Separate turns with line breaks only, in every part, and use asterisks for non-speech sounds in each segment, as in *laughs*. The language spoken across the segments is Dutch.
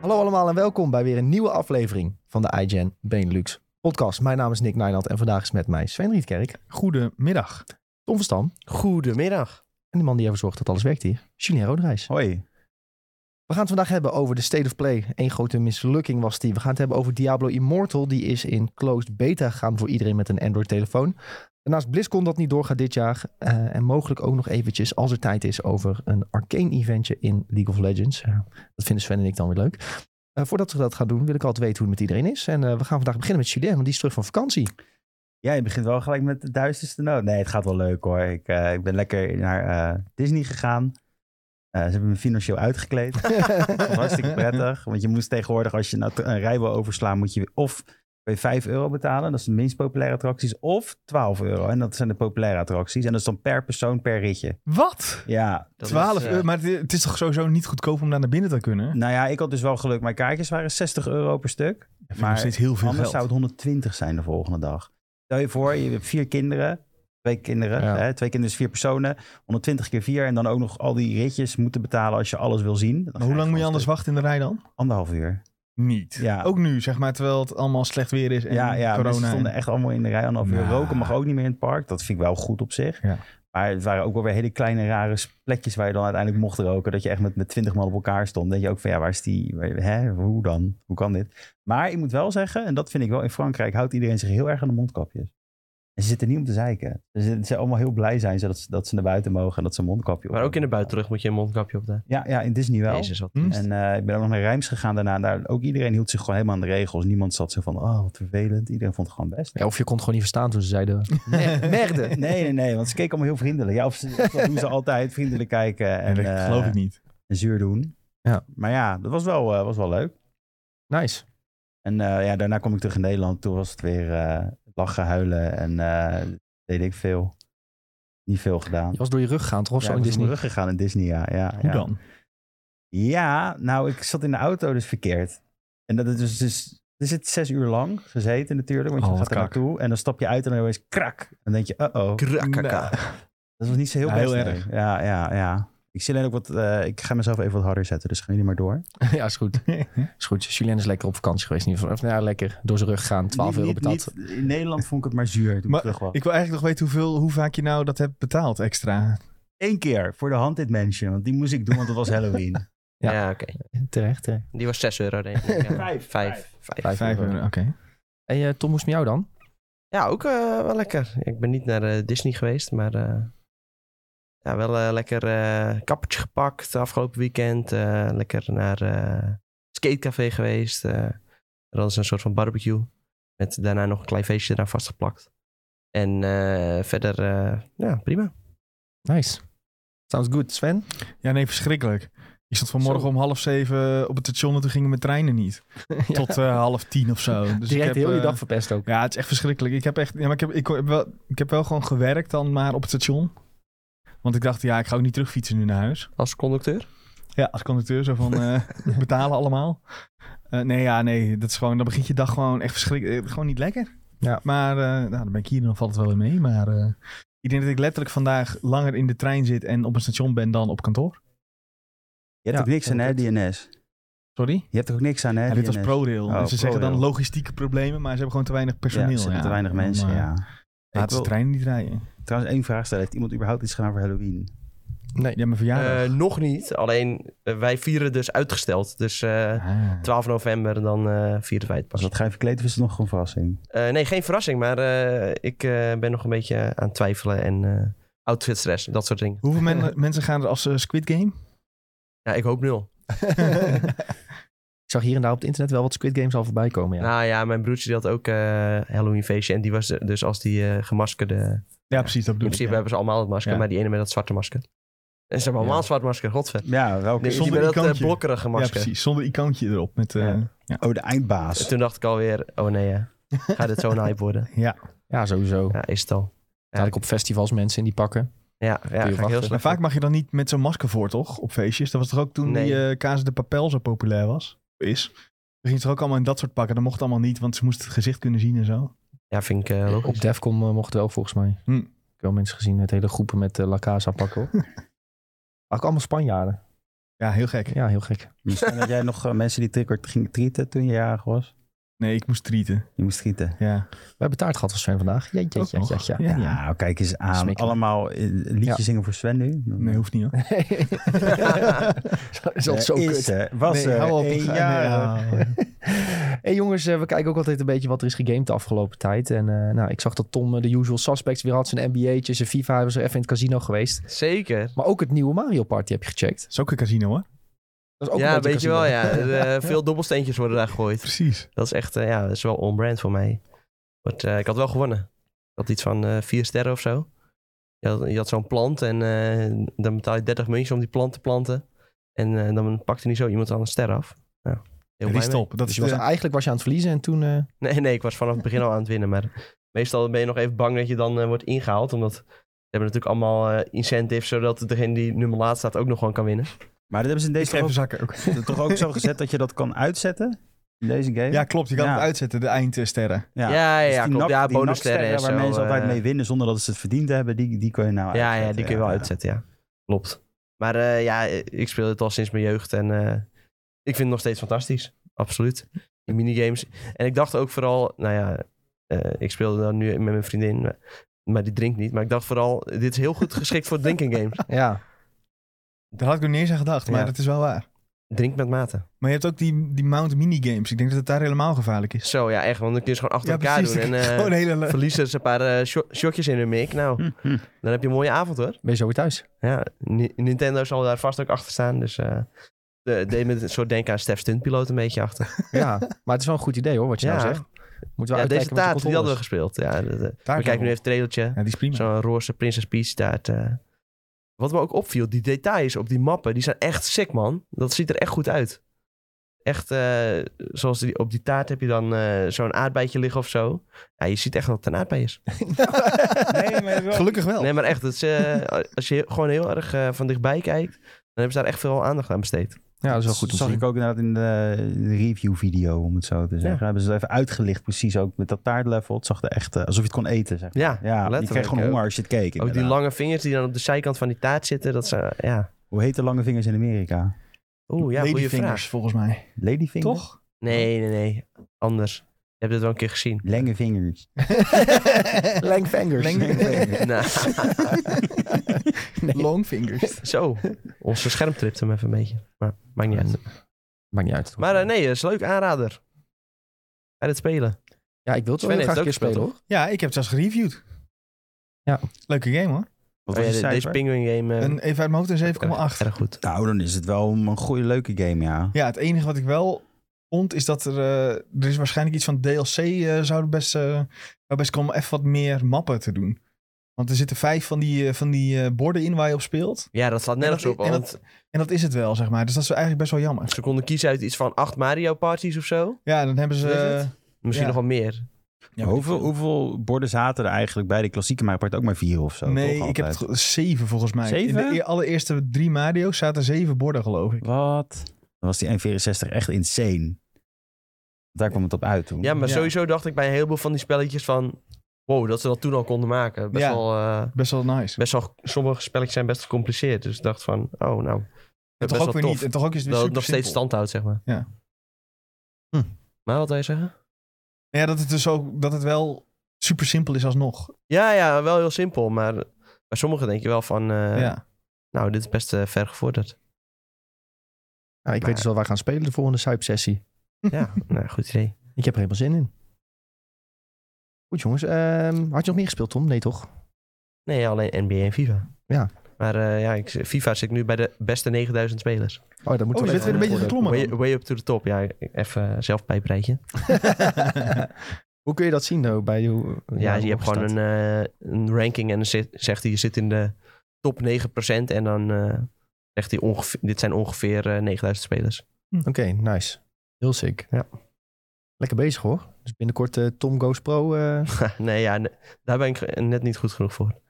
Hallo allemaal en welkom bij weer een nieuwe aflevering van de iGen Benelux podcast. Mijn naam is Nick Nijland en vandaag is met mij Sven Rietkerk,
Goedemiddag.
Tom van Stam
Goedemiddag.
en de man die ervoor zorgt dat alles werkt hier, Julien Roderijs.
Hoi.
We gaan het vandaag hebben over de State of Play. Eén grote mislukking was die. We gaan het hebben over Diablo Immortal. Die is in closed beta gegaan voor iedereen met een Android-telefoon. Daarnaast BlizzCon dat niet doorgaat dit jaar. Eh, en mogelijk ook nog eventjes, als er tijd is, over een Arcane-eventje in League of Legends. Ja, dat vinden Sven en ik dan weer leuk. Eh, voordat we dat gaan doen, wil ik altijd weten hoe het met iedereen is. En eh, we gaan vandaag beginnen met Julien, want die is terug van
*laughs*
vakantie.
Jij begint wel gelijk met de duisterste noot. Nee, het gaat wel leuk hoor. Ik, eh, ik ben lekker naar eh, Disney gegaan. Eh, ze hebben me financieel
*laughs*
uitgekleed. Dat was hartstikke prettig. Want je moest tegenwoordig, als je nou t- een rij wil overslaan, moet je of wil je 5 euro betalen. Dat is de minst populaire attracties. Of 12 euro. En dat zijn de populaire attracties. En dat is dan per persoon per ritje.
Wat? *laughs*
Ja.
Dat
12
is, eh,
euro? Maar het- het is toch sowieso niet goedkoop om daar naar binnen te kunnen?
Nou ja, ik had dus wel geluk. Mijn kaartjes waren 60 euro per stuk.
Dat vind ik
maar
nog steeds heel veel
Anders
geld.
zou het 120 zijn de volgende dag. Stel je voor, je hebt vier kinderen. Twee kinderen,
Ja.
hè? twee kinderen is vier personen. 120 keer vier. En dan ook nog al die ritjes moeten betalen als je alles wil zien. Dan
Maar
ga
hoe lang moet je
gewoon
anders wachten in de rij dan?
Anderhalf uur.
Niet.
Ja.
Ook nu, zeg maar, terwijl het allemaal slecht weer is en
ja, ja
corona.
mensen stonden
en-
echt allemaal in de rij. Anderhalf uur.
Nou.
Roken mag ook niet meer in het park. Dat vind ik wel goed op zich.
Ja.
Maar het waren ook wel weer hele kleine rare plekjes waar je dan uiteindelijk mocht roken. Dat je echt met, met 20 man op elkaar stond. Dan denk je ook van ja, waar is die? waar- Hè, hoe dan? Hoe kan dit? Maar ik moet wel zeggen, en dat vind ik wel in Frankrijk, houdt iedereen zich heel erg aan de mondkapjes. En ze zitten niet om te zeiken. Ze zijn- ze zijn allemaal heel blij zijn zodat ze, dat ze naar buiten mogen en dat ze een mondkapje op.
Maar ook in de buitenlucht moet je een mondkapje op doen.
Ja, ja, in Disney wel.
Jezus, wat
Hm?
En eh, ik ben ook nog naar Rijms gegaan daarna. En daar, ook iedereen hield zich gewoon helemaal aan de regels. Niemand zat zo van, oh, wat vervelend. Iedereen vond het gewoon best.
Ja, of je kon het gewoon niet verstaan toen ze zeiden... "Mer- Merde.
Nee, nee, nee, want ze keken allemaal heel vriendelijk. Ja, of ze, of dat doen ze altijd, vriendelijk kijken en,
Nee, dat
eh,
geloof ik niet.
en zuur doen.
Ja.
Maar ja, dat was wel, eh, was wel leuk.
Nice.
En eh, ja, daarna kwam ik terug in Nederland. Toen was het weer eh, lachen, huilen en eh deed ik veel. Niet veel gedaan.
Je was door je rug gegaan, toch? Of
Ja,
zo
ik
in
was op
Disney.
mijn rug gegaan in Disney, ja. ja
Hoe
ja.
dan?
Ja, nou, ik zat in de auto dus verkeerd. En dat is dus... dus er zit zes uur lang gezeten natuurlijk, want je
Oh, wat
gaat er
kak.
naartoe en dan stap je uit en dan opeens krak. Dan denk je, uh-oh.
Krakaka.
Nou,
Dat was niet zo heel
Ja,
best.
heel
nee.
erg.
Ja, ja, ja. Ik zie alleen ook wat. eh, ik ga mezelf even wat harder zetten, dus gaan jullie maar door.
*laughs* ja, is goed. Is goed. Julien is lekker op vakantie geweest. in ieder geval. Of nou ja, lekker door zijn rug gegaan. 12 euro betaald.
in Nederland vond ik het maar zuur. Toen
Maar
ik terug was.
Ik wil eigenlijk nog weten hoeveel, hoe vaak je nou dat hebt betaald extra.
Eén keer voor de Haunted Mansion, want die moest ik doen, want het was
*laughs*
Halloween.
Ja.
Ja, oké.
Terecht, terecht.
Die was 6 euro, denk ik. Ja.
Vijf,
Vijf.
Vijf.
Vijf.
Vijf euro, oké.
En eh, Tom, hoe is het met jou dan?
Ja, ook eh, wel lekker. Ik ben niet naar eh, Disney geweest, maar eh, ja, wel eh, lekker eh kappertje gepakt afgelopen weekend. Eh, lekker naar eh skatecafé geweest. eh dat is een soort van barbecue. Met daarna nog een klein feestje eraan vastgeplakt. En eh, verder, eh, ja, prima.
Nice. Sounds good, *laughs* Sven.
Ja, nee, verschrikkelijk. Ik stond vanmorgen
Zo.
om half zeven op het station en toen gingen mijn treinen
*laughs*
niet. Tot eh, half tien of zo. Dus ik
Direct
heb,
heel je
eh,
dag verpest ook.
Ja, het is echt verschrikkelijk. Ik heb echt, ja, maar ik heb, ik, heb wel, ik heb wel gewoon gewerkt dan maar op het station. Want ik dacht, ja, ik ga ook niet terugfietsen nu naar huis.
Als conducteur?
Ja, als conducteur, zo van
*laughs*
eh, *laughs* betalen allemaal. Eh, nee, ja, nee, dat is gewoon, dan begint je dag gewoon echt verschrikkelijk, eh, gewoon niet lekker.
Ja.
Maar eh, nou, dan ben ik hier, dan valt het wel in mee. Maar eh, ik denk dat ik letterlijk vandaag langer in de trein zit en op een station ben dan op kantoor.
Je hebt
Ja,
ook niks aan, hè,
dat-
DNS.
*laughs*
Sorry?
Je hebt ook niks aan, hè,
Ja, dit was
DNS.
ProRail.
Oh,
dus ze zeggen dan
ProRail.
logistieke problemen, maar ze hebben gewoon te weinig
Ja,
personeel.
er zitten te weinig
Dan,
mensen,
eh,
ja. Ik
Laten ze
wil
treinen niet rijden.
trouwens één vraag stellen. Heeft iemand überhaupt iets gedaan voor Halloween?
Nee.
Ja, mijn verjaardag.
Eh, nog niet. Alleen, eh, wij vieren dus uitgesteld. Dus eh,
Ah.
12 november, dan eh vieren wij het
Was
pas.
dat ga je verkleed of is het nog een verrassing?
Eh, nee, geen verrassing, maar eh, ik eh, ben nog een beetje aan het twijfelen en eh outfit stress, dat soort dingen.
Hoeveel men- *laughs* mensen gaan er als eh, Squid Game?
Ja, ik hoop nul.
Ik zag hier en daar op het internet wel wat Squid Games al voorbij komen. Ja.
Nou ja, mijn broertje die had ook eh Halloween feestje en die was er dus als die eh, gemaskerde... In
ja, precies, dat bedoel ik.
principe
ja.
hebben ze allemaal het masker,
Ja.
maar die ene met dat zwarte masker. En ze hebben allemaal een zwart masker, godver.
Ja, welke?
Nee, die
zonder
met dat eh,
icoontje.
blokkerige
Ja,
masker.
precies. Zonder icoontje erop. Met, eh,
Ja.
ja.
Oh, de eindbaas.
Toen dacht ik alweer, oh nee, eh, gaat dit *laughs* zo'n hype worden?
ja, sowieso.
Ja, is het al.
Had ik op festivals mensen in die pakken.
Ja, ja ga ik heel
wachten.
Maar
slecht.
vaak mag je dan niet met zo'n masker voor, toch? Op feestjes. Dat was toch ook toen
Nee.
die eh Kaas de Papel zo populair was? Is. Toen gingen ze er ook allemaal in dat soort pakken. Dat mocht allemaal niet, want ze moesten het gezicht kunnen zien en zo.
Ja, vind ik eh,
Op
logisch.
Defcon eh, mocht wel volgens mij.
Hm.
Ik *laughs* heb wel mensen gezien met hele groepen met eh La Casa pakken. hoor. Ook allemaal Spanjaarden.
Ja, heel gek.
Ja, heel gek.
Misschien had jij nog eh, mensen die trick or ging treaten toen je jarig was?
Nee, ik moest treaten.
Je moest schieten.
Ja.
We hebben taart gehad van Sven vandaag. Ja, ja,
Ook
ja,
nog?
ja, ja.
Ja, nou,
Ja.
kijk eens aan.
Smikkelijk.
Allemaal eh, liedjes
Ja.
zingen voor Sven nu. Eh,
Nee, hoeft niet hoor.
is altijd *laughs* zo
Er
kut.
er- eh, was
Nee,
er
hou op.
één
Ga- nee,
jarig.
Hey jongens, eh, we kijken ook altijd een beetje wat er is gegamed de afgelopen tijd. En eh, nou, ik zag dat Tom eh, de usual suspects weer had. Zijn NBA'tje, zijn FIFA hebben ze even in het casino geweest.
Zeker.
Maar ook het nieuwe Mario Party heb je gecheckt.
Dat is ook een casino hoor.
Dat is ook
ja,
een beetje
weet je
casino.
wel, ja. Er, eh, veel dobbelsteentjes worden daar gegooid.
Precies.
Dat is echt, eh, ja, dat is wel on-brand voor mij. Want eh, ik had wel gewonnen. Ik had iets van eh, vier sterren of zo. Je had, je had zo'n plant en eh, dan betaal je 30 muntjes om die plant te planten. En eh, dan pakte niet zo iemand anders ster af. Nou, heel
Die
blij
is
mee.
top.
*laughs*
Dat
Dus
is
je was,
de-
eigenlijk was je aan het verliezen en toen... eh,
*laughs* Nee, nee, ik was vanaf het begin al aan het winnen. Maar meestal ben je nog even bang dat je dan eh, wordt ingehaald. Omdat ze hebben natuurlijk allemaal eh, incentives, zodat degene die nummer laatst staat ook nog gewoon kan winnen.
Maar dat hebben ze in
Ik
deze
schreef
toch
een
ook,
zakken ook.
*laughs* toch ook zo gezet dat je dat kan uitzetten? In deze game?
Ja, klopt. Je kan
Ja.
het uitzetten, de eindsterren.
Ja, ja, ja,
Dus die
klopt.
nak-
ja,
die
bonussterren en
naksterren
zo.
Waar mensen
eh,
altijd mee winnen zonder dat ze het verdiend hebben, die, die kun je nou
Ja, ja,
uitzetten,
die kun je wel
ja.
uitzetten, ja. Klopt. Maar eh, ja, ik speel het al sinds mijn jeugd en eh, ik vind het nog steeds fantastisch. Absoluut. Die minigames. En ik dacht ook vooral, nou ja, eh, ik speelde dan nu met mijn vriendin, maar- maar die drinkt niet. Maar ik dacht vooral, dit is heel goed geschikt voor drinking
*laughs*
games.
ja,
Daar had ik nog niet eens aan gedacht, maar
Ja.
dat is wel waar.
Drink met mate.
Maar je hebt ook die, die mount minigames. Ik denk dat het daar helemaal gevaarlijk is.
Zo, ja, echt. Want dan kun je ze gewoon achter
Ja,
elkaar
precies.
doen. En
*laughs*
eh,
Gewoon hele... le-
verliezen ze een paar eh, sho- shotjes in hun mik. Nou,
Hm, hm. *laughs*
dan heb je een mooie avond hoor.
ben je zo weer thuis.
Ja, Ni- Nintendo zal daar vast ook achter staan. Dus eh de, deed me een soort denken aan Stef Stuntpiloot een beetje achter.
Ja, maar het is wel een goed idee hoor, wat je
Ja.
nou zegt. Moeten we
Ja,
uitkijken
deze
met de
taart, die hadden we
controllers.
gespeeld. Ja, dat, eh,
Daar
we kijken nu even het trailertje.
Ja, die is prima.
Zo'n roze Princess Peach taart. eh. Wat me ook opviel, die details op die mappen, die zijn echt sick man. Dat ziet er echt goed uit. Echt, eh, zoals die, op die taart heb je dan eh, zo'n aardbeidje liggen of zo. Ja, je ziet echt dat het een aardbei
*laughs*
is.
Nee,
*laughs*
maar wel. Gelukkig wel.
Oh.
Nee, maar echt, het is, eh, als je gewoon heel erg eh, van dichtbij kijkt, dan hebben ze daar echt veel aandacht aan besteed.
Ja, dat is wel goed om
Dat
te
zag
zien.
ik ook inderdaad in de de review video, om het zo te zeggen. Hebben ze het even uitgelicht, precies ook met dat taartlevel. Het zag er echt eh, alsof je het kon eten, zeg.
Ja,
Ja, je
letterlijk.
kreeg gewoon
ook.
honger als je het keek.
Ook die
inderdaad.
lange vingers die dan op de zijkant van die taart zitten, dat zijn, ja.
Hoe heet de lange vingers in Amerika?
Oeh, ja, goede
Ladyfingers,
vraag.
volgens mij.
Ladyfinger?
Toch?
Nee, nee, nee. Anders. Je hebt het wel een keer *laughs* gezien.
Lange vingers.
*laughs* Langfingers.
*laughs*
*laughs*
Langfingers.
nou,
Longfingers.
zo. Onze scherm tript hem even een beetje. Maar maakt niet uit.
Maakt niet uit.
Maar eh, nee, is leuk aanrader. Ga dit spelen.
ja, ik wil het wel
Sven
heel graag een keer
heeft ook
spelen hoor.
*laughs* Ja, ik heb het zelfs gereviewd.
Ja.
Leuke game hoor.
*laughs* Wat was
Oh ja,
je
de-
cijfer?
deze Penguin game. eh,
Een, even uit mijn hoofd een 7,8.
erg, erg goed.
Nou, dan is het wel een goede, leuke game, ja.
Ja, het enige wat ik wel vond is dat er, eh, er is waarschijnlijk iets van DLC eh, zou er best, eh, zou best komen om even wat meer mappen te doen. Want er zitten vijf van die, eh, van die eh, borden in waar je op speelt.
Ja, dat slaat nergens
En
op.
dat- en dat-
Want
En dat is het wel, zeg maar. Dus dat is eigenlijk best wel jammer.
ze konden kiezen uit iets van acht Mario parties of zo.
Ja, dan hebben ze...
Is het?
eh,
Misschien
Ja.
nog wel meer.
ja,
hoeveel, hoeveel borden zaten er eigenlijk bij de klassieke Mario Party? Ook maar vier of zo,
nee,
toch,
ik heb het
altijd?
ge- zeven volgens mij. In
Zeven?
de e- allereerste drie Mario's zaten zeven borden, geloof ik.
Wat? Dan was die 1,64 echt insane. Daar kwam het op uit toen.
Ja, maar
Ja.
sowieso dacht ik bij een heleboel van die spelletjes van... Wow, dat ze dat toen al konden maken. Best
Ja.
wel... eh,
Best wel nice.
best wel sommige spelletjes zijn best gecompliceerd. Dus ik dacht van, oh nou...
En
Best
toch
wel
ook weer
tof.
niet. En toch ook is het weer
dat het nog
super
steeds
simpel.
stand houdt, zeg maar.
Ja.
Hm.
Maar wat wil je zeggen?
Ja, dat het dus ook... Dat het wel super simpel is alsnog.
Ja, ja, wel heel simpel. Maar bij sommigen denk je wel van... eh,
ja.
Nou, dit is best eh, ver
*laughs*
gevorderd.
Nou, ik weet
Maar-
dus wel waar we gaan spelen de volgende Suip-sessie.
*laughs*
Ja, nou, goed idee.
Ik heb er helemaal zin in. Goed jongens, ehm, had je nog meer gespeeld Tom? Nee toch? Oh,
Nee, alleen NBA en FIFA.
Ja.
Maar eh, ja, ik, FIFA zit nu bij de beste 9000 spelers.
Oh, dat moet wel
Oh, je bent weer
even
een beetje
worden.
geklommen.
Way,
dan.
way up to the top. Ja, even zelf bijbreidje.
*laughs* Hoe kun je dat zien nou? Bij hoe,
Ja,
hoe
je hebt
hoog
gewoon
staat?
een, eh, een ranking en dan zit- zegt hij je zit in de top 9% en dan eh, zegt hij ongeveer, dit zijn ongeveer eh, 9000 spelers.
Oké, nice. Heel sick.
Ja.
Lekker bezig hoor. Dus binnenkort eh, Tom Goes Pro. eh,
nee, ja, ne- daar ben ik ge- net niet goed genoeg voor.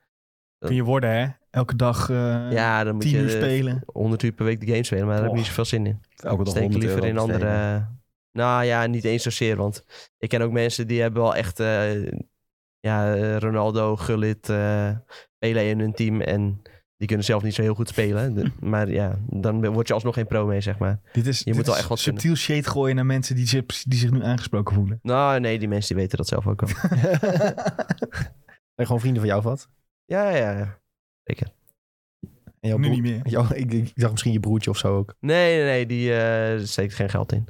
Kun je worden, hè? Elke dag eh
ja, dan moet
tien
je
uur
eh,
spelen.
100 uur per week de game spelen, maar daar heb ik
Och.
niet zoveel zin in.
Elke dag
Steek
100
liever
euro
in
besteden.
andere... nou ja, niet eens zozeer, want ik ken ook mensen die hebben wel echt eh, ja, eh, Ronaldo, Gullit, eh Pele in hun team en Die kunnen zelf niet zo heel goed spelen. De- maar ja, dan word je alsnog geen pro mee, zeg maar.
Dit is, dit
moet wel
is
echt wat
subtiel shade gooien naar mensen die zich, die zich nu aangesproken voelen.
Nou, nee, die mensen die weten dat zelf
*laughs*
ook al.
En gewoon vrienden van jou of wat?
ja, ja, ja.
En jouw
nu
broer-
niet
*laughs*
meer.
Jou, ik, ik dacht misschien je broertje of zo ook.
Nee, nee, nee, die eh, steekt geen geld in.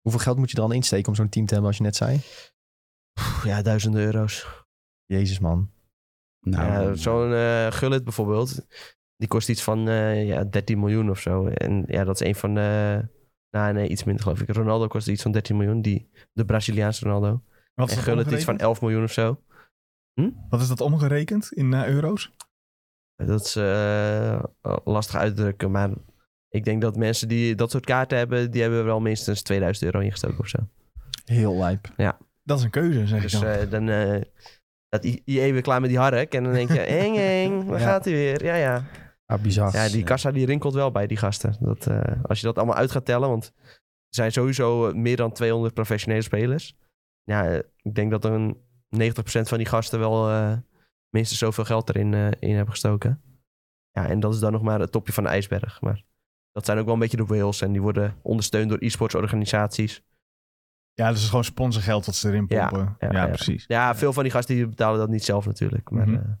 Hoeveel geld moet je dan insteken om zo'n team te hebben als je net zei?
Pff, ja, duizenden euro's.
Jezus man.
Ja,
Nou,
Zo'n eh, gullet bijvoorbeeld, die kost iets van eh, ja, 13 miljoen of zo. En ja, dat is een van de... nou, nee, iets minder geloof ik. Ronaldo kost iets van 13 miljoen, die, de Braziliaanse Ronaldo.
Wat is, dat
En gullet iets van
omgerekend?
11 miljoen of zo. Hm?
Wat is dat omgerekend in eh, euro's?
Dat is eh, lastig uit te drukken, maar ik denk dat mensen die dat soort kaarten hebben, die hebben wel minstens 2000 euro ingestoken of zo.
Heel lijp.
Dat is een keuze, zeg
Dus
ik dan.
eh, dan eh dat I- IE weer klaar met die hark en dan denk je, *laughs* eng eng, waar
Ja.
gaat hij weer? Ja, ja.
Ah, bizar.
Ja, die kassa die rinkelt wel bij die gasten. Dat, eh, als je dat allemaal uit gaat tellen, want er zijn sowieso eh, meer dan 200 professionele spelers. Ja, eh, ik denk dat een 90% van die gasten wel eh, minstens zoveel geld erin eh, in hebben gestoken. Ja, en dat is dan nog maar het topje van de ijsberg. Maar dat zijn ook wel een beetje de whales en die worden ondersteund door e-sportsorganisaties.
Ja, dus het is gewoon sponsorgeld wat ze erin
Ja,
pompen. Ja,
ja, ja.
precies.
Ja, veel van die gasten die betalen dat niet zelf natuurlijk. Maar
Mhm.
eh,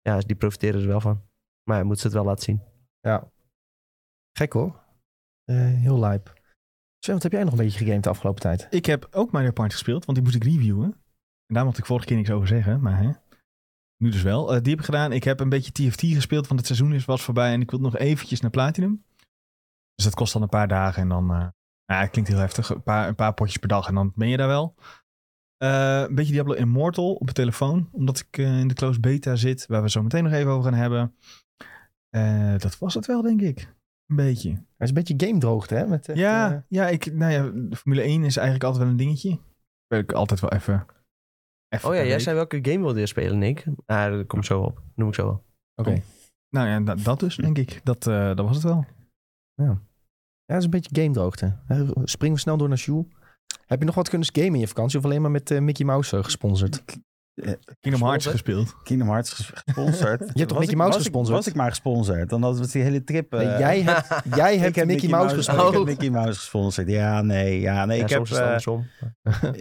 ja, die profiteren er wel van. Maar ja, moeten ze het wel laten zien.
Gek hoor. Eh, heel lijp. Sven, wat heb jij nog een beetje gegamed de afgelopen tijd?
Ik heb ook Mario Party gespeeld, want die moest ik reviewen. En daar mocht ik vorige keer niks over zeggen, maar hè. nu dus wel. Eh, die heb ik gedaan. Ik heb een beetje TFT gespeeld, want het seizoen is was voorbij en ik wil nog eventjes naar Platinum. Dus dat kost dan een paar dagen en dan... eh, nou, ja, het klinkt heel heftig. Een paar, een paar potjes per dag en dan ben je daar wel. Eh, een beetje Diablo Immortal op de telefoon, omdat ik eh, in de closed beta zit, waar we zo meteen nog even over gaan hebben. Eh, dat was het wel, denk ik. Een beetje.
Het is een beetje game droogte, hè? Met, echt,
Ja,
eh,
ja, ik, nou ja, de Formule 1 is eigenlijk altijd wel een dingetje. Ben ik altijd wel even. even
Oh
per
ja, jij
week.
zei welke game wilde je spelen, Nick? Ah, dat komt zo op. Noem ik zo wel.
Oké.
Nou ja, da- dat dus, denk ik. Dat, eh, dat was het wel.
Ja, dat is een beetje game droogte. Hè, Springen we snel door naar Sjoel. Heb je nog wat kunnen gamen in je vakantie of alleen maar met eh, Mickey Mouse eh, gesponsord?
Kingdom Hearts
Sponsor.
gespeeld.
eh, Kingdom Hearts ges- gesponsord. je
Mickey Mouse gesponsord?
Was ik maar gesponsord. Dan hadden we die hele trip... eh,
Nee, jij hebt, jij
ik
hebt Mickey,
heb
Mouse
oh, Ik
gesponsord.
heb Mickey Mouse gesponsord. Ja, nee. Ja, nee
Ja,
ik, heb,
soms is het
eh,
andersom.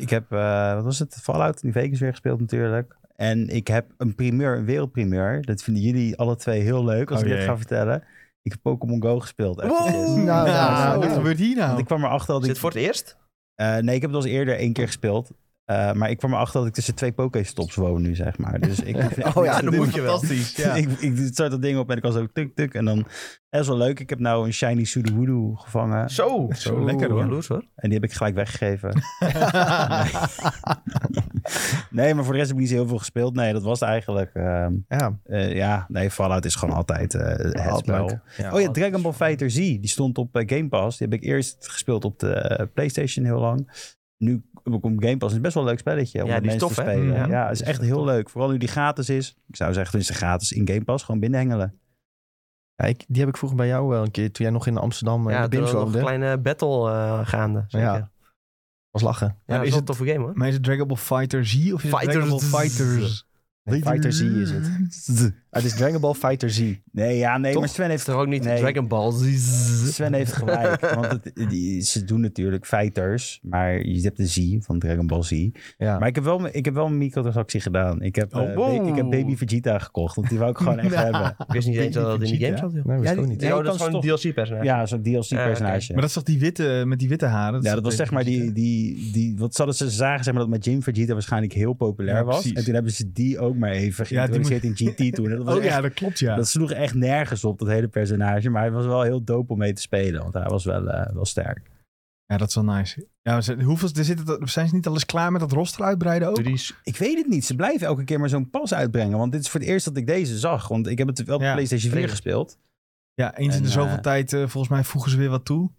ik heb... eh, Wat was het? Fallout in Vegas weer gespeeld natuurlijk. En ik heb een primeur, een wereldprimeur. Dat vinden jullie alle twee heel leuk als
Oh,
ik dit
jee.
ga vertellen. Ik heb Pokémon Go gespeeld. eventjes.
Nou, nou, nou,
wat
nou.
gebeurt hier
Want
nou?
ik kwam erachter dat
Is
ik...
dit voor het eerst?
Eh, nee, ik heb het al eens eerder één keer gespeeld. Eh, maar ik kwam erachter dat ik tussen twee Pokéstops woon nu, zeg maar. Dus ik hoef
*laughs*
echt
Oh
niks *laughs*
ja,
te
dat
doen.
moet je wel.
Fantastisch. *laughs* Ja.
*laughs* ik, ik start dat ding op en ik was ook tuk tuk. En dan, dat is wel leuk. Ik heb nou een shiny Sudowoodo gevangen.
Zo!
Zo, lekker hoor.
Jaloers hoor.
En die heb ik gelijk weggegeven. nee, maar voor de rest heb ik niet zo heel veel gespeeld. Nee, dat was het eigenlijk. ehm,
Ja,
eh, ja, nee, Fallout is gewoon altijd eh, het
altijd
spel.
leuk. Ja.
Oh ja, Dragon Ball Fighter Z. Die stond op eh, Game Pass. Die heb ik eerst gespeeld op de eh, PlayStation heel lang. Nu kom ik op Game Pass. Het is best wel een leuk spelletje om
Ja,
met
die is
mensen
tof,
te
hè?
spelen.
Ja.
Ja, het is echt heel leuk. Vooral nu die gratis is. Ik zou zeggen, tenminste gratis in Game Pass. Gewoon binnenhengelen.
Ja, ik, die heb ik vroeger bij jou wel een keer, toen jij nog in Amsterdam eh,
Ja,
de
er
bims
was nog
woonde.
een kleine battle eh, gaande. Zeker.
Ja.
Ja,
was lachen.
Maar
dat
is
is wel
het-
een toffe game hoor.
Maar is het Dragon Ball Fighter Z of is het Dragon Ball
Fighters.
Fighters?
Nee, Fighter Z is
*laughs*
het. Ah, het is Dragon Ball Fighter Z.
Nee, ja, nee.
Toch?
Maar Sven
Is
heeft,
toch ook niet
Nee.
Dragon Ball Z?
Sven heeft
*laughs*
gelijk. want het- die, ze doen natuurlijk fighters. Maar je hebt de Z van Dragon Ball Z.
Ja.
Maar ik heb wel, ik heb wel een microtransactie gedaan. Ik heb,
Oh,
eh,
wow.
ba- ik heb Baby Vegeta gekocht. Want die wou ik *laughs* gewoon echt hebben.
Ik wist niet eens dat dat in die game zat. joh.
nee, wist
Ja,
ik ook
die-
niet.
Ja,
oh,
je
dat is
kan
gewoon een DLC-personage.
Ja, zo'n DLC-personage.
Maar dat is toch die witte, met die witte haren?
Ja,
is
dat was zeg maar die, die, die wat zouden ze zagen, zeg maar, dat met Jim Vegeta waarschijnlijk heel populair
Ja,
was.
precies.
En toen hebben ze die ook maar even
Ja, die
geïntroduceerd in GT toen. En Dat, was
Oh ja,
echt-
dat klopt ja.
dat sloeg echt nergens op, dat hele personage. Maar hij was wel heel dope om mee te spelen, want hij was wel, eh, wel sterk.
Ja, dat is wel nice. Ja, maar ze- hoeveel, er zitten, zijn ze niet al eens klaar met dat roster uitbreiden ook?
Drie
Ik weet het niet, ze blijven elke keer maar zo'n pas uitbrengen. Want dit is voor het eerst dat ik deze zag, want ik heb het wel op de
Ja,
PlayStation 4
trailer.
gespeeld.
Ja, eens in
En,
de zoveel
eh,
tijd, eh, volgens mij voegen ze weer wat toe.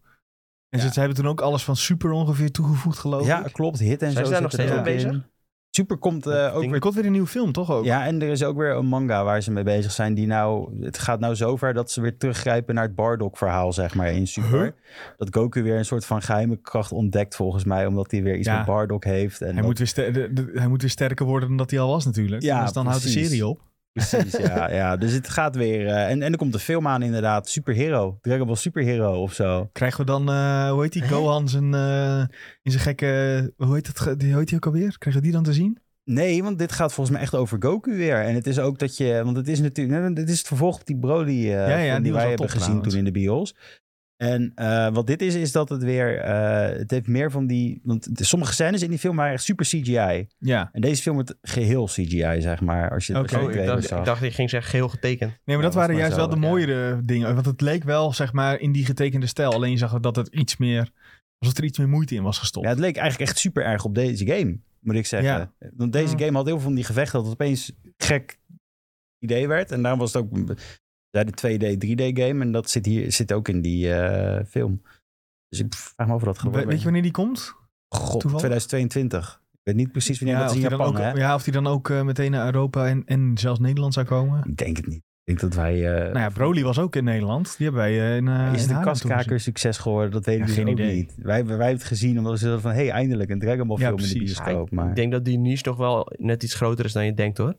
En
Ja.
ze, ze hebben toen ook alles van Super ongeveer toegevoegd, geloof
Ja,
ik.
klopt, hit en
Zijn
zo.
ze daar nog
zit er
steeds
ook
mee
in.
bezig?
Super komt eh, ook
Er
weer
komt weer een nieuwe film, toch ook?
Ja, en er is ook weer een manga waar ze mee bezig zijn. Die nou, het gaat nou zover dat ze weer teruggrijpen naar het Bardock-verhaal, zeg maar, in Super.
Huh?
Dat Goku weer een soort van geheime kracht ontdekt, volgens mij. Omdat hij weer iets
Ja.
met Bardock heeft. En
Hij,
dat-
moet weer ster- de- de- hij moet weer sterker worden dan dat hij al was natuurlijk.
Ja,
dus dan houdt de
precies.
serie op.
Precies, ja, ja. Dus het gaat weer. eh, en, en er komt een film aan, inderdaad. Superhero. Dragon Ball Superhero of zo.
Krijgen we dan, eh, hoe heet die, Gohan zijn, eh, in zijn gekke, hoe heet, het, ge- die, hoe heet die ook alweer? Krijgen we die dan te zien?
Nee, want dit gaat volgens mij echt over Goku weer. En het is ook dat je. Want het is natuurlijk. nee, Dit is het vervolg op die Broly. eh,
ja, die
film die
was
wij
wel
hebben
top
gezien
trouwens.
toen in de bios. En eh, wat dit is, is dat het weer. eh, het heeft meer van die. Want de- sommige scènes in die film waren echt super CGI.
Ja.
En deze film wordt geheel CGI, zeg maar. Als je, als
Oké,
je de
Oh, ik
trailer
dacht,
zag.
ik dacht, ik ging zeggen geheel getekend.
Nee, maar dat
Ja, dat
waren
is maar
juist wel
zo,
de
ja.
mooiere dingen. Want het leek wel, zeg maar, in die getekende stijl. Alleen je zag dat het iets meer, alsof er iets meer moeite in was gestopt.
Ja, het leek eigenlijk echt super erg op deze game, moet ik zeggen. Want deze
Mm.
game had heel veel van die gevechten dat het opeens gek idee werd. En daarom was het ook ja, de 2D, 3D game. En dat zit hier zit ook in die eh, film. Dus ik vraag me af of dat
We-
geworden
weet je wanneer die komt?
God,
toeval?
2022. Ik weet niet precies wanneer dat
of
is in
die
Japan,
dan
hè?
ook, ja, of die dan ook eh, meteen naar Europa en, en zelfs Nederland zou komen.
Ik denk het niet. Ik denk dat wij... eh,
nou ja, Broly was ook in Nederland. Die hebben wij eh, in eh, in
is de
Haarlem toen gezien.
kastkaker succes geworden? Dat weten
Ja,
we
geen
ook
idee.
niet. Wij, wij hebben het gezien omdat ze dachten van... hey, eindelijk een Dragon Ball
Ja,
film in de
precies.
bioscoop.
Ja, ik-
Maar...
Ik denk dat die niche toch wel net iets groter is dan je denkt hoor.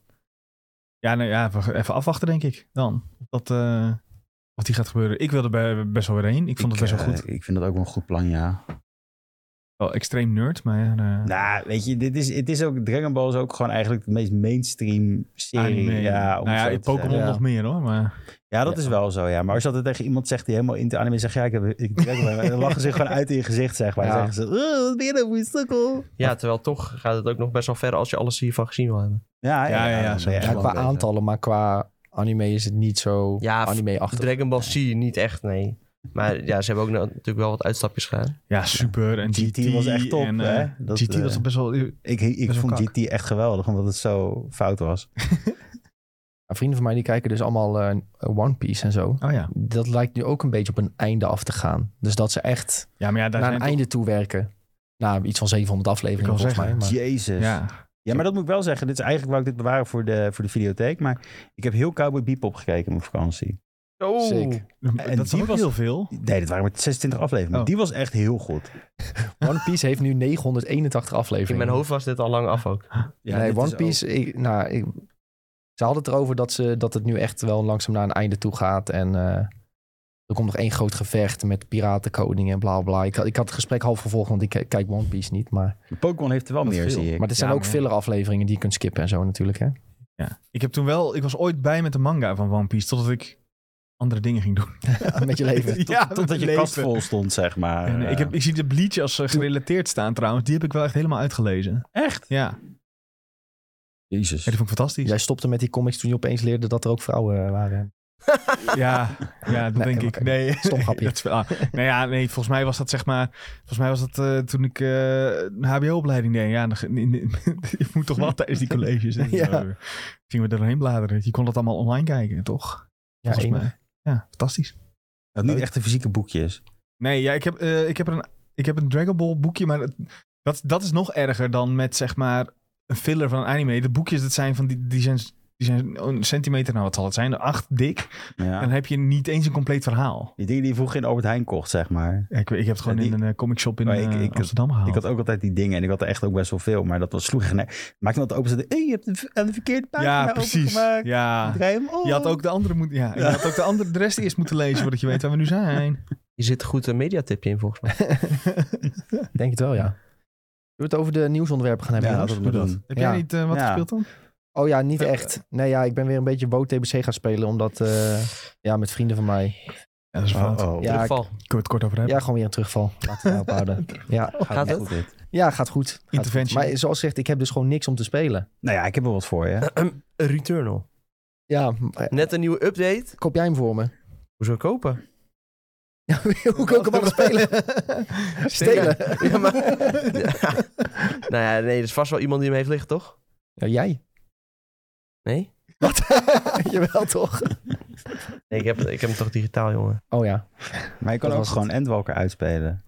Ja, nou ja, even, even afwachten denk ik dan. Dat, eh, wat die gaat gebeuren. Ik wilde bij, best wel weer heen. Ik vond het best wel
eh,
goed.
ik vind dat ook wel een goed plan, ja.
Wel extreem nerd, maar... eh,
Nou, weet je, dit is, het is ook, Dragon Ball is ook gewoon eigenlijk de meest mainstream serie.
anime.
eh, Ja, om
nou
zo
ja,
te
in Pokémon
zeggen.
nog meer hoor. Maar,
Ja, dat
Ja.
is wel zo, ja. Maar als je dat tegen iemand zegt die helemaal in de anime zegt, ja, ik heb ik Dragon Ball, dan lachen ze zich gewoon uit in je gezicht, zeg maar.
Ja.
Dan zeggen ze, "Oh, wat ben je nou voor een sukkel?
Ja, terwijl toch gaat het ook nog best wel ver als je alles hiervan gezien wil hebben.
Ja,
Ja, ja, ja,
dan
zo.
ben je
Ja,
Ja,
echt
qua
wel bezig.
aantallen, maar qua anime is het niet zo
Ja,
anime-achtig.
Dragon Ball Z niet echt, nee. Maar ja, ze hebben ook na- natuurlijk wel wat uitstapjes gedaan.
ja, super. En GT,
GT was echt top,
en,
hè?
eh,
Dat,
GT
eh,
was best wel... oh
Ik, ik
Best wel
vond
kak.
GT echt geweldig, omdat het zo fout was.
Maar vrienden van mij die kijken dus allemaal eh, One Piece en zo.
Oh ja.
Dat lijkt nu ook een beetje op een einde af te gaan. Dus dat ze echt
Ja, maar ja, daar
naar
zijn
een
toch-
einde toe werken. Nou, iets van 700 afleveringen
Ik wou
volgens mij. Maar...
Jezus.
Ja.
Ja, maar dat moet ik wel zeggen. Dit is eigenlijk wou ik dit bewaren voor de, voor de videotheek. Maar ik heb heel Cowboy Bebop gekeken op mijn vakantie.
Oh,
Sick.
En
dat
die
is ook
was-
heel veel.
Nee, dat waren maar 26 afleveringen.
Oh.
Die was echt heel goed.
One Piece heeft nu 981 afleveringen.
in mijn hoofd was dit al lang af ook.
Ja,
nee,
dit is
One
ook-
Piece, ik, nou, ik, ze hadden het erover dat, ze, dat het nu echt wel langzaam naar een einde toe gaat. En eh, er komt nog één groot gevecht met piratenkoning en bla bla. Ik, had- ik had het gesprek half gevolgd, want ik ke- kijk One Piece niet. Maar,
Pokémon heeft er wel
Dat
meer,
veel.
zie ik.
maar er zijn
Ja,
ook
maar-
filler afleveringen die je kunt skippen en zo natuurlijk. Hè?
Ja. Ik heb toen wel, ik was ooit bij met de manga van One Piece, totdat ik andere dingen ging doen.
Met je
*laughs*
leven.
Tot-
Ja,
totdat je
leven.
kast vol stond, zeg maar.
En, eh, ik,
Ja.
heb, ik zie de Bleach als eh, gerelateerd staan trouwens. Die heb ik wel echt helemaal uitgelezen.
Echt?
Ja, Ja,
Jezus.
die vond ik fantastisch. Ja,
Jij stopte met die comics toen je opeens leerde dat er ook vrouwen eh, waren.
ja, dat
Nee,
denk ik.
oké.
Nee. *laughs*
Stom grapje.
Dat is wel- ah, nou ja, nee, volgens mij was dat zeg maar... Volgens mij was dat eh, toen ik eh, een hbo-opleiding deed. Ja, dan, ge- in- in- *laughs* je moet toch wel tijdens die colleges. en
Ja.
zo. Gingen we er doorheen bladeren. Je kon dat allemaal online kijken, toch?
Ja,
Volgens
enig.
mij. Ja, fantastisch.
Dat niet echt de fysieke boekjes.
Nee, ja, ik, heb, eh, ik, heb er een, ik heb een Dragon Ball boekje, maar het- dat, dat is nog erger dan met zeg maar een filler van een anime. De boekjes dat zijn van die, die zijn, die zijn een centimeter, nou wat zal het zijn, acht dik.
Ja.
En dan heb je niet eens een compleet verhaal.
Die dingen die je vroeger in Albert Heijn kocht, zeg maar.
Ja, ik, ik heb het gewoon
Ja, die-
in een eh, comic shop in
Maar ik-
eh,
ik-
Amsterdam gehaald.
Ik had ook altijd die dingen en ik had er echt ook best wel veel. Maar dat was sloeg. Nee, maakte me dat open. Hé, hey, je hebt de v- aan de verkeerde pagina
ja, precies.
opengemaakt.
Ja.
Draai hem om.
Je had ook de andere moet, ja, Je had ook de, andere, de rest eerst moeten lezen voordat je weet waar we nu zijn.
Je zit goed een mediatipje in volgens *laughs* mij.
Denk het wel, ja. *laughs* Zullen we het over de nieuwsonderwerpen gaan
Ja,
hebben?
dat
jongens?
moet dat.
Heb
Ja.
jij niet eh, wat
Ja.
gespeeld dan?
Oh ja, niet
Eh,
echt. Nee, ja, ik ben weer een beetje boot TBC gaan spelen, omdat... eh, ja, met vrienden van mij.
Ja, dat is fout.
Oh, oh.
Ja, ik-
*clears throat* Terugval.
Kunnen we het kort over hebben?
Ja, gewoon weer een terugval. Laten we daarop *laughs* houden.
*laughs*
Ja,
Gaat,
Gaat
niet
het?
goed dit.
ja gaat goed. Gaat goed.
Intervention.
Maar zoals gezegd, ik heb dus gewoon niks om te spelen.
Nou ja, ik heb er wat voor je.
Returnal.
Ja, maar, eh,
Net een nieuwe update.
koop jij hem voor me?
Hoezo kopen?
Ja, *laughs* hoe kan ik hem anders *laughs* spelen? Stelen.
Ja, maar... *laughs* Ja. Nou ja, nee, er is vast wel iemand die hem heeft liggen, toch?
Ja, jij.
Nee?
Wat? *laughs* Jawel, toch?
Nee, ik heb, ik heb hem toch digitaal, jongen.
Oh ja.
Maar je kan
Dat
ook
was
gewoon Endwalker uitspelen.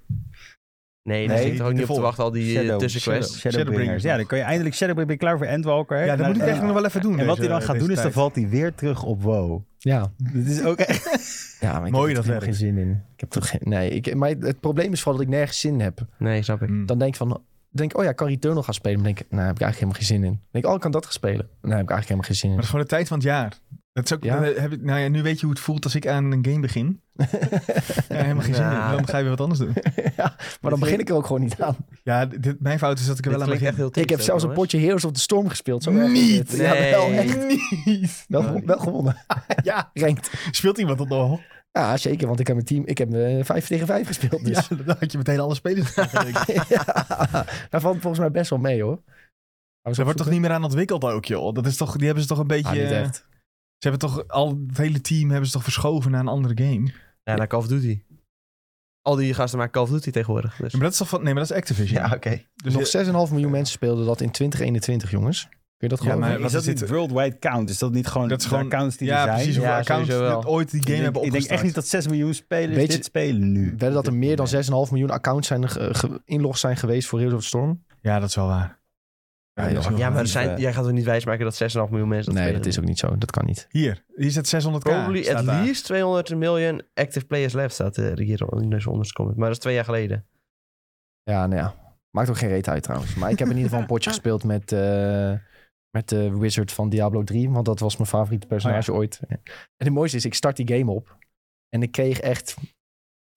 Nee, daar
Nee,
zit ik toch ook
de
niet op te
vol-
wachten, al die eh,
Shadow-
tussenquests.
Shadowbringers. Ja, dan kan je eindelijk Shadowbringers. Ben je klaar voor Endwalker?
Ja, dat
Nou,
moet ik
en-
echt nog wel even doen.
En wat hij
deze-
dan gaat
deze
doen is, dan
tijd.
valt hij weer terug op WoW.
Ja.
Dit is ook echt...
ja maar ik
Mooi
heb er
dat
helemaal geen zin in. Ik heb toch geen... Nee, ik, maar het probleem is vooral dat ik nergens zin heb.
Nee, snap ik.
Hmm.
Dan denk ik van... denk ik, oh ja, ik kan Returnal gaan spelen. Dan denk ik, nou, heb ik eigenlijk helemaal geen zin in. Dan denk ik, oh, ik kan dat gaan spelen. Nou, heb ik eigenlijk helemaal geen zin in.
Maar *laughs* dat is gewoon de tijd van het jaar. Dat is ook,
Ja.
dan heb ik, nou ja, nu weet je hoe het voelt als ik aan een game begin. Ja, helemaal geen zin
Nou.
in. Dan ga je weer wat anders doen.
ja, maar dan begin ik er ook gewoon niet aan.
Ja, dit, mijn fout is dat ik er
Dit
wel aan
klinkt
begin.
echt heel
Ik
triest
heb
ook,
zelfs een
jongens.
potje Heroes of the Storm gespeeld. Zo erg is
Niet!
dit. Ja, wel,
Nee.
echt.
Niet!
Wel,
Nou,
wel gewonnen. ja, ranked.
Speelt iemand dat nog?
Ja, zeker, want ik heb mijn team, ik heb eh, vijf tegen vijf gespeeld. Dus.
Ja, dan had je meteen alle spelers. Er
*laughs* Daar valt volgens mij best wel mee, hoor. Dat
wordt toch niet meer aan ontwikkeld ook, joh? Dat is toch, die hebben ze toch een beetje...
Ah, niet
eh,
echt.
Ze hebben toch al het hele team hebben ze toch verschoven naar een andere game.
Ja, naar Call of Duty. Al die gasten maken Call of Duty tegenwoordig. Dus.
Maar dat is toch van, nee, maar dat is Activision.
Ja, oké.
dus
nog
je-
6,5 miljoen mensen speelden dat in 2021, jongens. Kun je dat
Ja,
gewoon...
maar-
Maar
wat
is dat
is
niet
dit?
worldwide count? Is dat niet gewoon,
Dat is gewoon-
de accounts die
ja,
er zijn?
precies. Hoeveel
Ja,
accounts
sowieso wel.
net ooit die
Ik
game
denk-
hebben
ik
opgestart.
denk echt niet dat 6 miljoen spelers
Weet je-
dit spelen nu.
Wedden dat er meer dan 6,5 miljoen accounts zijn, ge- ge- inlogs zijn geweest voor Heroes of the Storm?
Ja, dat is wel waar.
Ja, dat is
wel
ja,
waar.
maar er
niet,
zijn,
eh,
jij gaat toch niet wijsmaken dat 6,5 miljoen mensen dat
nee,
spelen?
dat is ook niet zo. Dat kan niet.
Hier, hier zit 600k.
Probably
staat
at
daar.
least 200 million active players left, staat er hier in deze onderste comment. Maar dat is twee jaar geleden.
Ja, nou ja. Maakt ook geen reet uit trouwens. Maar ik heb in ieder geval een
*laughs*
potje gespeeld met, eh, met de wizard van Diablo 3. Want dat was mijn favoriete personage
Oh
ooit. En het mooiste is, ik start die game op. En ik kreeg echt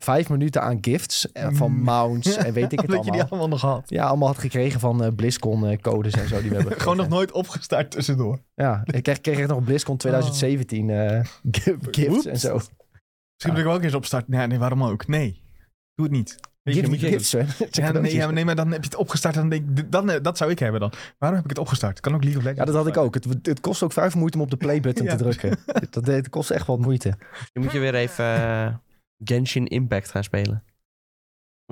vijf minuten aan gifts. eh, Van
Mm.
mounts en weet
*laughs*
ik het
Dat je die
allemaal.
allemaal nog had.
Ja, allemaal had gekregen van eh, BlizzCon eh, codes en zo. Die we hebben
*laughs* Gewoon nog
gekregen.
nooit opgestart tussendoor.
Ja, ik kreeg, kreeg echt nog BlizzCon 2017 eh, *laughs* gi- gifts
Oeps.
en zo.
Misschien moet ik hem ook eens opstarten. Nee, nee, waarom ook? Nee, doe het niet. Weet je,
Gift,
dan moet
*laughs*
je-
gifts, hè. Het zijn
Ja, nee,
cadeautjes.
ja, maar nee, maar dan heb je het opgestart en dan denk ik, dit- dan, eh, dat zou ik hebben dan. Waarom heb ik het opgestart? Kan ook League of Legends.
Ja, dat had ik ook. Het, het kost ook vijf moeite om op de
*laughs*
playbutton
Ja.
te drukken. Dat, dat kost echt wat moeite.
Je moet je weer even eh, Genshin Impact gaan spelen.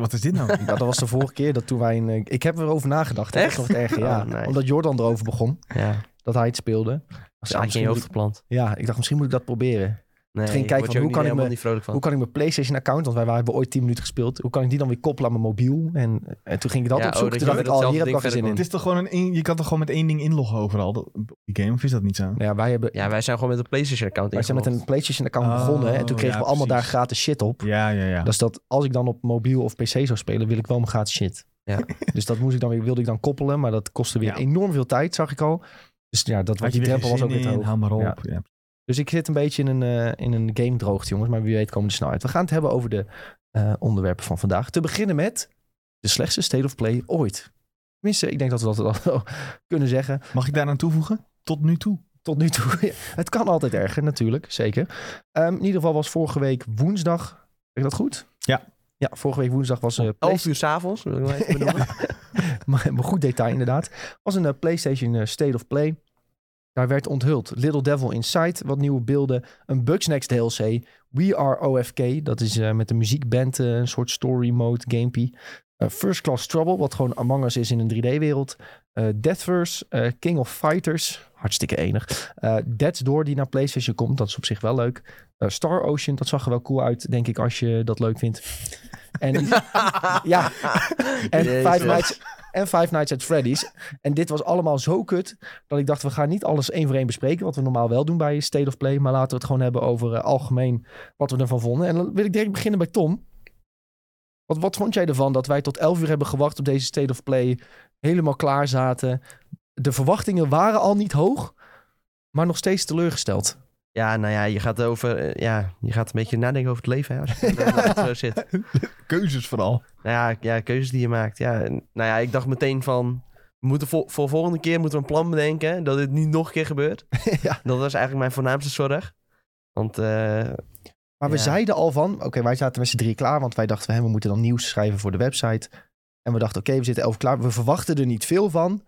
Wat is dit nou?
Ja, dat was de vorige keer dat toen wij... Een, eh, ik heb erover nagedacht. hè.
Echt?
Dat was erg, ja.
Oh, nice.
Omdat Jordan erover begon.
Ja,
Dat hij het speelde. Ik
dat
dacht,
is
ja,
eigenlijk in
misschien moet
je hoofd
ik-
geplant.
Ja, ik dacht, misschien moet ik dat proberen.
Nee,
ging kijken
word
van,
je
hoe
ook
kan
niet,
ik
helemaal
me-
niet vrolijk van.
Hoe kan ik mijn PlayStation-account, want wij wij hebben ooit 10 minuten gespeeld... hoe kan ik die dan weer koppelen aan mijn mobiel? En, en toen ging ik dat
Ja,
opzoeken.
oh,
toen
dat je
dacht ik,
met
al
hetzelfde
hier heb ik al geen
ding
zin in.
het is toch gewoon een, één- je kan toch gewoon met één ding inloggen overal dat- op die game? Of is dat niet zo?
Nou Ja, wij, hebben,
Ja, wij zijn gewoon met een PlayStation-account
wij zijn met een PlayStation-account
Oh,
begonnen... en toen kregen
ja,
we allemaal
precies.
daar gratis shit op.
Ja, ja, ja.
Dat is dat als ik dan op mobiel of PC zou spelen, wil ik wel mijn gratis shit.
Ja.
*laughs* Dus dat moest ik dan weer, wilde ik dan koppelen, maar dat kostte weer
Ja.
enorm veel tijd, zag ik al. Dus ja, dat was,
Had
die
je weer
drempel
geen
was ook
zin
weer te
in?
hoog.
Hou maar op.
Ja.
Ja.
Dus ik zit een beetje in een, eh, in een game droogte, jongens, maar wie weet komen we er snel uit. We gaan het hebben over de eh, onderwerpen van vandaag. Te beginnen met de slechtste State of Play ooit. Tenminste, ik denk dat we dat al *laughs* kunnen zeggen.
Mag ik daaraan toevoegen? Tot nu toe.
Tot nu toe. *laughs* Ja, het kan altijd erger, natuurlijk. Zeker. Ehm, in ieder geval was vorige week woensdag. Zeg ik dat goed?
Ja.
Ja, vorige week woensdag was eh
11 uur s'avonds, wil ik nog even benoemen.
maar maar goed detail inderdaad. Was een eh, PlayStation eh, State of Play. Daar werd onthuld Little Devil Inside, wat nieuwe beelden, een Bugsnax DLC, We Are OFK, dat is eh, met een muziekband, eh, een soort story mode gamepie. Eh, First Class Trouble, wat gewoon Among Us is in een 3D-wereld. Eh Deathverse, eh, King of Fighters, hartstikke enig. Eh Dead's Door, die naar PlayStation komt, dat is op zich wel leuk. Eh, Star Ocean, dat zag er wel cool uit, denk ik, als je dat leuk vindt. En *laughs*
*laughs*
Ja. en,
Jezus.
Five Nights, en Five Nights at Freddy's. En dit was allemaal zo kut dat ik dacht, we gaan niet alles één voor één bespreken, wat we normaal wel doen bij State of Play, maar laten we het gewoon hebben over eh, algemeen wat we ervan vonden. En dan wil ik direct beginnen bij Tom. Wat, wat vond jij ervan dat wij tot 11 uur hebben gewacht op deze State of Play, helemaal klaar zaten? De verwachtingen waren al niet hoog, maar nog steeds teleurgesteld.
Ja, nou ja, je gaat over, eh, ja, je gaat een beetje nadenken over het leven,
*laughs*
hè, als je dat zo zit.
Keuzes vooral.
Nou ja, ja, keuzes die je maakt. Ja, en- nou ja, ik dacht meteen van, we moeten voor, voor volgende keer moeten we een plan bedenken, dat dit niet nog een keer gebeurt.
*laughs* Ja.
Dat was eigenlijk mijn voornaamste zorg. Want eh,
Maar we
Ja.
zeiden al van, oké, wij zaten met z'n drie klaar, want wij dachten, hè, we moeten dan nieuws schrijven voor de website. En we dachten, oké, we zitten elf klaar. We verwachten er niet veel van,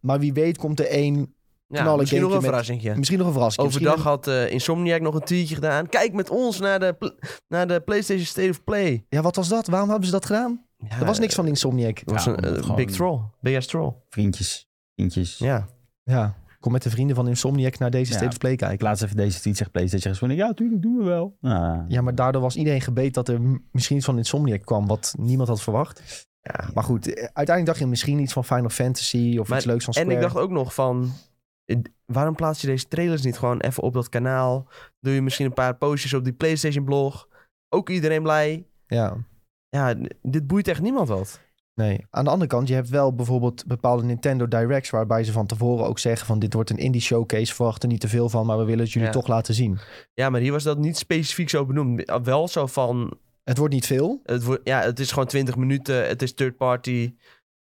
maar wie weet komt er één,
ja,
Knallen
misschien nog
gamepje
een
met-
verrassingje.
misschien nog een verrassing.
Overdag
misschien
had eh, Insomniac nog een tweetje gedaan. Kijk met ons naar de, pl- naar de PlayStation State of Play.
een- ja, wat was dat? Waarom hebben ze dat gedaan?
Ja, eh,
er was niks van Insomniac.
Het was
Ja,
een
omdat
eh,
gewoon-
big troll. Big ass troll.
Vriendjes. Vriendjes.
Ja.
Ja, kom met de vrienden van Insomniac naar deze
Ja.
State of Play
Ik
kijken.
laat eens even deze tweet zeggen, PlayStation. Gesproken. Ja, tuurlijk doen we wel. Ah.
Ja, maar daardoor was iedereen gebeet dat er m- misschien iets van Insomniac kwam, wat niemand had verwacht.
ja.
Maar goed, eh, uiteindelijk dacht je misschien iets van Final Fantasy of
Maar-
iets leuks van
En
Square.
ik dacht ook nog van... eh, Waarom plaats je deze trailers niet gewoon even op dat kanaal? Doe je misschien een paar postjes op die PlayStation blog? Ook iedereen blij?
Ja.
Ja, n- dit boeit echt niemand wat.
Nee. Aan de andere kant, je hebt wel bijvoorbeeld bepaalde Nintendo Directs... waarbij ze van tevoren ook zeggen van... dit wordt een indie showcase, verwacht er niet te veel van... maar we willen het jullie
Ja.
toch laten zien.
Ja, maar hier was dat niet specifiek zo benoemd. Wel zo van,
Het wordt niet veel.
het, wordt, ja, het is gewoon 20 minuten, het is third party.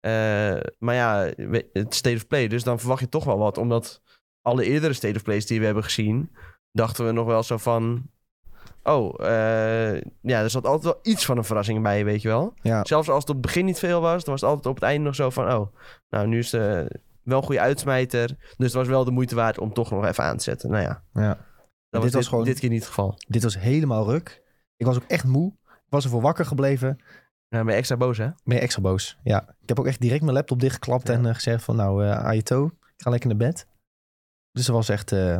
eh, maar ja, we- het state of play, dus dan verwacht je toch wel wat. Omdat alle eerdere state of plays die we hebben gezien, dachten we nog wel zo van... Oh, eh, ja, er zat altijd wel iets van een verrassing bij, weet je wel.
Ja.
Zelfs als het op het begin niet veel was, dan was het altijd op het einde nog zo van... Oh, nou, nu is het wel een goede uitsmijter. Dus het was wel de moeite waard om toch nog even aan te zetten. Nou ja,
ja. Dit
dat was,
was
dit,
gewoon-
dit keer niet het geval.
Dit was helemaal ruk. Ik was ook echt moe. Ik was ervoor wakker gebleven.
Nou, ben je extra boos, hè?
Ben je extra boos? Ja. Ik heb ook echt direct mijn laptop dichtgeklapt
Ja.
en eh, gezegd van... nou, eh Aito, ik ga lekker naar bed. Dus dat was echt eh,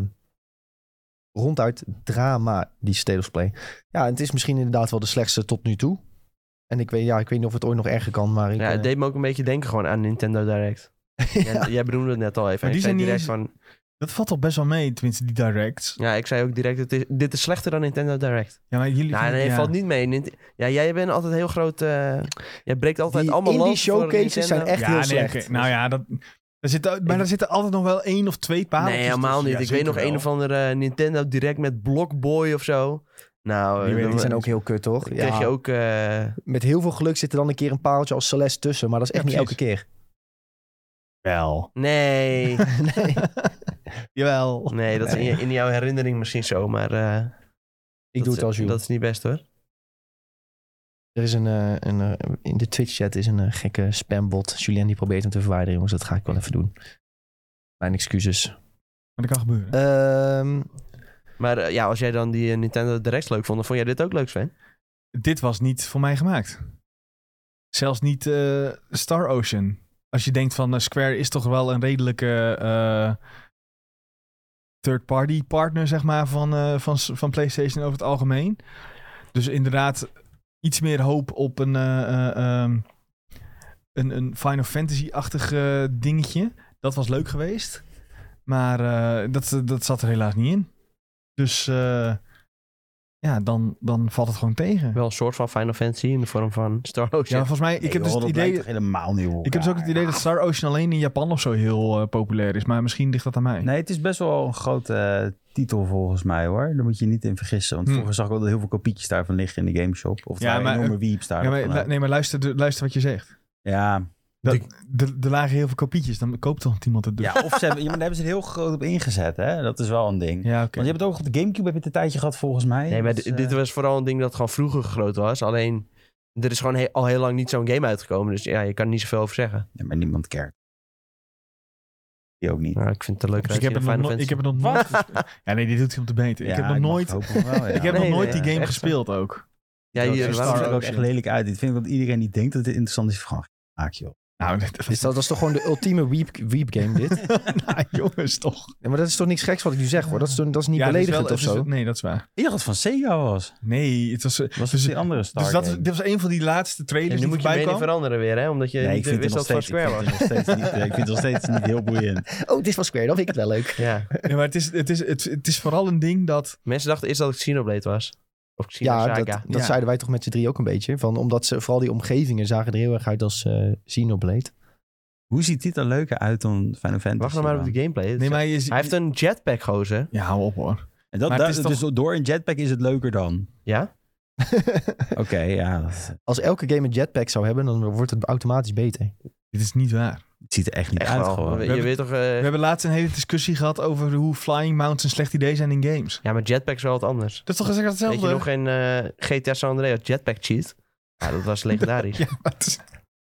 ronduit drama, die State of Play. Ja, en het is misschien inderdaad wel de slechtste tot nu toe. En ik weet, ja, ik weet niet of het ooit nog erger kan, maar... Ik,
ja, het
eh,
deed me ook een beetje denken gewoon aan Nintendo
*laughs*
Direct.
ja.
Jij, jij benoemde het net al even.
Maar die
Ik zei
zijn niet
direct
eens-
van,
Dat valt al best wel mee, tenminste, die directs.
ja, ik zei ook direct, het is, dit is slechter dan Nintendo Direct.
Ja, maar jullie...
Nou, nee,
ja.
valt niet mee. Nint- ja, jij bent altijd heel groot... eh, jij breekt altijd
Die
allemaal
indie
land voor
showcases zijn
Nintendo.
echt heel
nee,
slecht.
oké. nou ja, dat, er zitten, maar
Ik-
er zitten altijd nog wel één of twee palen.
dus
Nee, helemaal niet. ik weet nog een of andere eh, Nintendo Direct met Blockboy of zo. Nou,
Die
eh,
weet-
Die
dan-
zijn ook heel kut, toch?
dan krijg je ook... eh,
Met heel veel geluk zit er dan een keer een paaltje als Celeste tussen, maar dat is echt
Ja,
niet elke keer. *laughs*
*laughs*
Wel.
nee,
nee.
Jawel.
nee, dat is in, je- in jouw herinnering misschien zo, maar... eh,
Ik
dat
doe
is-
het als jullie.
Dat is niet best, hoor.
Er is een, eh, een eh, in de Twitch-chat is een eh, gekke spambot. Julien die probeert hem te verwijderen, jongens. Dat ga ik wel even doen. Mijn excuses.
Maar dat kan gebeuren.
Ehm,
Maar eh, ja, als jij dan die eh, Nintendo Directs leuk vond, dan vond jij dit ook leuk, Sven?
Dit was niet voor mij gemaakt. Zelfs niet eh, Star Ocean. Als je denkt van eh, Square is toch wel een redelijke third-party partner, zeg maar, van, eh, van, s- van PlayStation over het algemeen. Dus inderdaad, iets meer hoop op een, eh, eh, ehm, een, een Final Fantasy-achtig eh, dingetje. Dat was leuk geweest. Maar eh, dat, dat zat er helaas niet in. Dus eh, ja, dan, dan valt het gewoon tegen.
Wel een soort van Final Fantasy in de vorm van Star
Ja,
Ocean.
volgens mij, ik heb dus het idee...
helemaal niet op
Ik heb dus ook het
elkaar.
idee dat Star Ocean alleen in Japan of zo heel eh, populair is. Maar misschien ligt dat aan mij.
Nee, het is best wel een grote eh, titel volgens mij hoor. Daar moet je je niet in vergissen. Want
Hm.
vroeger zag ik wel heel veel kopietjes daarvan liggen in de gameshop. Of
Ja,
daar
maar-
enorme wieps daar.
ja,
of
maar,
van
lu-
ook.
nee, maar luister, de- luister wat je zegt.
ja.
*laughs* Dat, de, er lagen heel veel kopietjes. Dan koopt toch iemand het dus.
ja, of ze hebben, ja, maar daar hebben ze het heel groot op ingezet. Hè? Dat is wel een ding.
ja oké.
Want je hebt het ook op de Gamecube heb je het een tijdje gehad volgens mij.
nee, maar
Dat is,
di-
eh,
dit was vooral een ding dat gewoon vroeger groot was. Alleen, er is gewoon he- al heel lang niet zo'n game uitgekomen. Dus ja, je kan er niet zoveel over zeggen.
ja, maar niemand keert. Die ook niet.
Nou, ik vind het een leuk
Dus ik, heb het nog
Final
no- ik
Fantasy.
heb het nog nooit... gespeeld. Ja, nee, dit doet hij om te beter.
Ja,
ik heb nog
mag
nooit,
het hopen *laughs* van wel, ja.
ik heb
Nee,
nog nooit
nee,
die game
echt zo.
gespeeld ook.
Ja,
Ja,
hier,
hier
waarom-
Star
ziet er ook
Ocean.
echt lelijk uit. Ik vind dat iedereen die denkt dat het interessant is, gewoon maak *laughs* joh.
Nou, *laughs* dat
dus dat was toch gewoon de ultieme weep, weep game,
*laughs*
dit?
nou, jongens, toch.
Ja, maar dat is toch niks geks wat ik nu zeg, hoor? Dat is, toch- dat is niet
Ja, dat is
beledigend
wel-
of
het is-
zo?
Nee, dat is waar.
Ik dacht dat het van Sega was.
Nee, het was... eh,
Was
Dus-
dus, die andere Star
dus dat, is-
game.
dit was een van die laatste
Ja,
trailers
nu
die
moet je
voorbij
mening
kwam.
veranderen weer, hè? Omdat je
Nee, ik
niet
vind, het
wist
nog
dat het van
steeds,
Square was.
ik, vind het nog steeds niet, eh, ik vind het nog steeds niet heel boeiend.
Oh, dit is van Square, dan vind ik het wel leuk.
Ja.
Ja, maar het is, het, is, het, het is vooral een ding dat...
Mensen dachten eerst dat het Xenoblade was. Of
Ja,
Xenosaga.
dat, dat
Ja.
zeiden wij toch met z'n drie ook een beetje. Van, omdat ze, vooral die omgevingen zagen er heel erg uit als eh Xenoblade.
*laughs*
*laughs*
Hoe ziet dit er leuker uit dan Final Fantasy?
Wacht nou maar op de gameplay.
Nee, maar je,
Hij heeft een jetpack, gozer.
Ja, hou op hoor.
En dat,
Maar het
dat-
is
dus door een jetpack is het leuker *laughs* dan.
Ja?
Oké, ja. dat-
Als elke game een jetpack zou hebben, dan wordt het automatisch beter.
Dit is niet waar.
Het ziet er echt niet
Echt
uit
wel.
gewoon.
Je
We hebben-
weet toch... eh,
We hebben laatst een hele discussie gehad over hoe flying mounts een slecht idee zijn in games.
Ja, maar jetpack is wel wat anders.
Dat is toch exact
Weet je
hetzelfde? *laughs*
nog in eh, GTA San Andreas jetpack cheat? Ja, dat
*laughs*
was legendarisch.
Ja, maar het is-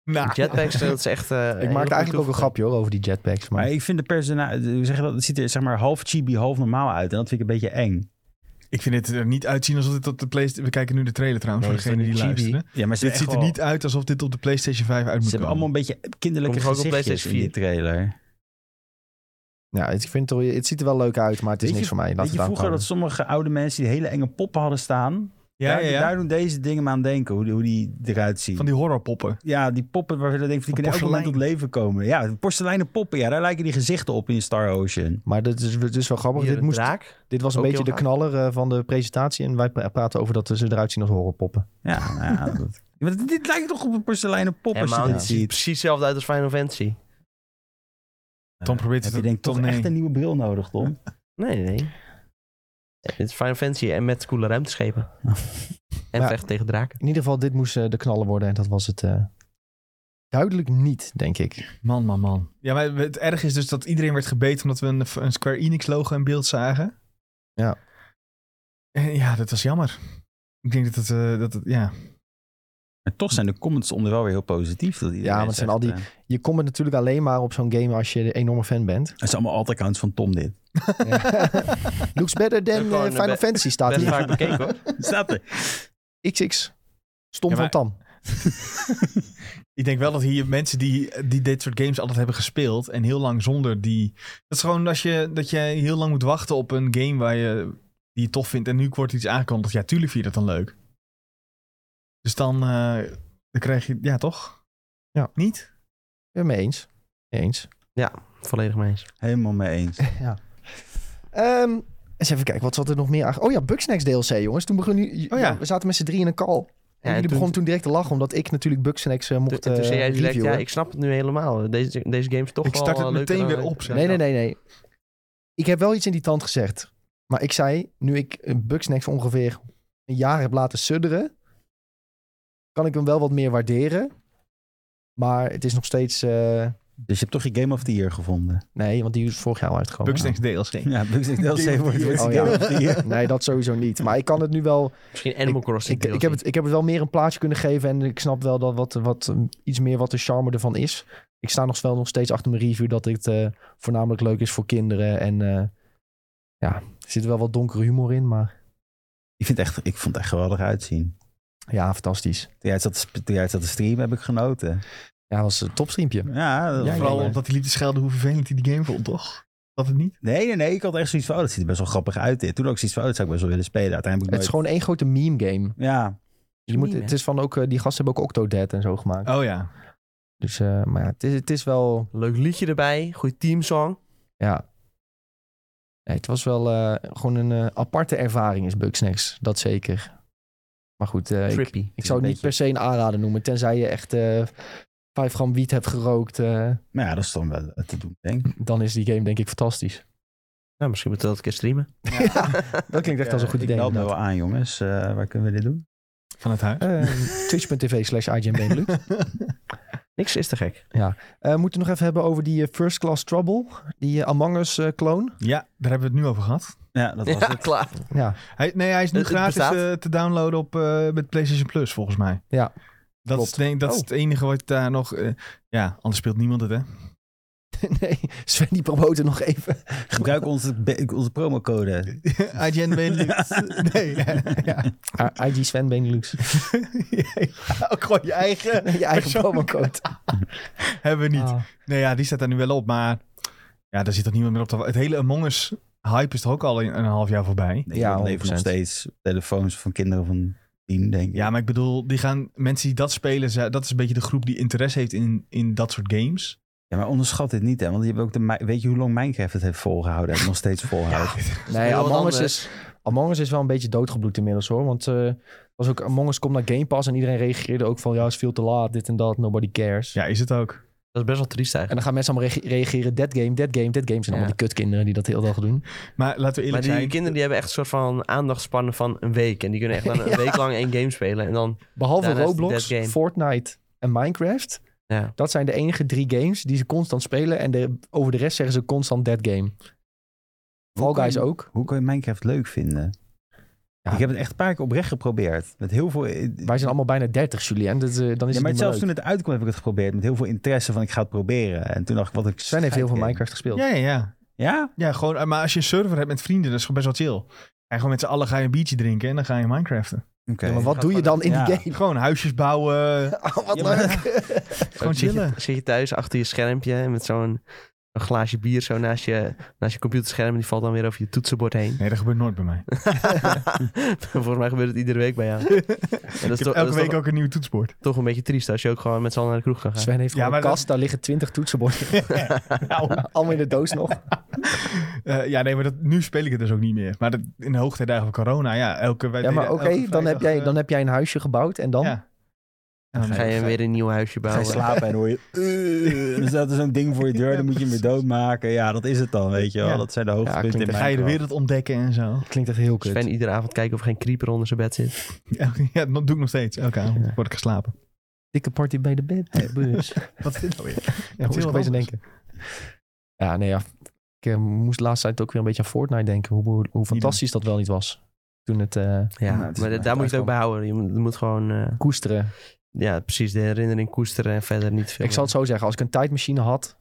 Nou,
Jetpacks, dat is echt... eh,
ik
heel
maakte eigenlijk ook een
goed
grapje, hoor, over die jetpacks. Maar,
Maar ik vind de persona, hoe zeg je dat, het ziet er zeg maar half chibi, half normaal uit. En dat vind ik een beetje eng.
*laughs* ik vind het er niet uitzien alsof dit op de PlayStation... We kijken nu de trailer trouwens,
Nee,
voor degenen
is
die
dat niet chibi?
luisteren.
Ja, maar ze
Dit ziet er niet uit alsof dit op de PlayStation 5 uit
Ze
moet komen.
hebben allemaal een beetje kinderlijke
Komt er ook op
gezichtjes in die
PlayStation
trailer.
ja, het, ik vind het, er- het ziet er wel leuk uit, maar het is
Weet
niks
je-
voor mij. Laat
Weet je
het
vroeger dat sommige oude mensen die hele enge poppen hadden staan?
Ja,
daar,
ja, ja.
daar doen deze dingen me aan denken, hoe die, hoe die eruit zien.
Van die horrorpoppen.
Ja, die poppen waarvan je denkt,
Van
die kunnen elk moment tot
porselein.
leven komen. Ja, porseleinen poppen, ja, daar lijken die gezichten op in Star Ocean.
Maar dit is, dit is wel grappig.
Hier
Dit,
een
moest,
draak.
dit was een
Ook
beetje de
heel
knaller eh, van de presentatie. En wij pra- praten over dat ze eruit zien als horrorpoppen.
Ja, nou ja *laughs* dat- Ja, maar dit, dit lijkt toch op een porseleinen pop als je
Helemaal
dit
niet. Ziet
ziet.
precies hetzelfde uit als Final Fantasy.
Tom probeert
Heb
het
je denk toch
nee.
echt een nieuwe bril nodig, Tom?
Nee, nee, nee. Ja, dit is Final Fantasy en met coole
*laughs*
ruimteschepen. en
Ja.
vechten tegen draken.
In ieder geval, dit moest eh, de knaller worden. En dat was het eh, duidelijk niet, denk ik.
Man, man, man. Ja, maar het erg is dus dat iedereen werd gebeten omdat we een, een Square Enix logo in beeld zagen.
Ja.
En ja, dat was jammer. Ik denk dat het, eh, dat het ja.
*laughs*
*laughs*
Maar toch zijn de comments onder wel weer heel positief. Dat iedereen
Ja, maar het zijn
zegt,
al die-
eh,
Je komt natuurlijk alleen maar op zo'n game als je een enorme fan bent.
het zijn allemaal alt-accounts van Tom dit.
*laughs* Looks better than
Gewoon
eh,
de
Final
be-
Fantasy staat
Best
hier.
vaak
*laughs*
bekeken hoor.
Staat *laughs* er.
XX. Stom
Ja,
van
maar-
Tam.
Ik denk wel dat hier mensen die, die dit soort games altijd hebben gespeeld en heel lang zonder die... Dat is gewoon als je, dat jij heel lang moet wachten op een game waar je, die je tof vindt en nu wordt iets aangekondigd. Ja, tuurlijk vind je dat dan leuk. Dus dan, eh, dan krijg je, ja toch?
Ja.
Niet?
Ja, mee eens. Mee eens.
Volledig mee eens.
Helemaal mee eens.
ja. Ehm, eens even kijken, wat zat er nog meer aan? Oh ja, Bugsnax DLC, jongens. Toen begon nu...
Oh ja.
We zaten met z'n drie in een call. En
en
jullie
toen-
begonnen toen direct te lachen, omdat ik natuurlijk Bugsnax eh,
Toen,
mocht
en toen zei jij
eh,
direct, ja,
reviewen.
ik snap het nu helemaal. Deze, deze game is toch
Ik start
wel,
het
eh, leuker
meteen
dan-
weer op, zeg.
Nee, nee, nee, nee. Ik heb wel iets in die tand gezegd. Maar ik zei, nu ik eh, Bugsnax ongeveer een jaar heb laten sudderen, kan ik hem wel wat meer waarderen. Maar het is nog steeds... eh,
Dus je hebt toch je Game of the Year gevonden?
Nee, want die is vorig jaar al uitgekomen.
Bugsnax DLC.
*laughs* Ja, Bugs DLC wordt
Game
Year.
of the
wordt Game
Oh, ja.
of the Year.
Nee, dat sowieso niet. Maar ik kan het nu wel.
Misschien Animal Crossing
Ik, ik, heb, het, ik heb het wel meer een plaatje kunnen geven. En ik snap wel dat wat, wat, iets meer wat de charme ervan is. Ik sta nog wel nog steeds achter mijn review dat het eh, voornamelijk leuk is voor kinderen. En eh, ja, er zit wel wat donkere humor in. Maar
*laughs* Ik, vind het echt, ik vond het echt geweldig uitzien.
ja, fantastisch.
Toen jij het zat te sp- toen jij het zat te streamen heb ik genoten.
Ja, was een topstreampje.
Ja, dat-
Ja,
Vooral
ja, ja.
omdat hij liep te schelden hoe vervelend hij die game vond, toch? Dat het niet?
Nee, nee, nee. Ik had echt zoiets van, oh, dat ziet er best wel grappig uit dit. Toen ook zoiets van, oh, dat zou ik best wel willen spelen. Uiteindelijk
Het
heb
is
ik
gewoon één grote meme game.
nooit- Ja,
Je moet, het is van ook, eh, die gasten hebben ook Octodad en zo gemaakt.
Oh ja.
Dus, eh, maar ja, het is, het is wel...
Leuk liedje erbij, goed teamsong.
Ja. Nee, het was wel eh, gewoon een eh, aparte ervaring is Bugsnax. Dat zeker. Maar goed, eh, ik,
Trippy.
ik zou het
een
niet per se een aanrader noemen. Tenzij je echt eh 5 gram wiet hebt gerookt. eh,
nou ja, dat is dan wel te doen, denk ik.
dan is die game denk ik fantastisch.
Nou, misschien moeten we dat een keer streamen.
Dat klinkt echt als een goed
Eh,
idee.
Ik meld me
inderdaad.
wel aan, jongens. Eh, waar kunnen we dit doen?
Van het huis. *laughs*
Eh, Twitch.tv slash IGN Benelux.
Niks is te gek.
Eh, moeten we het nog even hebben over die eh, First Class Trouble. Die eh, Among Us eh, clone.
Ja, daar hebben we het nu over gehad.
Ja, dat was
Ja,
het.
klaar.
Ja,
Hij, nee, hij is nu
Het- het
gratis
bestaat.
eh, te downloaden op, eh, met PlayStation Plus, volgens mij.
Ja,
Dat, is,
klopt.
denk, ik- dat is
Oh.
het enige wat daar nog... eh, ja, anders speelt niemand het, hè?
*laughs* nee, Sven die promoten nog even.
Gebruik onze, be- onze promocode.
IGN Benelux. *laughs* Nee, ja. ja.
Ah, IG Sven *laughs* Benelux.
Ook gewoon je eigen
*laughs* je eigen promocode. *laughs*
hebben we niet.
Ah.
Nee, ja, die staat daar nu wel op, maar... Ja, daar zit toch niemand meer op te wa- Het hele Among Us hype is toch ook al een, een half jaar voorbij?
Nee,
Ja,
ja, leven nog
100%.
steeds telefoons van kinderen van tien, denk ik.
Ja, maar ik bedoel, die gaan, mensen die dat spelen, ze- dat is een beetje de groep die interesse heeft in, in dat soort games.
Ja, maar onderschat dit niet, hè. Want je hebt ook de, Mi- weet je hoe lang Minecraft het heeft volgehouden? En nog
*laughs*
steeds volhoudt.
Nee,
Heel
Among
wat
Us,
anders.
is, Among Us is wel een beetje doodgebloed inmiddels hoor. Want eh, was ook, Among Us komt naar Game Pass en iedereen reageerde ook van... ja, is veel te laat, dit en dat, nobody cares.
Ja, is het ook.
Dat is best wel triest
En
eigenlijk.
dan gaan mensen allemaal reage- reageren, dead game, dead game, dead game. zijn
Ja.
allemaal die kutkinderen die dat heel dag doen.
Maar laten we
Maar
eerlijk
die
zijn.
kinderen die hebben echt een soort van aandachtspannen van een week. En die kunnen echt dan *laughs* een
Ja.
week lang één game spelen. En dan,
Behalve
Daarnaast
Roblox,
dead game.
Fortnite en Minecraft.
ja.
Dat zijn de enige drie games die ze constant spelen. En de, over de rest zeggen ze constant dead game. Fall
Hoe kan
Guys
je-
ook.
Hoe kan je Minecraft leuk vinden?
Ja.
Ik heb het echt een paar keer oprecht geprobeerd. Met heel veel...
Wij zijn allemaal bijna 30, Julien. Dat, eh, dan is
Ja,
het
maar
niet meer
zelfs
leuk.
toen het uitkwam heb ik het geprobeerd. Met heel veel interesse van ik ga het proberen. En toen dacht ik wat ik...
Sven heeft heel veel
scheid ken.
Minecraft gespeeld.
Ja, ja, ja.
Ja?
Ja, gewoon, eh, maar als je een server hebt met vrienden, dat is gewoon best wel chill. En gewoon met z'n allen ga je een biertje drinken en dan ga je Minecraften.
Oké.
Ja, maar
Gaat
wat doe je dan in die
Ja.
game?
Gewoon huisjes bouwen,
*laughs* Oh, wat
Ja,
leuk.
maar-
gewoon
zit je,
chillen.
zit je thuis achter je schermpje en met zo'n een glaasje bier zo naast je, naast je computerscherm. En die valt dan weer over je toetsenbord
*laughs*
heen. *laughs*
Nee, dat gebeurt nooit bij mij.
Volgens mij gebeurt het iedere week bij jou. En dat is,
Ik
toch,
heb
dat
elke
is
week
toch,
ook een nieuw toetsbord. *laughs*
toch een beetje triest als je ook gewoon met z'n allen naar de kroeg kan gaan.
*laughs* Sven heeft gewoon
maar
een
dat-
kast, daar liggen twintig toetsenborden. *laughs* Allemaal in de doos nog.
Eh, ja, nee, maar dat, nu speel ik het dus ook niet meer. Maar dat, in de hoogtijdagen van corona, ja, elke wij
Ja, maar
deden
oké, dan,
elke
heb
vrijdag,
jij-
eh, oh,
dan heb jij een huisje gebouwd en dan?
ja. En dan
Ga je weer een nieuw huisje
Ga je
bouwen.
slapen en hoor *laughs* je... "Eh." dan staat er zo'n ding voor je
*laughs*
deur, dan moet je hem weer doodmaken. Ja, dat is het dan, weet je wel.
Ja.
Dat zijn de hoogtepunten
klinkt
in
echt-
Ga je de wereld ontdekken en zo. *laughs*
Klinkt echt heel kut.
Sven iedere avond kijken of er geen creeper onder zijn bed zit.
Ja, dat doe ik nog steeds. Elke avond
Ja.
word ik geslapen.
Dikke party bij de bed. Hey, bus.
Wat is dit nou weer?
Ja, hoe is
heel
ik opeens aan
anders.
denken? Ja, nee ja. Ik eh, moest laatst tijd ook weer een beetje aan Fortnite denken. Hoe, hoe, hoe fantastisch dat wel niet was. Toen het eh,
Ja,
het is
maar
maar
daar moet je het ook bij houden. Je moet, je moet gewoon eh,
koesteren.
ja, precies de herinnering koesteren en verder niet veel.
Ik zal het zo zeggen. Als ik een tijdmachine had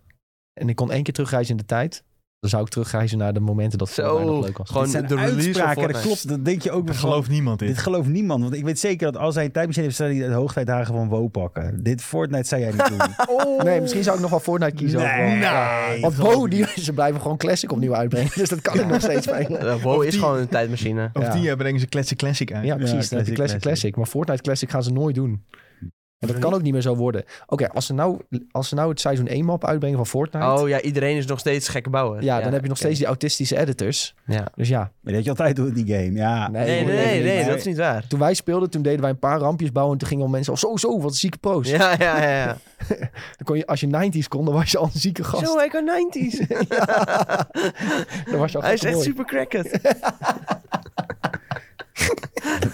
en ik kon één keer terugreizen in de tijd. Dan zou ik terugreizen naar de momenten dat
Zo,
Fortnite nog leuk was.
gewoon-
Dit zijn
de release van
uitspraken, dat
Fortnite.
klopt. Dat denk je ook
Dat
weer
gelooft niemand in.
Dit gelooft niemand, want ik weet zeker dat als hij een tijdmachine heeft, zou hij de hoogtijdagen van WoW pakken. Dit Fortnite zou jij niet doen.
Ah, Nee, misschien zou ik nog wel Fortnite kiezen.
Nee,
overal.
nee,
Ja.
dat
Want
geloof
Bo,
ik
die, ze blijven gewoon Classic opnieuw uitbrengen. *laughs* Dus dat kan ik nog steeds spelen.
*laughs* Eh, wow
Of
is
die-
gewoon een
*laughs*
tijdmachine.
Over
Ja.
tien jaar brengen ze Classic Classic uit.
Ja,
Ja,
precies. dan heb je
classic,
classic,
classic.
classic. Maar Fortnite Classic gaan ze nooit doen. En dat kan ook niet meer zo worden. Oké, als, ze nou, als ze nou het seizoen 1 map uitbrengen van Fortnite.
Oh ja, iedereen is nog steeds gekke bouwen.
ja, dan heb je nog steeds die autistische editors.
Ja.
Dus ja.
Maar dat je altijd doet in die game, ja.
Nee,
Nee, nee,
Nee,
nee,
Ah, nee.
dat is niet
*laughs*
waar.
Toen wij speelden, toen deden wij een paar rampjes bouwen. En toen gingen al mensen al zo, zo, wat een zieke pro's.
Ja, ja, ja. ja.
Dan kon je, als je 90s kon, dan was je al een zieke *laughs* gast.
Zo, hij kan
*laughs*
90s.
Dan was je al
Hij is
gek
echt
*laughs* mooi.
super cracked.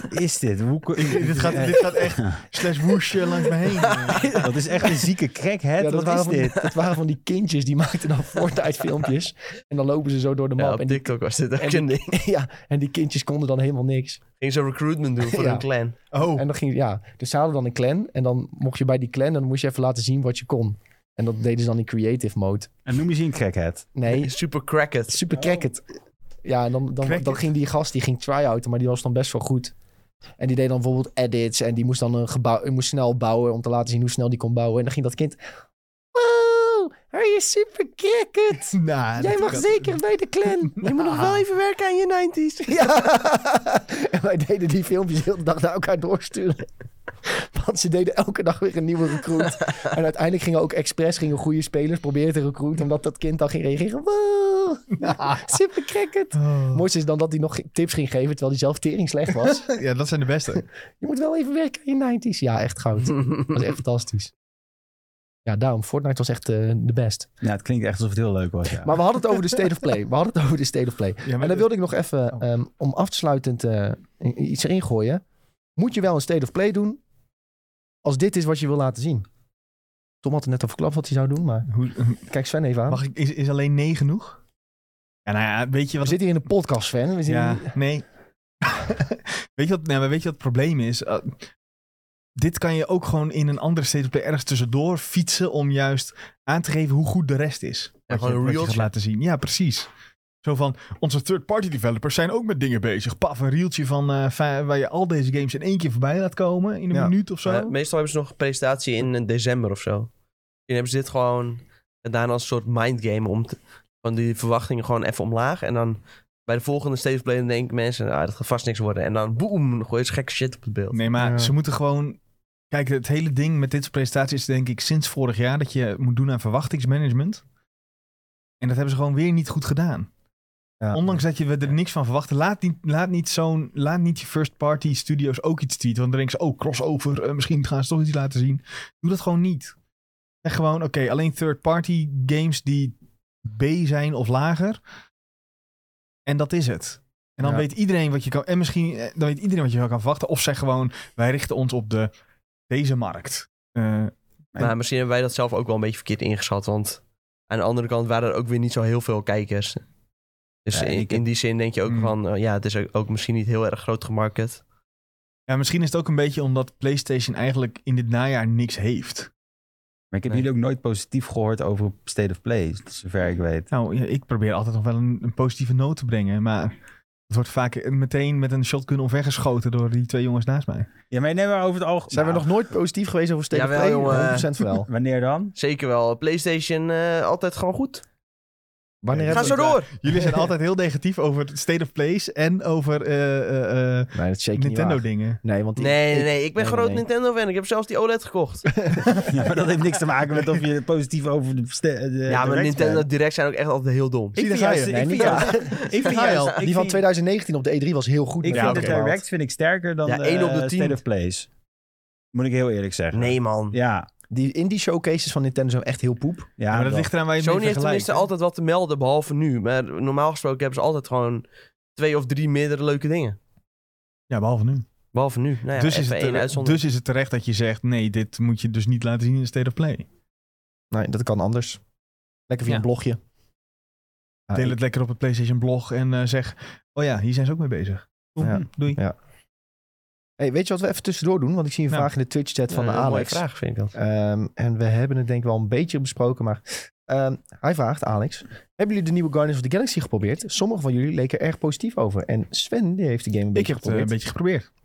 Is dit? Hoe, ko-
dit, gaat,
*laughs*
dit gaat
*laughs*
echt slash woesje langs me
*laughs*
heen. Oh.
dat is echt een zieke crackhead.
Ja, dat,
Wat
waren
is
van,
dit?
dat waren van die kindjes die *laughs* maakten dan Fortnite filmpjes. En dan lopen ze zo door de map.
Ja, op
en, die,
TikTok was dit ook
en die-
een ding.
*laughs* ja, en die kindjes konden dan helemaal niks.
Ging ze recruitment doen voor
Ja.
een clan.
Oh,
En dan ging, ja, dus ze hadden dan een clan. En dan mocht je bij die clan, dan moest je even laten zien wat je kon. En dat deden ze dan in creative mode.
En noem je ze een crackhead?
Nee,
Super
*laughs*
cracked.
super cracket. Ja, en dan, dan,
Cracket.
dan ging die gast, die ging try-outen, maar die was dan best wel goed. En die deed dan bijvoorbeeld edits en die moest dan een gebouw, moest snel bouwen om te laten zien hoe snel die kon bouwen. En dan ging dat kind, wow, hij is super cracket.
nou,
Jij
dat-
mag
dat-
zeker bij de clan. Je moet nog wel
even werken aan je 90s.
Ja. En wij deden die filmpjes heel de dag naar elkaar doorsturen. *laughs* Want ze deden elke dag weer een nieuwe recruit. En uiteindelijk gingen ook expres gingen goede spelers proberen te recruiten. Omdat dat kind dan ging reageren. Wow, super cricket.
Oh.
Mooiste is dan dat hij nog tips ging geven terwijl hij zelf tering slecht
*laughs*
was.
Ja, dat zijn de beste.
Je moet wel even werken in je 90s. Ja, echt
*laughs*
goud. Dat was echt fantastisch. Ja, daarom. Fortnite was echt eh, de best.
Nou, het klinkt echt alsof het heel leuk was, ja.
Maar we hadden het over de state of play. We hadden het over de state of play. En
Ja, maar dus-
dan
dat-
wilde ik nog even, ehm, om afsluitend eh, i- iets erin gooien. Moet je wel een state of play doen als dit is wat je wil laten zien? Tom had het net al verklapt wat hij zou doen, maar
hoe,
kijk Sven even aan.
mag ik, is, is alleen nee genoeg? Ja, nou ja, weet je
We
wat...
zitten hier in een podcast, Sven. We zitten
ja,
hier-
nee. *laughs* weet, je wat, nou, maar weet je wat het probleem is? Eh, dit kan je ook gewoon in een andere state of play ergens tussendoor fietsen om juist aan te geven hoe goed de rest is. Wat
gewoon
je,
een
wat je gaat
reeltje.
laten zien. Ja, precies. Zo van, onze third-party developers zijn ook met dingen bezig. Paf, een reeltje van, eh, va- waar je al deze games in één keer voorbij laat komen in een
Ja.
minuut of zo.
Eh, meestal hebben ze nog een presentatie in eh, december of zo. Misschien hebben ze dit gewoon gedaan als een soort mindgame om te- van die verwachtingen gewoon even omlaag. En dan bij de volgende stage play dan denken mensen, ah, dat gaat vast niks worden. En dan boem, gooi je gekke shit op het beeld.
Nee, maar
Ja.
ze moeten gewoon. Kijk, het hele ding met dit soort presentaties is denk ik sinds vorig jaar dat je moet doen aan verwachtingsmanagement. En dat hebben ze gewoon weer niet goed gedaan.
Ja.
Ondanks dat je we er niks van verwachten, laat niet, laat niet, zo'n, laat niet je first party studios ook iets tweeten. Want dan denken ze, oh, crossover, eh, misschien gaan ze toch iets laten zien. Doe dat gewoon niet. En gewoon, oké, alleen third party games die B zijn of lager. En dat is het. En dan
Ja.
weet iedereen wat je kan. En misschien eh, dan weet iedereen wat je wel kan verwachten. Of zeg gewoon, wij richten ons op de, deze markt. Eh,
Maar misschien hebben wij dat zelf ook wel een beetje verkeerd ingeschat. Want aan de andere kant waren er ook weer niet zo heel veel kijkers. Dus
Ja,
in,
ik heb-
in die zin denk je ook
Mm.
van, eh, ja, het is ook, ook misschien niet heel erg groot gemarket.
ja, misschien is het ook een beetje omdat PlayStation eigenlijk in dit najaar niks heeft.
Maar ik heb
Nee.
jullie ook nooit positief gehoord over State of Play, zover ik weet.
Nou, ja, ik probeer altijd nog wel een, een positieve noot te brengen. Maar het wordt vaak meteen met een shotgun omvergeschoten door die twee jongens naast mij.
Ja, maar neem maar over het algemeen... Nou,
Zijn we nog nooit positief geweest over state
Jawel,
of play?
*laughs*
jongen.
100%
*laughs*
wel.
Wanneer dan?
Zeker wel. PlayStation eh, altijd gewoon goed.
Wanneer
Nee,
hebben
Ga zo door!
Jullie
*laughs*
zijn altijd heel negatief over State of Plays en over eh, eh, eh,
we- Nee, dat shake ik
Nintendo
niet waar.
dingen.
Nee, want ik-
Nee, nee,
ik-
nee. Ik ben
nee,
groot
nee.
Nintendo-fan. Ik heb zelfs die OLED gekocht.
Ja, maar dat heeft niks te maken met of je positief over de... ste- de
ja, maar
direct
Nintendo
bent.
Direct zijn ook echt altijd heel dom.
Zie,
Ik
daar
vind
ga je.
juist-
Nee,
ik vind
niet
juist- ik
Ah, Die
vind juist- ik
van
vind-
2019 op de E3 was heel goed.
Ik
met
vind
Outer
de
Wilds.
direct vind ik sterker dan
Ja,
de
één op de
eh,
tien.
State of Plays. Moet ik heel eerlijk zeggen.
Nee, man.
Ja,
Die indie showcases van Nintendo zijn echt heel poep.
ja,
Ja, maar dat
wel.
ligt eraan waar je het
Sony
mee
heeft
vergelijkt.
tenminste altijd wat te melden, behalve nu. Maar normaal gesproken hebben ze altijd gewoon twee of drie meerdere leuke dingen.
Ja, behalve nu.
Behalve nu. Nou ja,
dus, is het
één
terecht,
uitzondering.
dus is het terecht dat je zegt, nee, dit moet je dus niet laten zien in de State of Play.
Nee, dat kan anders. Lekker via
Ja.
een blogje. Ah,
Deel
ik-
het lekker op het PlayStation blog en eh, zeg, oh ja, hier zijn ze ook mee bezig. Oeh,
Ja.
hm, Doei.
Hey, weet je wat we even tussendoor doen? Want ik zie een
Ja.
vraag in de Twitch-chat van
Eh,
de
een mooie
Alex.
vraag, vind ik dat.
Ehm, en we hebben het denk ik wel een beetje besproken, maar... ehm, hij vraagt, Alex, hebben jullie de nieuwe Guardians of the Galaxy geprobeerd? Sommigen van jullie leken erg positief over. En Sven, die heeft de game een
Ik
beetje
heb het eh, een
geprobeerd.
beetje geprobeerd.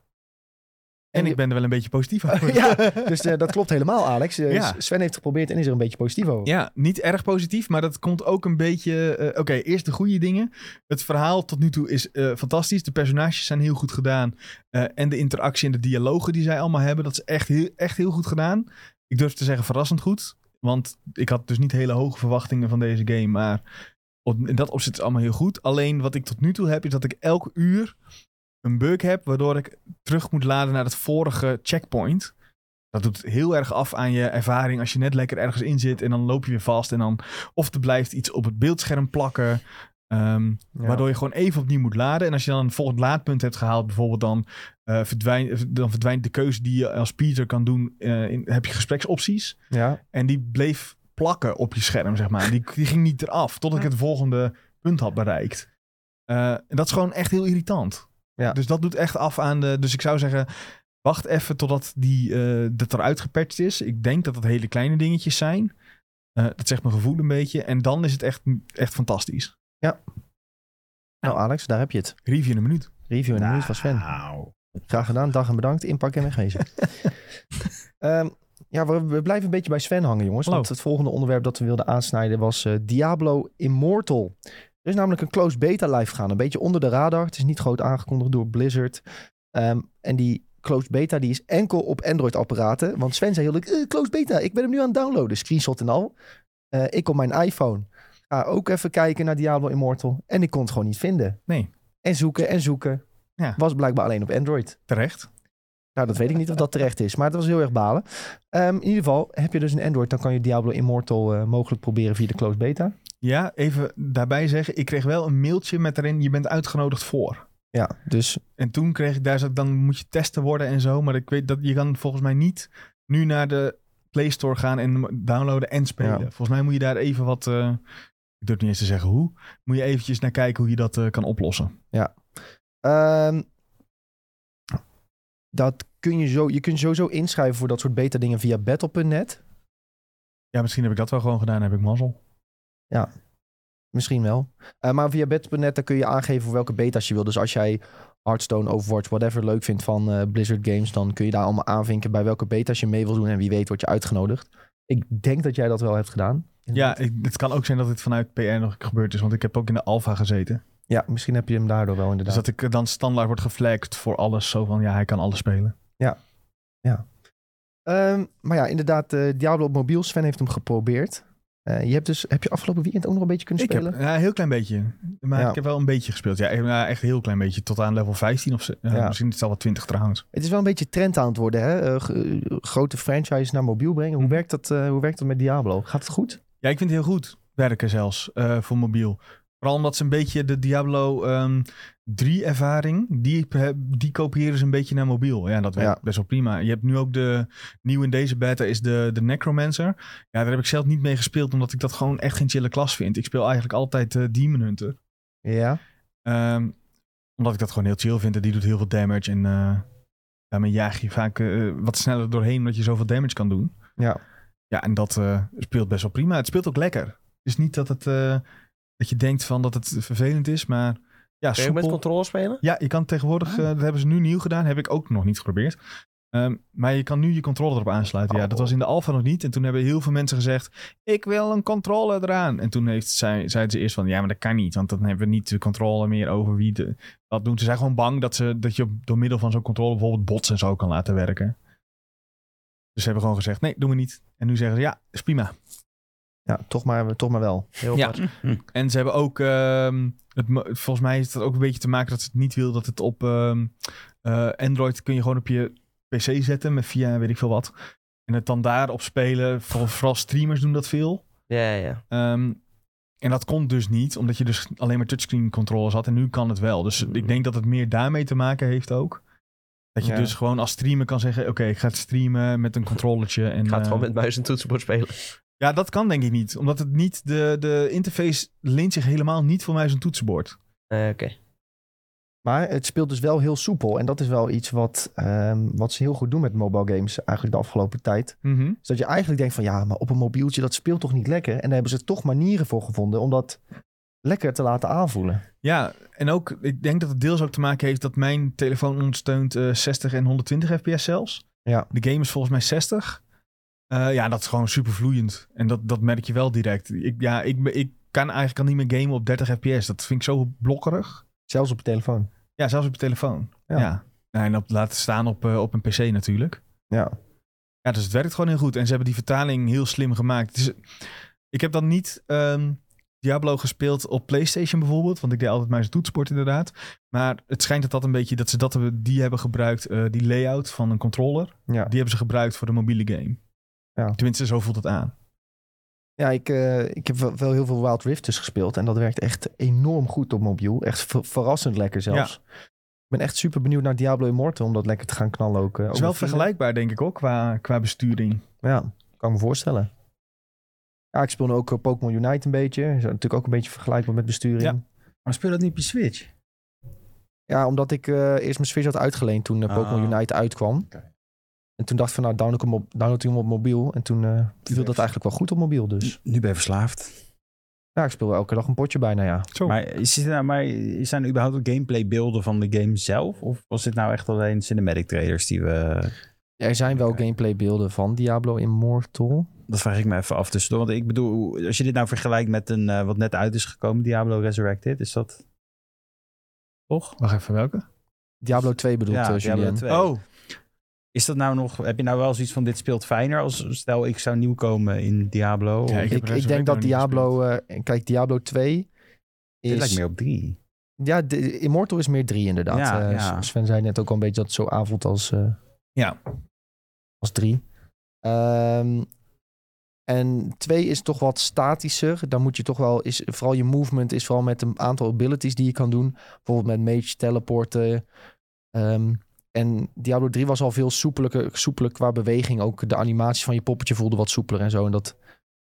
En,
En
ik ben er wel een beetje
*laughs*
positief over.
ja, dus eh, dat klopt helemaal, Alex. Eh,
Ja.
Sven heeft het geprobeerd en is er een beetje positief over.
Ja, niet erg positief, maar dat komt ook een beetje... eh, Oké, eerst de goede dingen. Het verhaal tot nu toe is eh, fantastisch. De personages zijn heel goed gedaan. Eh, en de interactie en de dialogen die zij allemaal hebben, dat is echt heel, echt heel goed gedaan. Ik durf te zeggen verrassend goed. Want ik had dus niet hele hoge verwachtingen van deze game. Maar op, in dat opzicht is het allemaal heel goed. Alleen wat ik tot nu toe heb, is dat ik elk uur een bug heb... waardoor ik terug moet laden naar het vorige checkpoint... Dat doet heel erg af aan je ervaring als je net lekker ergens in zit en dan loop je weer vast. En dan of er blijft iets op het beeldscherm plakken. ehm,
Ja.
Waardoor je gewoon even opnieuw moet laden. En als je dan een volgend laadpunt hebt gehaald, bijvoorbeeld, dan, eh, verdwijnt, dan verdwijnt de keuze die je als Peter kan doen. eh, in, heb je gespreksopties.
Ja.
En die bleef plakken op je scherm, zeg maar. Die, die ging niet eraf totdat ik het volgende punt had bereikt. Eh, en dat is gewoon echt heel irritant.
Ja.
Dus dat doet echt af aan de. Dus ik zou zeggen. Wacht even totdat die, eh, dat eruit gepatcht is. Ik denk dat dat hele kleine dingetjes zijn. Eh, dat zegt mijn gevoel een beetje. En dan is het echt, echt fantastisch.
Nou Alex, daar heb je het.
Review in een minuut.
Review en de nieuws van Sven.
Nou.
Graag gedaan, dag en bedankt. Inpakken en
*laughs*
wegwezen. Ehm, ja, we, we blijven een beetje bij Sven hangen, jongens.
Hallo.
Want het volgende onderwerp dat we wilden aansnijden was eh, Diablo Immortal. Er is namelijk een closed beta live gegaan. Een beetje onder de radar. Het is niet groot aangekondigd door Blizzard. Ehm, en die closed beta die is enkel op Android-apparaten. Want Sven zei heel leuk, eh, closed beta, ik ben hem nu aan het downloaden. Screenshot en al. Eh, ik op mijn iPhone ga ook even kijken naar Diablo Immortal. En ik kon het gewoon niet vinden.
Nee.
En zoeken en zoeken.
Ja.
Was blijkbaar alleen op Android.
Terecht.
Nou, dat weet ik niet of dat terecht is, maar dat was heel erg balen. Ehm, in ieder geval, heb je dus een Android, dan kan je Diablo Immortal eh, mogelijk proberen via de closed beta.
Ja, even daarbij zeggen. Ik kreeg wel een mailtje met erin. Je bent uitgenodigd voor.
Ja, dus
En toen kreeg ik daar zat, dan moet je testen worden en zo. Maar ik weet dat je kan volgens mij niet nu naar de Play Store gaan en hem downloaden en spelen.
Ja.
Volgens mij moet je daar even wat. eh, ik durf niet eens te zeggen hoe. Moet je eventjes naar kijken hoe je dat eh, kan oplossen.
ehm, dat kun je zo, je kunt sowieso inschrijven voor dat soort beta dingen via battle.net.
Ja, misschien heb ik dat wel gewoon gedaan. Heb ik mazzel.
Misschien wel. Eh, maar via battle.net daar kun je aangeven voor welke beta's je wil. Dus als jij Hearthstone, Overwatch, whatever leuk vindt van eh, Blizzard Games, dan kun je daar allemaal aanvinken bij welke beta's je mee wil doen en wie weet word je uitgenodigd. Ik denk dat jij dat wel hebt gedaan.
Ja, ik- het kan ook zijn dat dit vanuit PR nog gebeurd is. Want ik heb ook in de alfa gezeten.
Ja, misschien heb je hem daardoor wel inderdaad.
Dus dat ik eh, dan standaard word geflagged voor alles. Zo van ja, hij kan alles spelen.
Ehm, maar ja, inderdaad, eh, Diablo op mobiel. Sven heeft hem geprobeerd. Eh, je hebt dus, heb je afgelopen weekend ook nog een beetje kunnen
Ik heb
spelen?
ja, een heel klein beetje. Maar
Ja.
ik heb wel een beetje gespeeld. Ja, echt, nou, echt een heel klein beetje. Tot aan level 15 of zo. Ja,
Ja.
Misschien is het al wel 20 trouwens.
Het is wel een beetje trend aan het worden, hè? Eh, g- eh, grote franchise naar mobiel brengen. Hoe werkt, dat, eh, hoe werkt dat met Diablo? Gaat het goed?
Ja, ik vind het heel goed werken zelfs eh, voor mobiel. Vooral omdat ze een beetje de Diablo ehm 3 ervaring, die, die kopiëren ze een beetje naar mobiel. Ja, dat werkt
Ja.
best wel prima. Je hebt nu ook de, nieuw in deze beta is de, de Necromancer. Ja, daar heb ik zelf niet mee gespeeld, omdat ik dat gewoon echt geen chille klas vind. Ik speel eigenlijk altijd eh, Demon Hunter.
Ja.
Ehm, omdat ik dat gewoon heel chill vind. En die doet heel veel damage. En eh, daarmee jaag je vaak eh, wat sneller doorheen. Omdat je zoveel damage kan doen.
Ja.
Ja, en dat eh, speelt best wel prima. Het speelt ook lekker. Dus niet dat, het, eh, dat je denkt van dat het vervelend is. Maar ja,
Kun je ook met
soepel.
controle spelen?
Ja, je kan tegenwoordig, eh, dat hebben ze nu nieuw gedaan, heb ik ook nog niet geprobeerd. Eh, Ehm, maar je kan nu je controller erop aansluiten. Ja, dat was in de alfa nog niet. En toen hebben heel veel mensen gezegd, ik wil een controller eraan. En toen heeft, zei, zeiden ze eerst van, ja, maar dat kan niet. Want dan hebben we niet de controle meer over wie de, wat doen. Ze zijn gewoon bang dat, ze, dat je door middel van zo'n controle bijvoorbeeld bots en zo kan laten werken. Dus ze hebben gewoon gezegd, nee, doen we niet. En nu zeggen ze, ja, is prima.
Ja, toch maar, toch maar wel.
Heel
Ja.
apart.
En ze hebben ook, ehm, het, mo- volgens mij heeft dat ook een beetje te maken dat ze het niet wil dat het op ehm, eh, Android kun je gewoon op je PC zetten met via weet ik veel wat. En het dan daarop spelen, Voor- vooral streamers doen dat veel.
Ja, ja.
Ehm, en dat kon dus niet, omdat je dus alleen maar touchscreen controllers had. En nu kan het wel. Dus ik denk dat het meer daarmee te maken heeft ook. Dat je
Ja.
dus gewoon als streamer kan zeggen, oké, ik ga het streamen met een controllertje. En,
Ik ga het
eh,
gewoon met muis en toetsenbord spelen.
ja, dat kan denk ik niet. Omdat het niet, de, de interface leent zich helemaal niet voor mij zo'n toetsenbord.
Eh, Oké.
Maar het speelt dus wel heel soepel. En dat is wel iets wat, ehm, wat ze heel goed doen met mobile games eigenlijk de afgelopen tijd. Dus dat je eigenlijk denkt van ja, maar op een mobieltje dat speelt toch niet lekker. En daar hebben ze toch manieren voor gevonden om dat lekker te laten aanvoelen.
Ja, en ook, ik denk dat het deels ook te maken heeft dat mijn telefoon ondersteunt eh, 60 en 120 fps zelfs.
Ja.
De game is volgens mij 60. Eh, ja, dat is gewoon super vloeiend. En dat, dat merk je wel direct. Ik, ja, ik, ben- ik kan eigenlijk al niet meer gamen op 30 fps. Dat vind ik zo blokkerig.
Zelfs op je telefoon.
Ja, zelfs op je telefoon.
Ja.
Ja. Nou, en op, laten staan op, eh, op een pc natuurlijk.
Ja.
Ja, dus het werkt gewoon heel goed. En ze hebben die vertaling heel slim gemaakt. Het is- ik heb dan niet ehm, Diablo gespeeld op PlayStation bijvoorbeeld. Want ik deed altijd maar zijn toetsport inderdaad. Maar het schijnt dat dat een beetje... dat ze dat hebben, die hebben gebruikt, eh, die layout van een controller.
Ja.
Die hebben ze gebruikt voor de mobiele game.
Ja.
Tenminste, zo voelt het aan.
Ja, ik, eh, ik heb wel wel heel veel Wild Rift dus gespeeld. En dat werkt echt enorm goed op mobiel. Echt ver- verrassend lekker zelfs. Ik ben echt super benieuwd naar Diablo Immortal om dat lekker te gaan knallen ook. eh,
Het
over
is wel
vrienden.
vergelijkbaar, denk ik ook, qua, qua besturing.
Ja, kan ik me voorstellen. Ja, ik speel nu ook eh, Pokémon Unite een beetje. Is natuurlijk ook een beetje vergelijkbaar met besturing. Ja,
Ja.
Maar speel dat niet op je Switch?
omdat ik eh, eerst mijn Switch had uitgeleend toen eh, Pokémon
Ah.
Unite uitkwam.
Oké.
En toen dacht ik van nou, download ik hem op, download ik hem op mobiel. En toen eh viel dat eigenlijk wel goed op mobiel dus.
Nu ben je verslaafd.
Ja, ik speel elke dag een potje bijna, ja.
Zo.
Maar, is dit nou, maar zijn er überhaupt ook gameplay beelden van de game zelf? Of was dit nou echt alleen cinematic trailers die we...
Er zijn wel
Oké.
gameplaybeelden van Diablo Immortal.
Dat vraag ik me even af tussendoor. Want ik bedoel, als je dit nou vergelijkt met een eh, wat net uit is gekomen, Diablo Resurrected, is dat... Toch?
Wacht even, welke?
Diablo 2 bedoelt eh, Julien.
Diablo 2.
Oh,
Is dat nou nog, heb je nou wel zoiets van dit speelt fijner als stel ik zou nieuw komen in Diablo?
Ja,
Of-
ik heb
Ik, ik
Resurrect
denk
nog
dat
niet
Diablo... eh, kijk, Diablo 2
dit lijkt
is...
meer op drie.
Ja, de, Immortal is meer 3 inderdaad.
Ja,
Eh,
ja.
S- Sven zei net ook al een beetje dat het zo aanvoelt als... eh,
Ja.
Als 3. en 2 is toch wat statischer. Dan moet je toch wel... Is, vooral je movement is vooral met een aantal abilities die je kan doen. Bijvoorbeeld met mage, teleporten... ehm, en Diablo 3 was al veel soepeler, soepeler qua beweging. Ook de animatie van je poppetje voelde wat soepeler en zo. En dat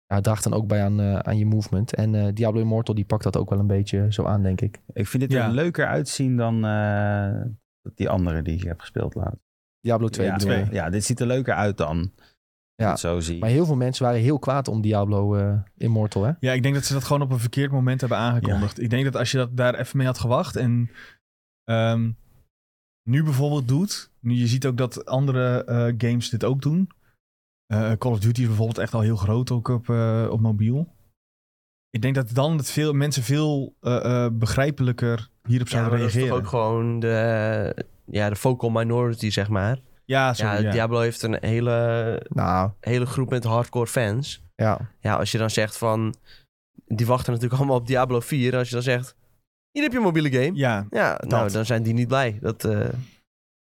ja, draagt dan ook bij aan, eh, aan je movement. En eh, Diablo Immortal die pakt dat ook wel een beetje zo aan, denk ik.
Ik vind dit er
Ja.
leuker uitzien dan eh, die andere die je hebt gespeeld laat.
Diablo 2
ja,
bedoel
twee.
je.
ja, dit ziet er leuker uit dan.
Ja,
Ja, zo zie.
Maar
Maar
heel veel mensen waren heel kwaad om Diablo eh, Immortal, hè?
Ja, ik denk dat ze dat gewoon op een verkeerd moment hebben aangekondigd. Ik denk dat als je dat daar even mee had gewacht en ehm, nu bijvoorbeeld doet, nu je ziet ook dat andere eh, games dit ook doen. Eh, Call of Duty is bijvoorbeeld echt al heel groot ook op, eh, op mobiel. Ik denk dat dan het veel, mensen veel eh, eh, begrijpelijker hierop
Ja,
zouden
maar dat is toch
reageren.
ook gewoon de, ja, de vocal minority, zeg maar.
Ja, sorry,
ja,
ja.
Diablo heeft een hele,
Nou,
hele groep met hardcore fans.
ja.
Ja, als je dan zegt van... Die wachten natuurlijk allemaal op Diablo 4. Als je dan zegt, hier heb je een mobiele game.
ja.
Ja, nou, dan zijn die niet blij. Dat eh
Nee.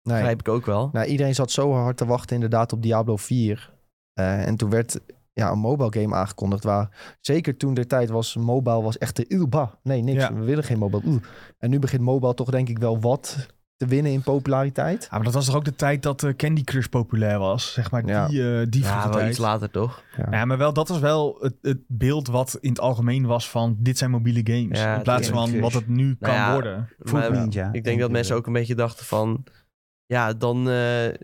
begrijp ik ook wel.
Nou, iedereen zat zo hard te wachten inderdaad op Diablo 4. Eh, en toen werd ja, een mobile game aangekondigd waar... Zeker toen de tijd was, mobile was echt de... Uw, bah, nee, niks.
Ja.
We willen geen mobile. Oeh. En nu begint mobile toch denk ik wel wat te winnen in populariteit.
Ja, Ah, maar dat was toch ook de tijd dat eh, Candy Crush populair was? Zeg maar
Ja.
die, eh die vroege
Ja, wel
tijd.
iets later toch?
Ja, maar wel, dat was wel het, het beeld wat in het algemeen was van dit zijn mobiele games.
Ja,
in plaats
tuurlijk.
van wat het nu kan
ja,
worden.
Maar eh,
Ninja.
ik denk dat mensen ook een beetje dachten van... Ja, dan eh,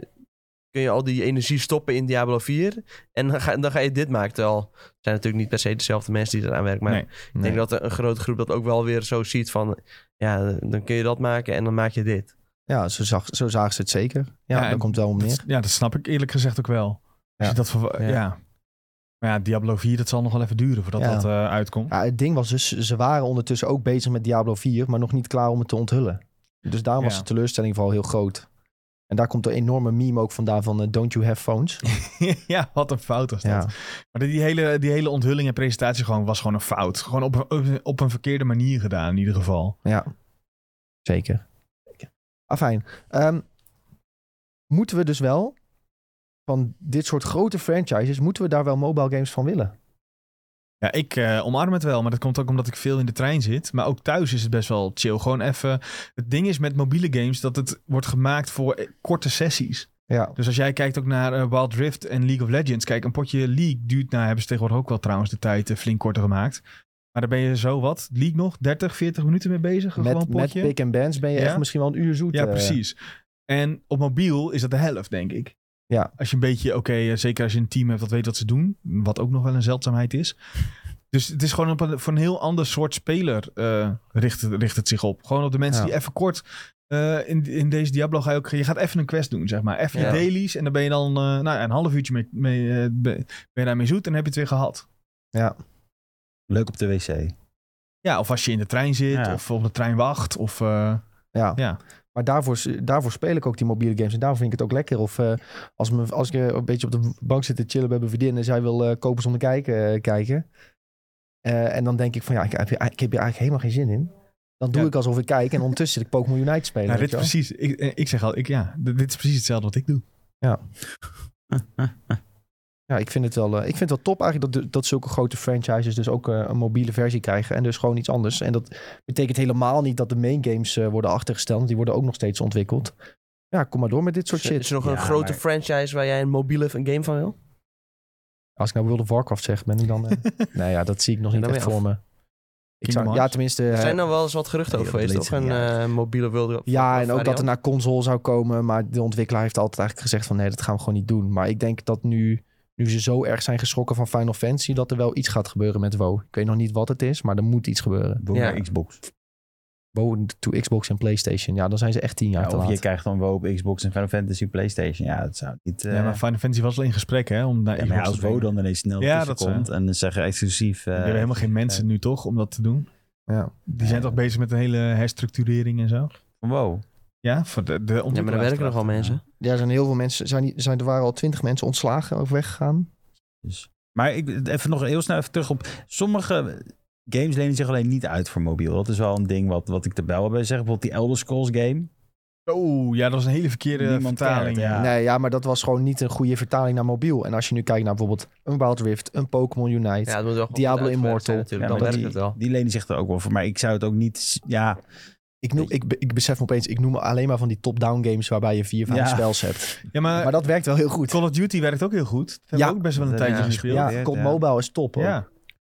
kun je al die energie stoppen in Diablo 4. En dan ga, dan ga je dit maken. Terwijl het zijn natuurlijk niet per se dezelfde mensen die eraan werken. Maar
Nee.
Nee.
Ik denk dat een grote groep dat ook wel weer zo ziet van... Ja, dan kun je dat maken en dan maak je dit.
Ja, zo, zag, zo zagen ze het zeker. Ja,
Ja,
daar
en
komt wel om
Dat-
neer.
ja, dat snap ik eerlijk gezegd ook wel.
Ja.
Als je dat verwa-
Ja.
ja. Maar ja, Diablo 4, dat zal nog wel even duren voordat
Ja.
dat eh, uitkomt. *laughs*
Ja, het ding was dus, ze waren ondertussen ook bezig met Diablo 4, maar nog niet klaar om het te onthullen. Dus daarom was
Ja.
de teleurstelling vooral heel groot. En daar komt de enorme meme ook vandaan van eh, Don't You Have Phones.
ja, wat een fout was dat.
Ja,
Maar die hele, die hele onthulling en presentatie gewoon, was gewoon een fout. Gewoon op, op, op een verkeerde manier gedaan in ieder geval.
ja. zeker. Afijn. Ehm, moeten we dus wel van dit soort grote franchises, moeten we daar wel mobile games van willen?
Ja, ik eh, omarm het wel, maar dat komt ook omdat ik veel in de trein zit. Maar ook thuis is het best wel chill. Gewoon even... Het ding is met mobiele games dat het wordt gemaakt voor eh, korte sessies.
Ja,
Dus als jij kijkt ook naar eh, Wild Rift en League of Legends. Kijk, een potje League duurt, nou hebben ze tegenwoordig ook wel trouwens de tijd eh, flink korter gemaakt. Maar daar ben je zo wat, League nog, 30, 40 minuten mee bezig. een
met,
gewoon
met
potje.
pick and bands ben je
Ja?
echt misschien wel een uur zoet.
ja,
eh.
precies. En op mobiel is dat de helft, denk ik.
Ja.
Als je een beetje, oké, eh, zeker als je een team hebt dat weet wat ze doen. Wat ook nog wel een zeldzaamheid is. Dus het is gewoon op een, voor een heel ander soort speler eh, richt, het- richt het zich op. Gewoon op de mensen
Ja.
die even kort... eh, in, in deze Diablo ga je ook... Je gaat even een quest doen, zeg maar. Even
Ja.
je dailies. En dan ben je dan eh, nou, ja, een half uurtje mee, mee, eh, be- ben je daarmee zoet. En dan heb je het weer gehad.
Leuk op de wc.
Ja, of als je in de trein zit.
Ja.
Of op de trein wacht. Of... eh,
Ja.
Ja.
Maar daarvoor, daarvoor speel ik ook die mobiele games. En daarvoor vind ik het ook lekker. Of eh, als, me, als ik eh, een beetje op de bank zit te chillen bij mijn vriendin... en zij wil eh, kopen zonder kijken. eh, kijken. Eh, en dan denk ik van, ja, ik heb, hier, ik heb hier eigenlijk helemaal geen zin in. Dan doe
Ja.
ik alsof ik kijk. En ondertussen zit ik Pokémon Unite te spelen.
nou,
weet
dit is
je wel.
precies... Ik, eh, ik zeg al, ik, ja, d- dit is precies hetzelfde wat ik doe.
Ja, ik vind het wel, eh, ik vind het wel top eigenlijk dat, dat zulke grote franchises... dus ook eh, een mobiele versie krijgen. En dus gewoon iets anders. En dat betekent helemaal niet dat de main games eh, worden achtergesteld. want Die worden ook nog steeds ontwikkeld. Ja, kom maar door met dit soort
Is er,
shit.
is er nog
Ja,
een grote
maar-
franchise waar jij een mobiele v- een game van wil?
Als ik nou World of Warcraft zeg, ben ik dan... eh,
*laughs*
Nou ja, dat zie ik nog
En
niet
dan
echt
ben je
voor me. Ik
Kingdom
zou, ja,
Hearts?
tenminste.
Er
eh,
zijn nou wel eens wat geruchten
nee,
over
dat
geweest, toch?
leed
Een
ze niet
eh, mobiele wilde.
ja, en ook dat er naar console zou komen. Maar de ontwikkelaar heeft altijd eigenlijk gezegd van nee, dat gaan we gewoon niet doen. Maar ik denk dat nu, nu ze zo erg zijn geschrokken van Final Fantasy, dat er wel iets gaat gebeuren met WoW. Ik weet nog niet wat het is, maar er moet iets gebeuren.
Boom
Ja.
naar Xbox.
WoW to Xbox en PlayStation. Ja, dan zijn ze echt tien jaar
Ja,
te
of je
laat.
krijgt dan WoW op Xbox en Final Fantasy Playstation. Ja, dat zou niet... eh,
Ja, maar Final Fantasy was al in gesprek, hè? Om daar
ja, maar ja,
Xbox
als
te brengen.
WoW dan ineens snel
Ja,
ja,
dat
komt en dan zeggen exclusief... eh,
We hebben helemaal geen mensen nu, toch? Om dat te doen.
Ja.
Die zijn toch bezig met een hele herstructurering en zo?
van WoW.
Ja, voor de, de
Ja, maar er werken nog wel mensen.
Ja, er zijn heel veel mensen. Zijn, zijn, er waren al twintig mensen ontslagen of weggegaan.
Dus. Maar ik, even nog heel snel even terug op... Sommige games lenen zich alleen niet uit voor mobiel. Dat is wel een ding wat, wat ik er wel bij zeg. Bijvoorbeeld die Elder Scrolls game.
Oh, ja, dat was een hele verkeerde
Niemand
vertaling.
cared, ja.
Nee, ja, maar dat was gewoon niet een goede vertaling naar mobiel. En als je nu kijkt naar bijvoorbeeld een Wild Rift, een Pokémon Unite.
Ja, dat moet wel goed
Diablo
uitgewerkt
Immortal.
zijn natuurlijk,
Ja,
dan
maar
werkt het wel.
Die lenen zich er ook wel voor. Maar ik zou het ook niet... Ja,
Ik, noem, ik, be- ik besef me opeens, ik noem alleen maar van die top-down games waarbij je vier, vijf
Ja.
spels
*laughs*
hebt.
Ja, maar,
Maar dat werkt wel heel goed.
Call of Duty werkt ook heel goed. Dat hebben
Ja.
we ook best wel een
Dat
tijdje
hebben we
gespeeld. Ja.
Ja,
Ja,
Cold
ja.
Mobile is top hoor.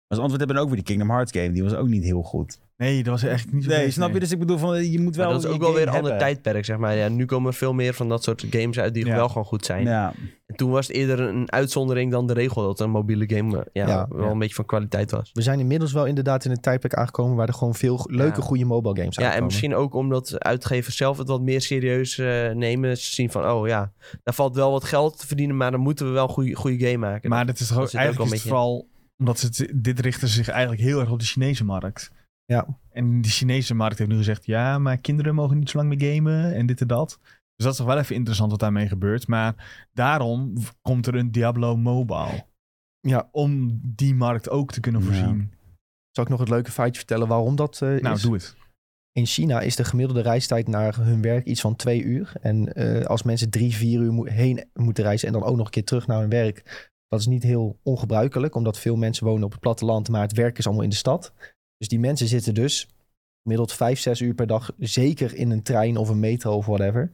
als antwoord hebben we ook weer die Kingdom Hearts game. Die was ook niet heel goed.
Nee, dat was echt niet zo
Nee,
best,
snap je? Dus ik bedoel, van, je moet wel...
Maar dat is
je
ook wel weer een
game
ander
hebben.
tijdperk, zeg maar. Ja, nu komen er veel meer van dat soort games uit die
Ja.
wel gewoon goed zijn.
Ja.
En toen was het eerder een uitzondering dan de regel dat een mobiele game eh, ja,
Ja,
wel
ja.
een beetje van kwaliteit was.
We zijn inmiddels wel inderdaad in een tijdperk aangekomen waar er gewoon veel go- leuke,
Ja.
goede mobile games
Ja, en
uitkomen.
misschien ook omdat uitgevers zelf het wat meer serieus eh, nemen. Ze zien van, oh ja, daar valt wel wat geld te verdienen, maar dan moeten we wel een goede, goede game maken.
Maar dat is toch ook,
zit ook wel
eigenlijk is
een
het vooral... Omdat ze het- dit richten ze zich eigenlijk heel erg op de Chinese markt.
Ja.
En die Chinese markt heeft nu gezegd... Ja, maar kinderen mogen niet zo lang meer gamen en dit en dat. Dus dat is toch wel even interessant wat daarmee gebeurt. Maar daarom v- komt er een Diablo Mobile.
Ja.
Om die markt ook te kunnen
Ja.
voorzien.
Zal ik nog het leuke feitje vertellen waarom dat eh,
Nou,
is?
doe het.
In China is de gemiddelde reistijd naar hun werk iets van twee uur. En eh, als mensen drie, vier uur mo- heen moeten reizen en dan ook nog een keer terug naar hun werk. Dat is niet heel ongebruikelijk, omdat veel mensen wonen op het platteland, maar het werk is allemaal in de stad. Dus die mensen zitten dus gemiddeld vijf, zes uur per dag zeker in een trein of een metro of whatever.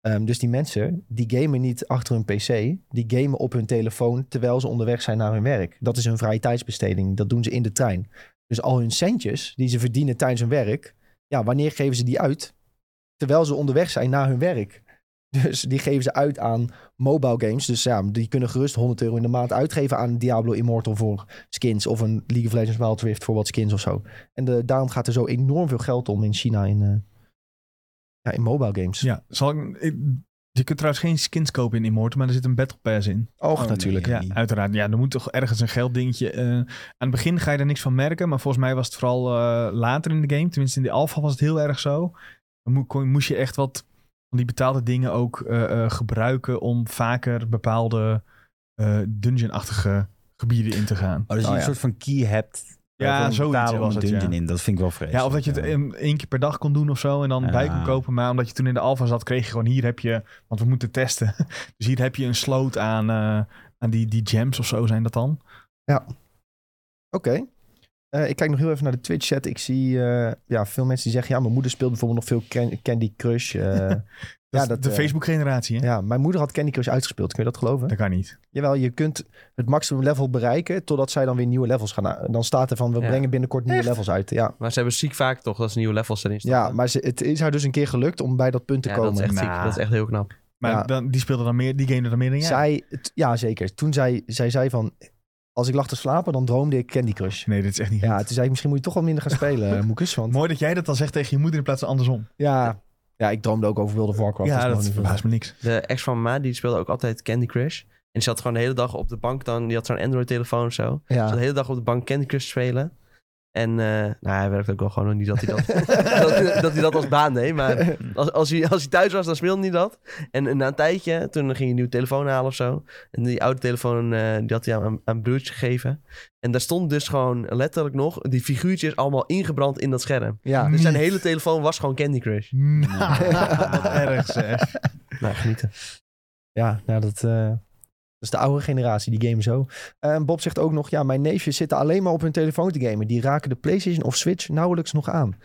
Ehm, dus die mensen, die gamen niet achter hun pc, die gamen op hun telefoon terwijl ze onderweg zijn naar hun werk. Dat is hun vrije tijdsbesteding, dat doen ze in de trein. Dus al hun centjes die ze verdienen tijdens hun werk, ja, wanneer geven ze die uit? Terwijl ze onderweg zijn naar hun werk. *laughs* Dus die geven ze uit aan mobile games. Dus ja, die kunnen gerust 100 euro in de maand uitgeven aan Diablo Immortal voor skins. Of een League of Legends Wild Rift voor wat skins of zo. En de, daarom gaat er zo enorm veel geld om in China. In, eh, Ja, in mobile games.
Ja, zal ik, ik- je kunt trouwens geen skins kopen in Immortal, maar er zit een Battle Pass in.
Och,
Oh,
natuurlijk.
nee.
Ja, uiteraard. Ja, er moet toch ergens een gelddingetje. eh, aan het begin ga je er niks van merken, maar volgens mij was het vooral eh, later in de game. Tenminste, in de alpha was het heel erg zo. Dan mo- kon- moest je echt wat van die betaalde dingen ook eh, eh, gebruiken om vaker bepaalde eh, dungeon-achtige gebieden in te gaan.
Oh, dus je
Oh,
een
ja.
soort van key hebt.
Ja,
waarvoor
zoiets
betalen om
was
een
het, ja.
dungeon in. Dat vind ik wel vreselijk.
Ja, Ah. of dat je het
ja.
in- één keer per dag kon doen of zo en dan
Ja.
bij kon kopen. Maar omdat je toen in de alfa zat, kreeg je gewoon hier heb je, want we moeten testen. *laughs* Dus hier heb je een sloot aan, eh, aan die, die gems of zo zijn dat dan.
Oké. Eh, ik kijk nog heel even naar de Twitch-chat. Ik zie eh, ja, veel mensen die zeggen... ja, mijn moeder speelt bijvoorbeeld nog veel Can- Candy Crush. eh.
*laughs*
Dat is
dat,
de
eh,
Facebook-generatie, hè?
ja, mijn moeder had Candy Crush uitgespeeld. Kun je dat geloven?
Dat kan niet.
Jawel, je kunt het maximum level bereiken... totdat zij dan weer nieuwe levels gaan... a- Dan staat er van, we
Ja.
brengen binnenkort nieuwe levels uit. Ja,
Maar ze hebben ziek vaak toch dat ze nieuwe levels erin staan.
ja maar ze, het is haar dus een keer gelukt om bij dat punt te komen.
dat is echt ziek.
Nou.
Dat is echt heel knap.
Maar
Ja.
dan, die speelde dan meer, die game dan meer dan jij.
Zij, t- ja, zeker. Toen zij, zij zei van... als ik lag te slapen, dan droomde ik Candy Crush.
Nee, dit is echt niet
Ja,
goed.
toen zei ik, misschien moet je toch wat minder gaan
*laughs*
spelen, Moekes. Want
Mooi dat jij dat dan zegt tegen je moeder in plaats van andersom.
ja, ja, ik droomde ook over World of Warcraft.
ja,
dus
dat
gewoon-
verbaast me niks. *laughs*
De ex van Ma, die speelde ook altijd Candy Crush. En die zat gewoon de hele dag op de bank dan. Die had zo'n Android-telefoon of zo. Ze zat
Ja.
de hele dag op de bank Candy Crush te spelen. En eh, nou, hij werkte ook wel gewoon nog niet dat hij dat, *laughs* dat, dat hij dat als baan deed. Maar als, als, hij, als hij thuis was, dan speelde hij dat. En, na een tijdje, toen ging hij een nieuwe telefoon halen of zo. En die oude telefoon, eh, die had hij aan, aan een broertje gegeven. En daar stond dus gewoon letterlijk nog die figuurtjes allemaal ingebrand in dat scherm.
ja.
Dus zijn
Niet.
hele telefoon was gewoon Candy Crush.
Nou, wat erg zeg.
Nou, genieten.
Ja, nou dat, eh, dat is de oude generatie, die game zo. En Bob zegt ook nog, ja, mijn neefjes zitten alleen maar op hun telefoon te gamen. Die raken de PlayStation of Switch nauwelijks nog aan.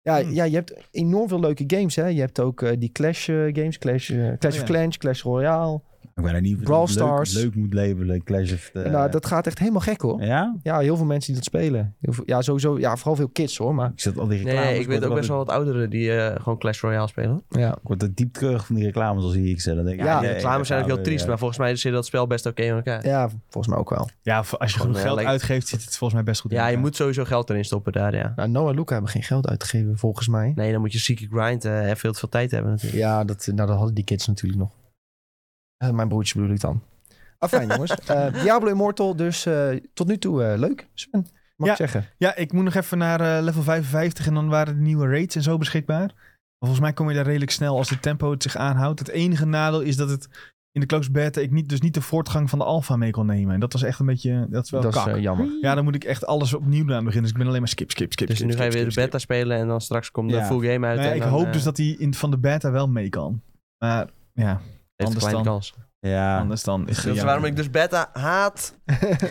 Ja,
Hmm.
ja, je hebt enorm veel leuke games, hè. Je hebt ook eh, die Clash eh, games, Clash, eh,
Oh,
Clash
ja.
of Clans, Clash Royale.
Ik ben er niet
Brawl
leuk-
Stars.
Leuk, moet labelen. Clash of the...
Eh,
En, nou, dat gaat echt helemaal gek, hoor.
Ja?
Ja, heel veel mensen die dat spelen. Heel veel- ja, sowieso, ja, vooral veel kids, hoor. Maar
Ik zat al die
Nee,
reclames.
ik weet ook best wel wat ouderen die eh, gewoon Clash Royale spelen.
ja,
Ik word er diep terug van die reclames als hier ik ze. Dan denk ik,
Ja,
de
nee,
reclames zijn ook heel
ja.
triest, maar volgens mij zit dat spel best oké in elkaar.
ja volgens mij ook wel.
Ja, v- als je
Gewoon,
genoeg
eh,
geld
lijkt-
uitgeeft, zit het volgens mij best goed in
Ja, je
elkaar.
moet sowieso geld erin stoppen daar, ja.
Nou, Noah en Luca hebben geen geld uitgegeven, volgens mij.
Nee, dan moet je zieke grind eh, en veel te veel tijd hebben natuurlijk.
Ja, dat, nou, dat hadden die kids natuurlijk nog. Eh, mijn broertje bedoel ik dan.
*laughs*
Afijn jongens. Eh, Diablo Immortal dus eh, tot nu toe eh, leuk, Sven. Mag
Ja.
ik zeggen.
Ja, ik moet nog even naar eh, level 55 en dan waren de nieuwe raids en zo beschikbaar. Maar volgens mij kom je daar redelijk snel als de tempo het zich aanhoudt. Het enige nadeel is dat het in de closed beta ik niet, dus niet de voortgang van de alpha mee kon nemen. En dat was echt een beetje, dat is wel
dat is
kak.
eh, jammer.
ja, dan moet ik echt alles opnieuw aan beginnen. Dus ik ben alleen maar skip, skip, skip.
Dus
skip,
nu ga je
skip,
weer de
skip, skip.
beta spelen en dan straks komt de
Ja.
full game uit.
Nou ja,
en
ik
dan,
hoop
eh,
dus dat hij in, van de beta wel mee kan. Maar ja,
heeft een
anders
kleine
dan.
kans.
Ja.
anders dan is het
Dat is
jammer. *laughs*
waarom ik dus beta haat.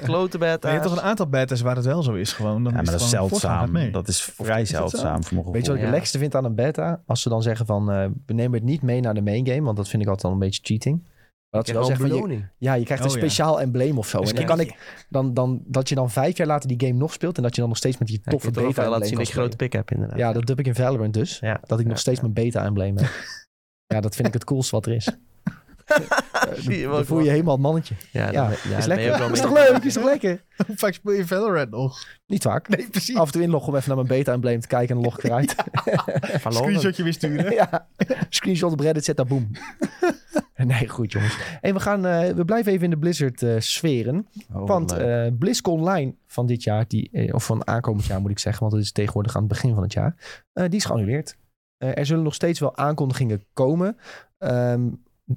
Klote
Maar
beta.
je hebt toch een aantal betas waar het wel zo is gewoon. Dan
Ja,
is
maar dat is
het gewoon voortgang gaat
zeldzaam.
Mee.
Dat is vrij
Is dat zo?
zeldzaam voor mijn
Weet je wat ik
Ja.
het lekkerste vind aan een beta? Als ze dan zeggen van, eh, we nemen het niet mee naar de main game, want dat vind ik altijd al een beetje cheating. Maar dat
Ik
ze
heb
wel
wel
zeggen
een
van, je,
beloning. Dus
ja, je krijgt een
Oh, ja.
speciaal embleem of zo.
Een
en dan kan
*laughs* skinnetje.
ik, dan, dan, dat je dan vijf jaar later die game nog speelt en dat je dan nog steeds met die
Ja, ik
toffe
wil toch wel
beta
laten
embleem
zien
kan
dat je grote
spelen.
pik hebt inderdaad.
Ja, dat dub ik in Valorant dus.
Ja.
Dat ik nog
Ja,
steeds
ja.
mijn beta-embleem
*laughs*
heb. ja, dat vind ik het coolste wat er is.
Zie je wel,
Dan voel je helemaal het mannetje. Ja,
Ja, dan- ja,
is
dan ben je
lekker.
ook wel
Is
mee-
toch leuk? Is toch lekker?
Hoe vaak speel je Valorant nog? *laughs*
Niet vaak.
Nee, precies.
Af en toe inloggen om even naar mijn beta-embleem te kijken en
*laughs*
dan log ik eruit.
Verloren.
Screenshotje weer
*laughs*
sturen.
*laughs* ja. Screenshot op Reddit, zet daar boom. nee, goed jongens. Hey, we, gaan, eh, we blijven even in de Blizzard eh, sferen.
Oh,
want
leuk.
eh BlizzCon Online van dit jaar, die, eh, of van aankomend jaar moet ik zeggen, want dat is tegenwoordig aan het begin van het jaar, eh, die is geannuleerd. Eh, er zullen nog steeds wel aankondigingen komen. Ehm,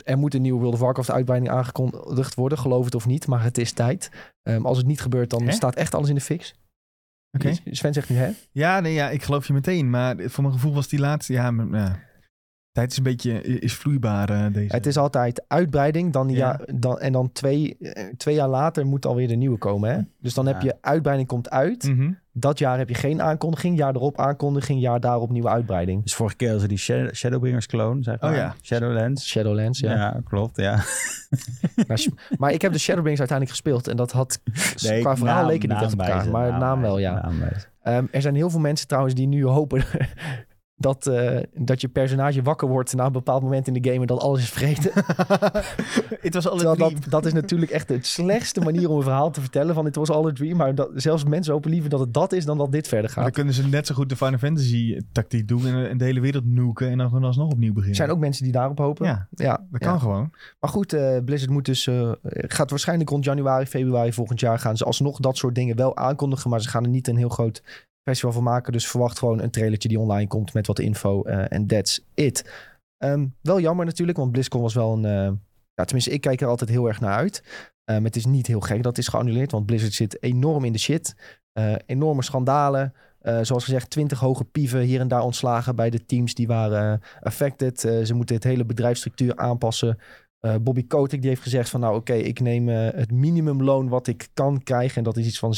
er moet een nieuwe World of Warcraft uitbreiding aangekondigd worden, geloof het of niet, maar het is tijd. Ehm, als het niet gebeurt, dan
Hè?
staat echt alles in de fix. Dus
Oké.
Sven zegt nu, hè?
Ja, nee, ja, ik geloof je meteen. Maar voor mijn gevoel was die laatste... Ja, m- ja. tijd is een beetje is vloeibaar eh, deze.
Het is altijd uitbreiding dan, ja.
Ja.
dan, en dan twee, eh, twee jaar later moet alweer de nieuwe komen. Hè? Dus dan heb
Ja.
je uitbreiding komt uit.
Mhm. *laughs*
Dat jaar heb je geen aankondiging. Jaar erop aankondiging. Jaar daarop nieuwe uitbreiding.
Dus vorige keer was er die Shadow- Shadowbringers clone, zeg maar.
Oh ja.
Shadowlands.
Shadowlands, ja.
Ja. klopt, ja.
Maar, maar ik heb de Shadowbringers uiteindelijk gespeeld. En dat had
*laughs* Nee,
qua verhaal
naam-
leek het niet echt op elkaar.
naamwijzen,
Maar naam wel,
naamwijzen,
ja.
naamwijzen.
Ehm, er zijn heel veel mensen trouwens die nu hopen *laughs* dat, eh, dat je personage wakker wordt na een bepaald moment in de game en dat alles is
*laughs*
vergeten.
Het was al
Terwijl
een
dat,
dream.
dat is natuurlijk echt de slechtste manier om een verhaal te vertellen van dit was all a dream. Maar dat, zelfs mensen hopen liever dat het dat is dan dat dit verder
Maar
gaat.
Dan kunnen ze net zo goed de Final Fantasy tactiek doen en, en de hele wereld nuken en dan gewoon alsnog opnieuw
Er
beginnen.
zijn ook mensen die daarop hopen.
Ja,
Ja,
dat
ja.
kan gewoon.
Maar goed, eh, Blizzard moet dus, eh, gaat waarschijnlijk rond januari, februari volgend jaar gaan ze alsnog dat soort dingen wel aankondigen. Maar ze gaan er niet een heel groot festival van maken. Dus verwacht gewoon een trailertje die online komt met wat info. eh, En that's it. Ehm, wel jammer natuurlijk, want BlizzCon was wel een... eh, ja, tenminste, ik kijk er altijd heel erg naar uit. Ehm, het is niet heel gek dat het is geannuleerd, want Blizzard zit enorm in de shit. Eh, enorme schandalen. Eh, zoals gezegd, 20 hoge pieven hier en daar ontslagen bij de teams die waren affected. Eh, ze moeten het hele bedrijfsstructuur aanpassen. Eh, Bobby Kotick die heeft gezegd van nou oké, ik neem eh, het minimumloon wat ik kan krijgen. En dat is iets van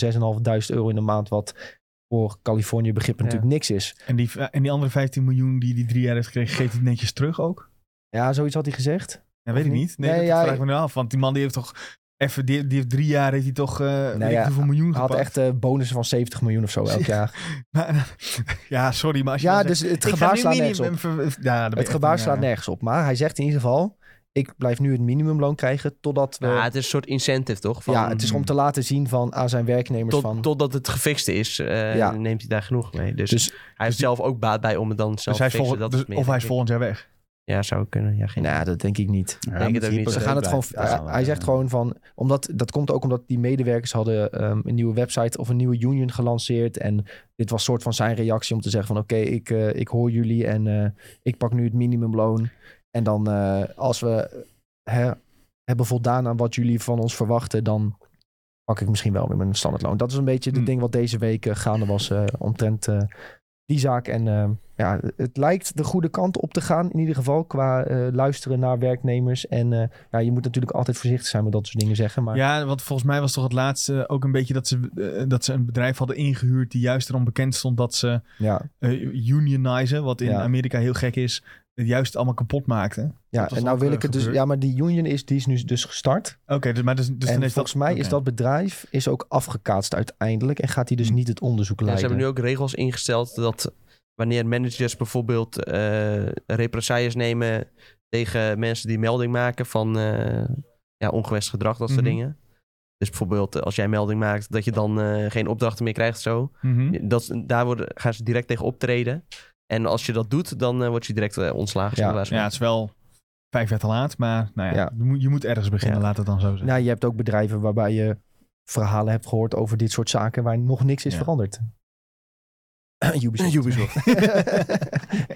6.500 euro in de maand, wat voor Californië begrippen
Ja.
natuurlijk niks is.
En die, eh, en die andere 15 miljoen die die drie jaar heeft gekregen, geeft hij netjes terug ook?
Ja, zoiets had hij gezegd.
Ja, weet
Of
ik
niet?
niet. Nee,
Nee,
dat
ja,
vraag ik me nu af. Want die man die heeft toch even, die, die heeft drie jaar heeft hij toch eh weet ik
Nou ja,
hoeveel miljoen
Hij
gepakt.
had echt eh, bonussen van 70 miljoen of zo elk jaar.
Maar- *laughs* ja, sorry, maar als je
Ja,
dan
dus
zegt,
het
ik ga
gebaar
nu
slaat nergens
minimum
op.
ver- ja, dan ben je
Het
echt
gebaar
een,
slaat
eh,
nergens op. Maar hij zegt in ieder geval, ik blijf nu het minimumloon krijgen totdat we...
Ja, het is een soort incentive, toch? Van,
Eh, ja, het is om te laten zien van, aan zijn werknemers
tot,
van...
Totdat het gefixt is, eh,
Ja.
neemt hij daar genoeg mee. Dus,
Dus-
hij heeft
die-
zelf ook baat bij om het dan zelf
Dus hij
te
is
fixen.
volgend,
dat
dus-
is meer,
of hij
denk
is
ik.
volgend jaar weg.
Ja, zou kunnen. Ja, geen
Nou, dat denk ik niet.
denk het ook niet.
Ze gaan het gewoon. hij- hij zegt gewoon van. Omdat, dat komt ook omdat die medewerkers hadden ehm, een nieuwe website of een nieuwe union gelanceerd. En dit was soort van zijn reactie om te zeggen van oké, ik, eh, ik hoor jullie en eh, ik pak nu het minimumloon. En dan eh, als we eh, hè, hebben voldaan aan wat jullie van ons verwachten, dan pak ik misschien wel weer mijn standaardloon. Dat is een beetje het
Hmm.
ding wat deze week eh, gaande was eh, omtrent eh, die zaak. En eh, ja, het lijkt de goede kant op te gaan in ieder geval qua eh, luisteren naar werknemers. En eh, ja, je moet natuurlijk altijd voorzichtig zijn met dat soort dingen zeggen. Maar
Ja, want volgens mij was toch het laatste ook een beetje dat ze, eh, dat ze een bedrijf hadden ingehuurd die juist erom bekend stond dat ze
ja,
eh, unionizen, wat in
Ja.
Amerika heel gek is, het juist allemaal kapot maakte.
ja.
was
en nou
ook,
wil
eh,
ik het dus.
gebeurd.
Ja, maar die union is, die is nu dus gestart.
Oké, dus, maar dus, dus
en
dan is
volgens
dat,
mij
oké.
is dat bedrijf is ook afgekaatst uiteindelijk. En gaat hij dus
Hmm.
niet het onderzoek
Ja, ze
leiden.
hebben nu ook regels ingesteld dat wanneer managers bijvoorbeeld eh represailles nemen tegen mensen die melding maken van eh, ja, ongewenst gedrag, dat soort
Mhm.
dingen. Dus bijvoorbeeld eh, als jij melding maakt dat je dan eh, geen opdrachten meer krijgt zo.
Mhm.
Dat, daar worden, gaan ze direct tegen optreden. En als je dat doet, dan eh, word je direct eh, ontslagen.
Ja.
zonder waarschuwing.
Ja, het is wel vijf jaar te laat, maar nou ja,
Ja.
Je, moet, je moet ergens beginnen,
Ja.
laat het dan zo zijn.
Nou, je hebt ook bedrijven waarbij je verhalen hebt gehoord over dit soort zaken waar nog niks is
Ja.
veranderd. *clears throat* Ubisoft. *laughs*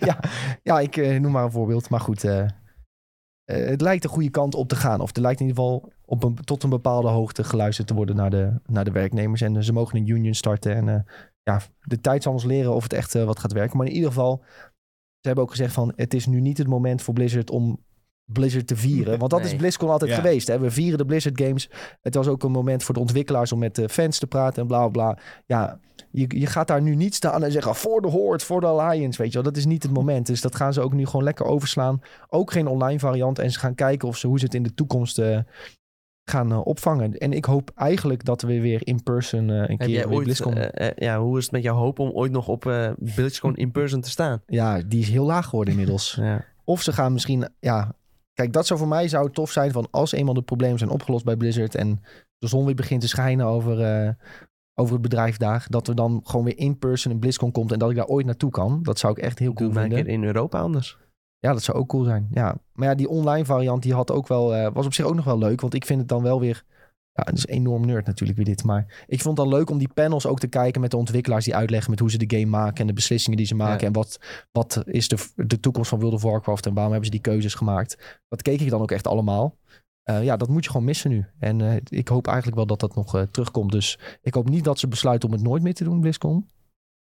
ja, ja, ik eh, noem maar een voorbeeld. Maar goed, eh, eh, het lijkt de goede kant op te gaan. Of er lijkt in ieder geval op een, tot een bepaalde hoogte geluisterd te worden naar de, naar de werknemers. En eh, ze mogen een union starten. En eh, ja, de tijd zal ons leren of het echt eh, wat gaat werken. Maar in ieder geval, ze hebben ook gezegd van het is nu niet het moment voor Blizzard om Blizzard te vieren. Want dat is
Nee.
BlizzCon altijd
Ja.
geweest. Hè? We vieren de Blizzard games. Het was ook een moment voor de ontwikkelaars om met de fans te praten en bla bla. bla. Ja, je, je gaat daar nu niet staan en zeggen voor de Horde, voor de Alliance, weet je wel. Dat is niet het moment. Dus dat gaan ze ook nu gewoon lekker overslaan. Ook geen online variant. En ze gaan kijken of ze, hoe ze het in de toekomst eh, gaan eh, opvangen. En ik hoop eigenlijk dat we weer in person eh, een
Heb
keer
jij
weer
ooit,
BlizzCon...
eh, eh, ja, hoe is het met jouw hoop om ooit nog op eh BlizzCon in person te staan?
ja, die is heel laag geworden
*laughs*
inmiddels.
Ja.
Of ze gaan misschien, ja... Kijk, dat zou voor mij zou het tof zijn van als eenmaal de problemen zijn opgelost bij Blizzard en de zon weer begint te schijnen over, eh, over het bedrijf daar, dat er dan gewoon weer in person een BlizzCon komt en dat ik daar ooit naartoe kan. Dat zou ik echt heel
Doe
cool
het maar een
vinden.
keer in Europa anders.
Ja, dat zou ook cool zijn. Ja. Maar ja, die online variant die had ook wel, eh, was op zich ook nog wel leuk. Want ik vind het dan wel weer. Ja, het is enorm nerd natuurlijk weer dit. Maar ik vond het dan leuk om die panels ook te kijken met de ontwikkelaars die uitleggen met hoe ze de game maken en de beslissingen die ze maken.
Ja.
En wat, wat is de, de toekomst van World of Warcraft en waarom hebben ze die keuzes gemaakt. Dat keek ik dan ook echt allemaal. Eh, ja, dat moet je gewoon missen nu. En eh, ik hoop eigenlijk wel dat dat nog eh, terugkomt. Dus ik hoop niet dat ze besluiten om het nooit meer te doen, BlizzCon.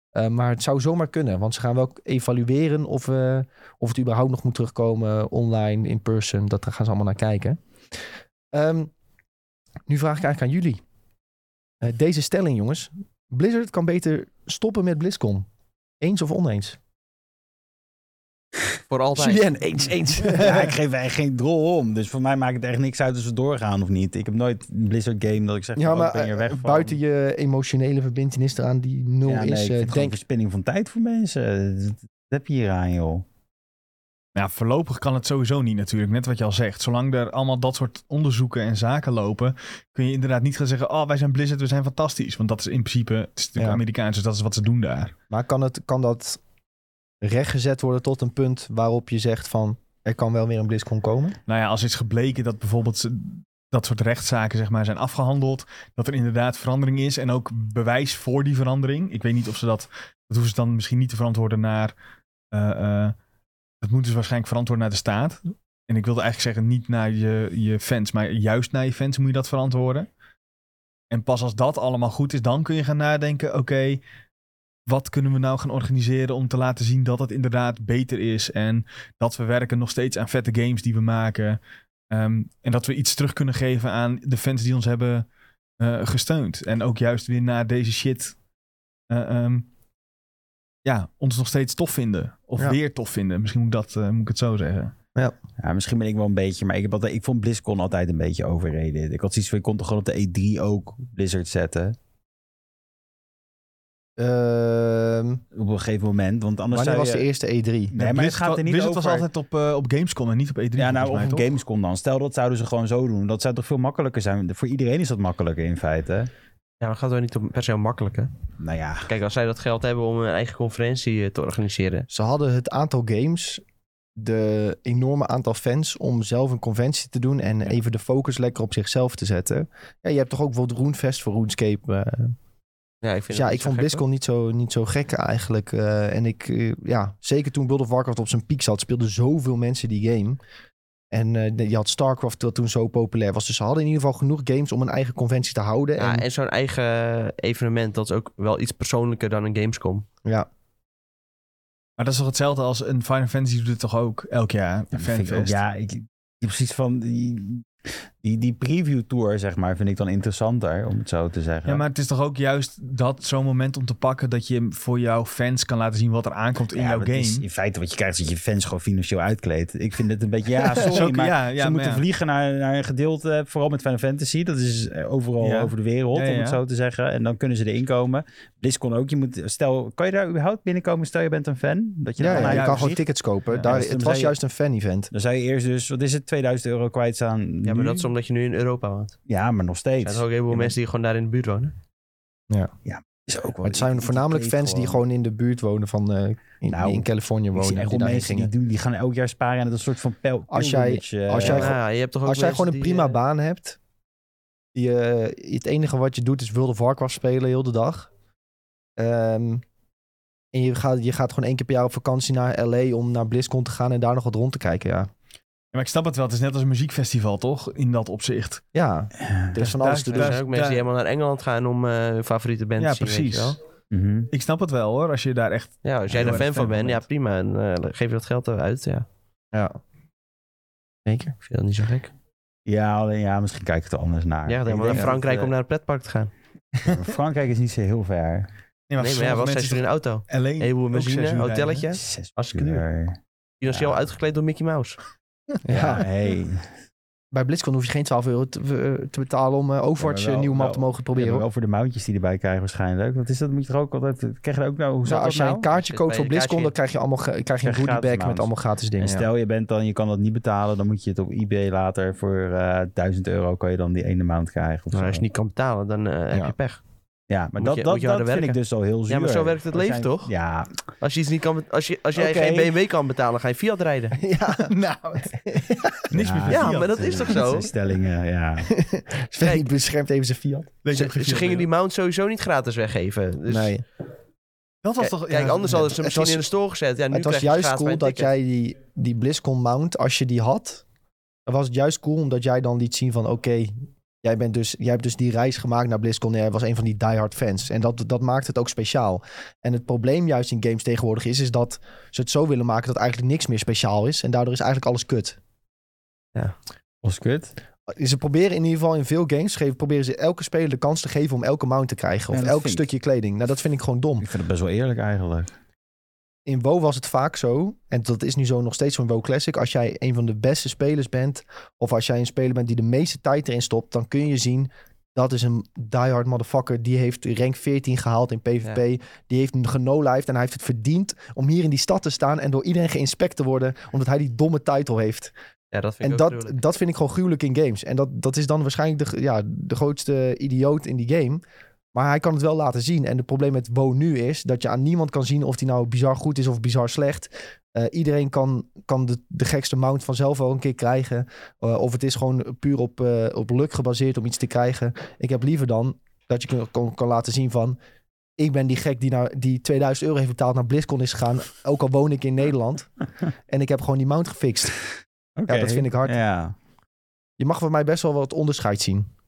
Eh, maar het zou zomaar kunnen. Want ze gaan wel evalueren of, eh, of het überhaupt nog moet terugkomen online, in person. Dat daar gaan ze allemaal naar kijken. Ehm, nu vraag ik eigenlijk aan jullie. Eh, deze stelling, jongens. Blizzard kan beter stoppen met BlizzCon. Eens of oneens?
Voor altijd.
Julien, eens, eens.
*laughs* *laughs* ja, ik geef eigenlijk geen drol om. Dus voor mij maakt het echt niks uit als we doorgaan of niet. Ik heb nooit een Blizzard game dat ik zeg,
Ja,
van, oh,
maar
ik ben hier
eh,
weg van.
buiten je emotionele verbintenis eraan die nul
ja, nee,
is,
ik
eh,
vind het gewoon
denk
verspilling van tijd voor mensen. heb je hier aan, joh?
Nou, voorlopig kan het sowieso niet natuurlijk, net wat je al zegt. Zolang er allemaal dat soort onderzoeken en zaken lopen, kun je inderdaad niet gaan zeggen, oh wij zijn Blizzard, we zijn fantastisch. Want dat is in principe, het is natuurlijk
Ja.
Amerikaans, dus dat is wat ze doen daar.
Maar kan, het, kan dat rechtgezet worden tot een punt waarop je zegt van... er kan wel weer een BlizzCon komen?
Nou ja, als is gebleken dat bijvoorbeeld ze- dat soort rechtszaken zeg maar, zijn afgehandeld, dat er inderdaad verandering is en ook bewijs voor die verandering. Ik weet niet of ze dat, dat hoeven ze dan misschien niet te verantwoorden naar, eh, eh, dat moeten ze waarschijnlijk verantwoorden naar de staat. En ik wilde eigenlijk zeggen niet naar je, je fans, maar juist naar je fans moet je dat verantwoorden. En pas als dat allemaal goed is, dan kun je gaan nadenken, oké, wat kunnen we nou gaan organiseren om te laten zien dat het inderdaad beter is en dat we werken nog steeds aan vette games die we maken. Ehm, en dat we iets terug kunnen geven aan de fans die ons hebben eh, gesteund. En ook juist weer na deze shit. eh, ehm, ja, ons nog steeds tof vinden. Of
Ja.
weer tof vinden. Misschien moet ik, dat, eh, moet ik het zo zeggen.
Ja, misschien ben ik wel een beetje, maar ik, heb altijd, ik vond BlizzCon altijd een beetje overreden. Ik had zoiets van, je kon toch gewoon op de E3 ook Blizzard zetten?
Ehm
Op een gegeven moment, want
wanneer
anders zou
was
je...
de eerste E E3?
Nee, maar het gaat er niet
Blizzard
over.
was altijd op, eh, op Gamescom en niet op E3.
Ja, nou,
volgens
of
mij,
een
toch?
Gamescom dan. Stel, dat zouden ze gewoon zo doen. Dat zou toch veel makkelijker zijn? Voor iedereen is dat makkelijker in feite.
Ja, maar gaat wel niet om- per se om makkelijke.
Nou ja,
Kijk, als zij dat geld hebben om een eigen conferentie eh, te organiseren.
Ze hadden het aantal games, de enorme aantal fans om zelf een conventie te doen en even de focus lekker op zichzelf te zetten. Ja, je hebt toch ook bijvoorbeeld Roenfest voor RuneScape. eh.
Ja, ik, vind
dus
het
ja,
niet
ik
zo
vond
gek, hoor.
BlizzCon niet zo, niet zo gek eigenlijk. eh, en ik, eh, ja, zeker toen World of Warcraft op zijn piek zat, speelden zoveel mensen die game. En eh, je had StarCraft, wat toen zo populair was. Dus ze hadden in ieder geval genoeg games om een eigen conventie te houden.
Ja,
en,
en zo'n eigen evenement, dat is ook wel iets persoonlijker dan een Gamescom.
ja.
Maar dat is toch hetzelfde als een Final Fantasy doet het toch ook elk jaar. Een
dat vind ik ook-
fanfest.
ja, ik, ik heb precies van die, die, die preview tour, zeg maar, vind ik dan interessanter, om het zo te zeggen.
Ja, maar het is toch ook juist dat zo'n moment om te pakken dat je voor jouw fans kan laten zien wat er aankomt in
Ja,
jouw
maar het
game.
is in feite wat je krijgt is dat je fans gewoon financieel uitkleedt. Ik vind het een
*laughs*
beetje, ja, Ah, sorry,
Zulke-
maar
ja, ja,
ze
maar
moeten
ja.
vliegen naar, naar een gedeelte, eh, vooral met Final Fantasy. Dat is eh, overal
Ja.
over de wereld,
Ja, ja,
om het
ja.
zo te zeggen. En dan kunnen ze erin komen. BlizzCon ook, je moet, stel, kan je daar überhaupt binnenkomen stel je bent een fan? Dat je
Ja,
er
ja,
dan
je
uit
kan
ziet?
gewoon tickets kopen.
Ja, en
Daar,
toen
het
zei
was
je-
juist een fan-event.
Dan zou je eerst dus, wat is het, 2000 euro kwijtstaan
Ja,
nu?
maar dat is omdat je nu in Europa woont.
Ja, maar nog
Er zijn
steeds.
toch ook heel veel
Ja,
mensen die gewoon daar in de buurt wonen.
Is ook wel-
Maar het zijn
ik-
voornamelijk
ik-
fans die gewoon in de buurt wonen van eh, in,
Nou,
die in Californië
Ik zie
wonen. Die
echt wel
daarheen
mensen die,
gingen.
doen, die gaan elk jaar sparen en dat is een soort van pel.
Als jij-
pilgrimage, eh,
als jij
Ja,
gewoon-
je hebt toch ook
Als jij
mensen
gewoon een
die,
prima
eh,
baan hebt, die, eh, het enige wat je doet is World of Warcraft spelen heel de dag. Ehm, en je gaat, je gaat gewoon één keer per jaar op vakantie naar LA om naar BlizzCon te gaan en daar nog wat rond te kijken. Ja,
Ja, maar ik snap het wel. Het is net als een muziekfestival, toch? In dat opzicht.
ja er is van
daar-
alles te
daar-
doen.
Er zijn ook mensen die helemaal naar Engeland gaan om eh, hun favoriete band
Ja,
te zien, weet je
precies.
*laughs*
wel.
Mhm.
Ik snap het wel, hoor. Als je daar echt...
Ja, als jij
Heel
daar
erg
fan van
fan
bent,
van
ja
bent.
prima. En eh, geef je dat geld eruit, ja.
Ja. Zeker.
Ik vind dat niet zo gek.
Ja, alleen ja, misschien kijk ik er anders naar.
Ja,
Ik
dan maar
denk
naar
dat,
Frankrijk
eh,
om naar het pretpark te gaan.
Frankrijk is niet zo heel ver.
Nee,
Nee, maar ja, wat zijn ze er in een auto?
Alleen
Een heleboel benzine, eh,
*laughs*
hotelletje.
Zes
Als ik het nu-
uur.
Financieel
Ja.
uitgekleed door Mickey Mouse.
Ja.
Ja, hey.
Bij BlizzCon hoef je geen 12 euro te, eh, te betalen om eh, Overwatch
Ja, maar
een
wel-
nieuwe map
wel-
te mogen
Ja,
proberen.
maar
hoor.
wel voor de mountjes die erbij krijgen waarschijnlijk. Wat is dat? Moet je er ook altijd... Krijg je er ook nou... Hoe zat
Nou, als jij
dat
een
nou?
kaartje
Zit
koopt
bij
voor
de
BlizzCon,
kaartje
dan krijg je, allemaal, ge- krijg je een
Krijg je
goodie
gratis
bag met
mounts.
allemaal gratis dingen.
En
ja.
stel je bent dan, je kan dat niet betalen, dan moet je het op eBay later voor eh 1000 euro kan je dan die ene maand krijgen. Of
Nou,
zo.
als je niet kan betalen, dan eh, heb
Ja.
je pech.
Ja, maar
Moet
dat,
je-
dat,
moet je
dat
harder
vind ik
werken.
dus al heel zuur.
Ja, maar zo werkt het
Als
leven,
jij-
toch?
Ja,
Als, je iets niet kan, bet- als, je, als jij
Oké.
geen BMW kan betalen, ga je Fiat rijden. *laughs*
Ja,
*laughs*
nou.
Niks meer van
Ja,
Fiat.
maar dat is toch
*laughs*
zijn
zo?
Stellingen, *laughs*
*laughs*
ja.
Sven beschermt even zijn Fiat.
Weet je,
Ze,
heb je
ze
Fiat
gingen die
meer?
mount sowieso niet gratis weggeven. Dus
nee.
Dat was
kijk,
toch...
kijk,
ja,
anders hadden ze hem
het
misschien
was-
in de store gezet. Ja, nu
het was
krijg je
juist
gratis
cool dat
bij een ticket.
jij die, die BlizzCon mount, als je die had, dan was het juist cool omdat jij dan liet zien van oké, jij, bent dus, jij hebt dus die reis gemaakt naar BlizzCon en jij was een van die diehard fans. En dat, dat maakt het ook speciaal. En het probleem juist in games tegenwoordig is, is dat ze het zo willen maken dat eigenlijk niks meer speciaal is. En daardoor is eigenlijk alles kut. Dus
Was kut.
Ze proberen in ieder geval in veel games, geven, proberen ze elke speler de kans te geven om elke mount te krijgen.
Ja,
Of
dat
elk
vind ik-
stukje kleding. Nou, dat vind ik gewoon dom.
Ik vind het best wel eerlijk eigenlijk.
in WoW was het vaak zo, en dat is nu zo nog steeds zo'n WoW Classic. Als jij een van de beste spelers bent, of als jij een speler bent die de meeste tijd erin stopt, dan kun je zien, Dat is een diehard motherfucker. Die heeft rank 14 gehaald in PvP. Die heeft een genolijfd en hij heeft het verdiend om hier in die stad te staan en door iedereen geïnspect te worden omdat hij die domme title heeft.
Ja, dat vind
En
ik ook
dat,
gruwelijk.
dat vind ik gewoon gruwelijk in games. En dat, dat is dan waarschijnlijk de, g- ja, de grootste idioot in die game. Maar hij kan het wel laten zien. En het probleem met WoW nu is dat je aan niemand kan zien of die nou bizar goed is of bizar slecht. Eh, iedereen kan, kan de, de gekste mount vanzelf wel een keer krijgen. Eh, of het is gewoon puur op, eh, op luck gebaseerd om iets te krijgen. Ik heb liever dan dat je kan, kan, kan laten zien van... Ik ben die gek die, nou, die 2000 euro heeft betaald naar BlizzCon is gegaan. Ook al woon ik in
*laughs*
Nederland. En ik heb gewoon die mount gefixt.
Oké.
dat vind ik hard.
Ja.
Je mag voor mij best wel wat onderscheid zien.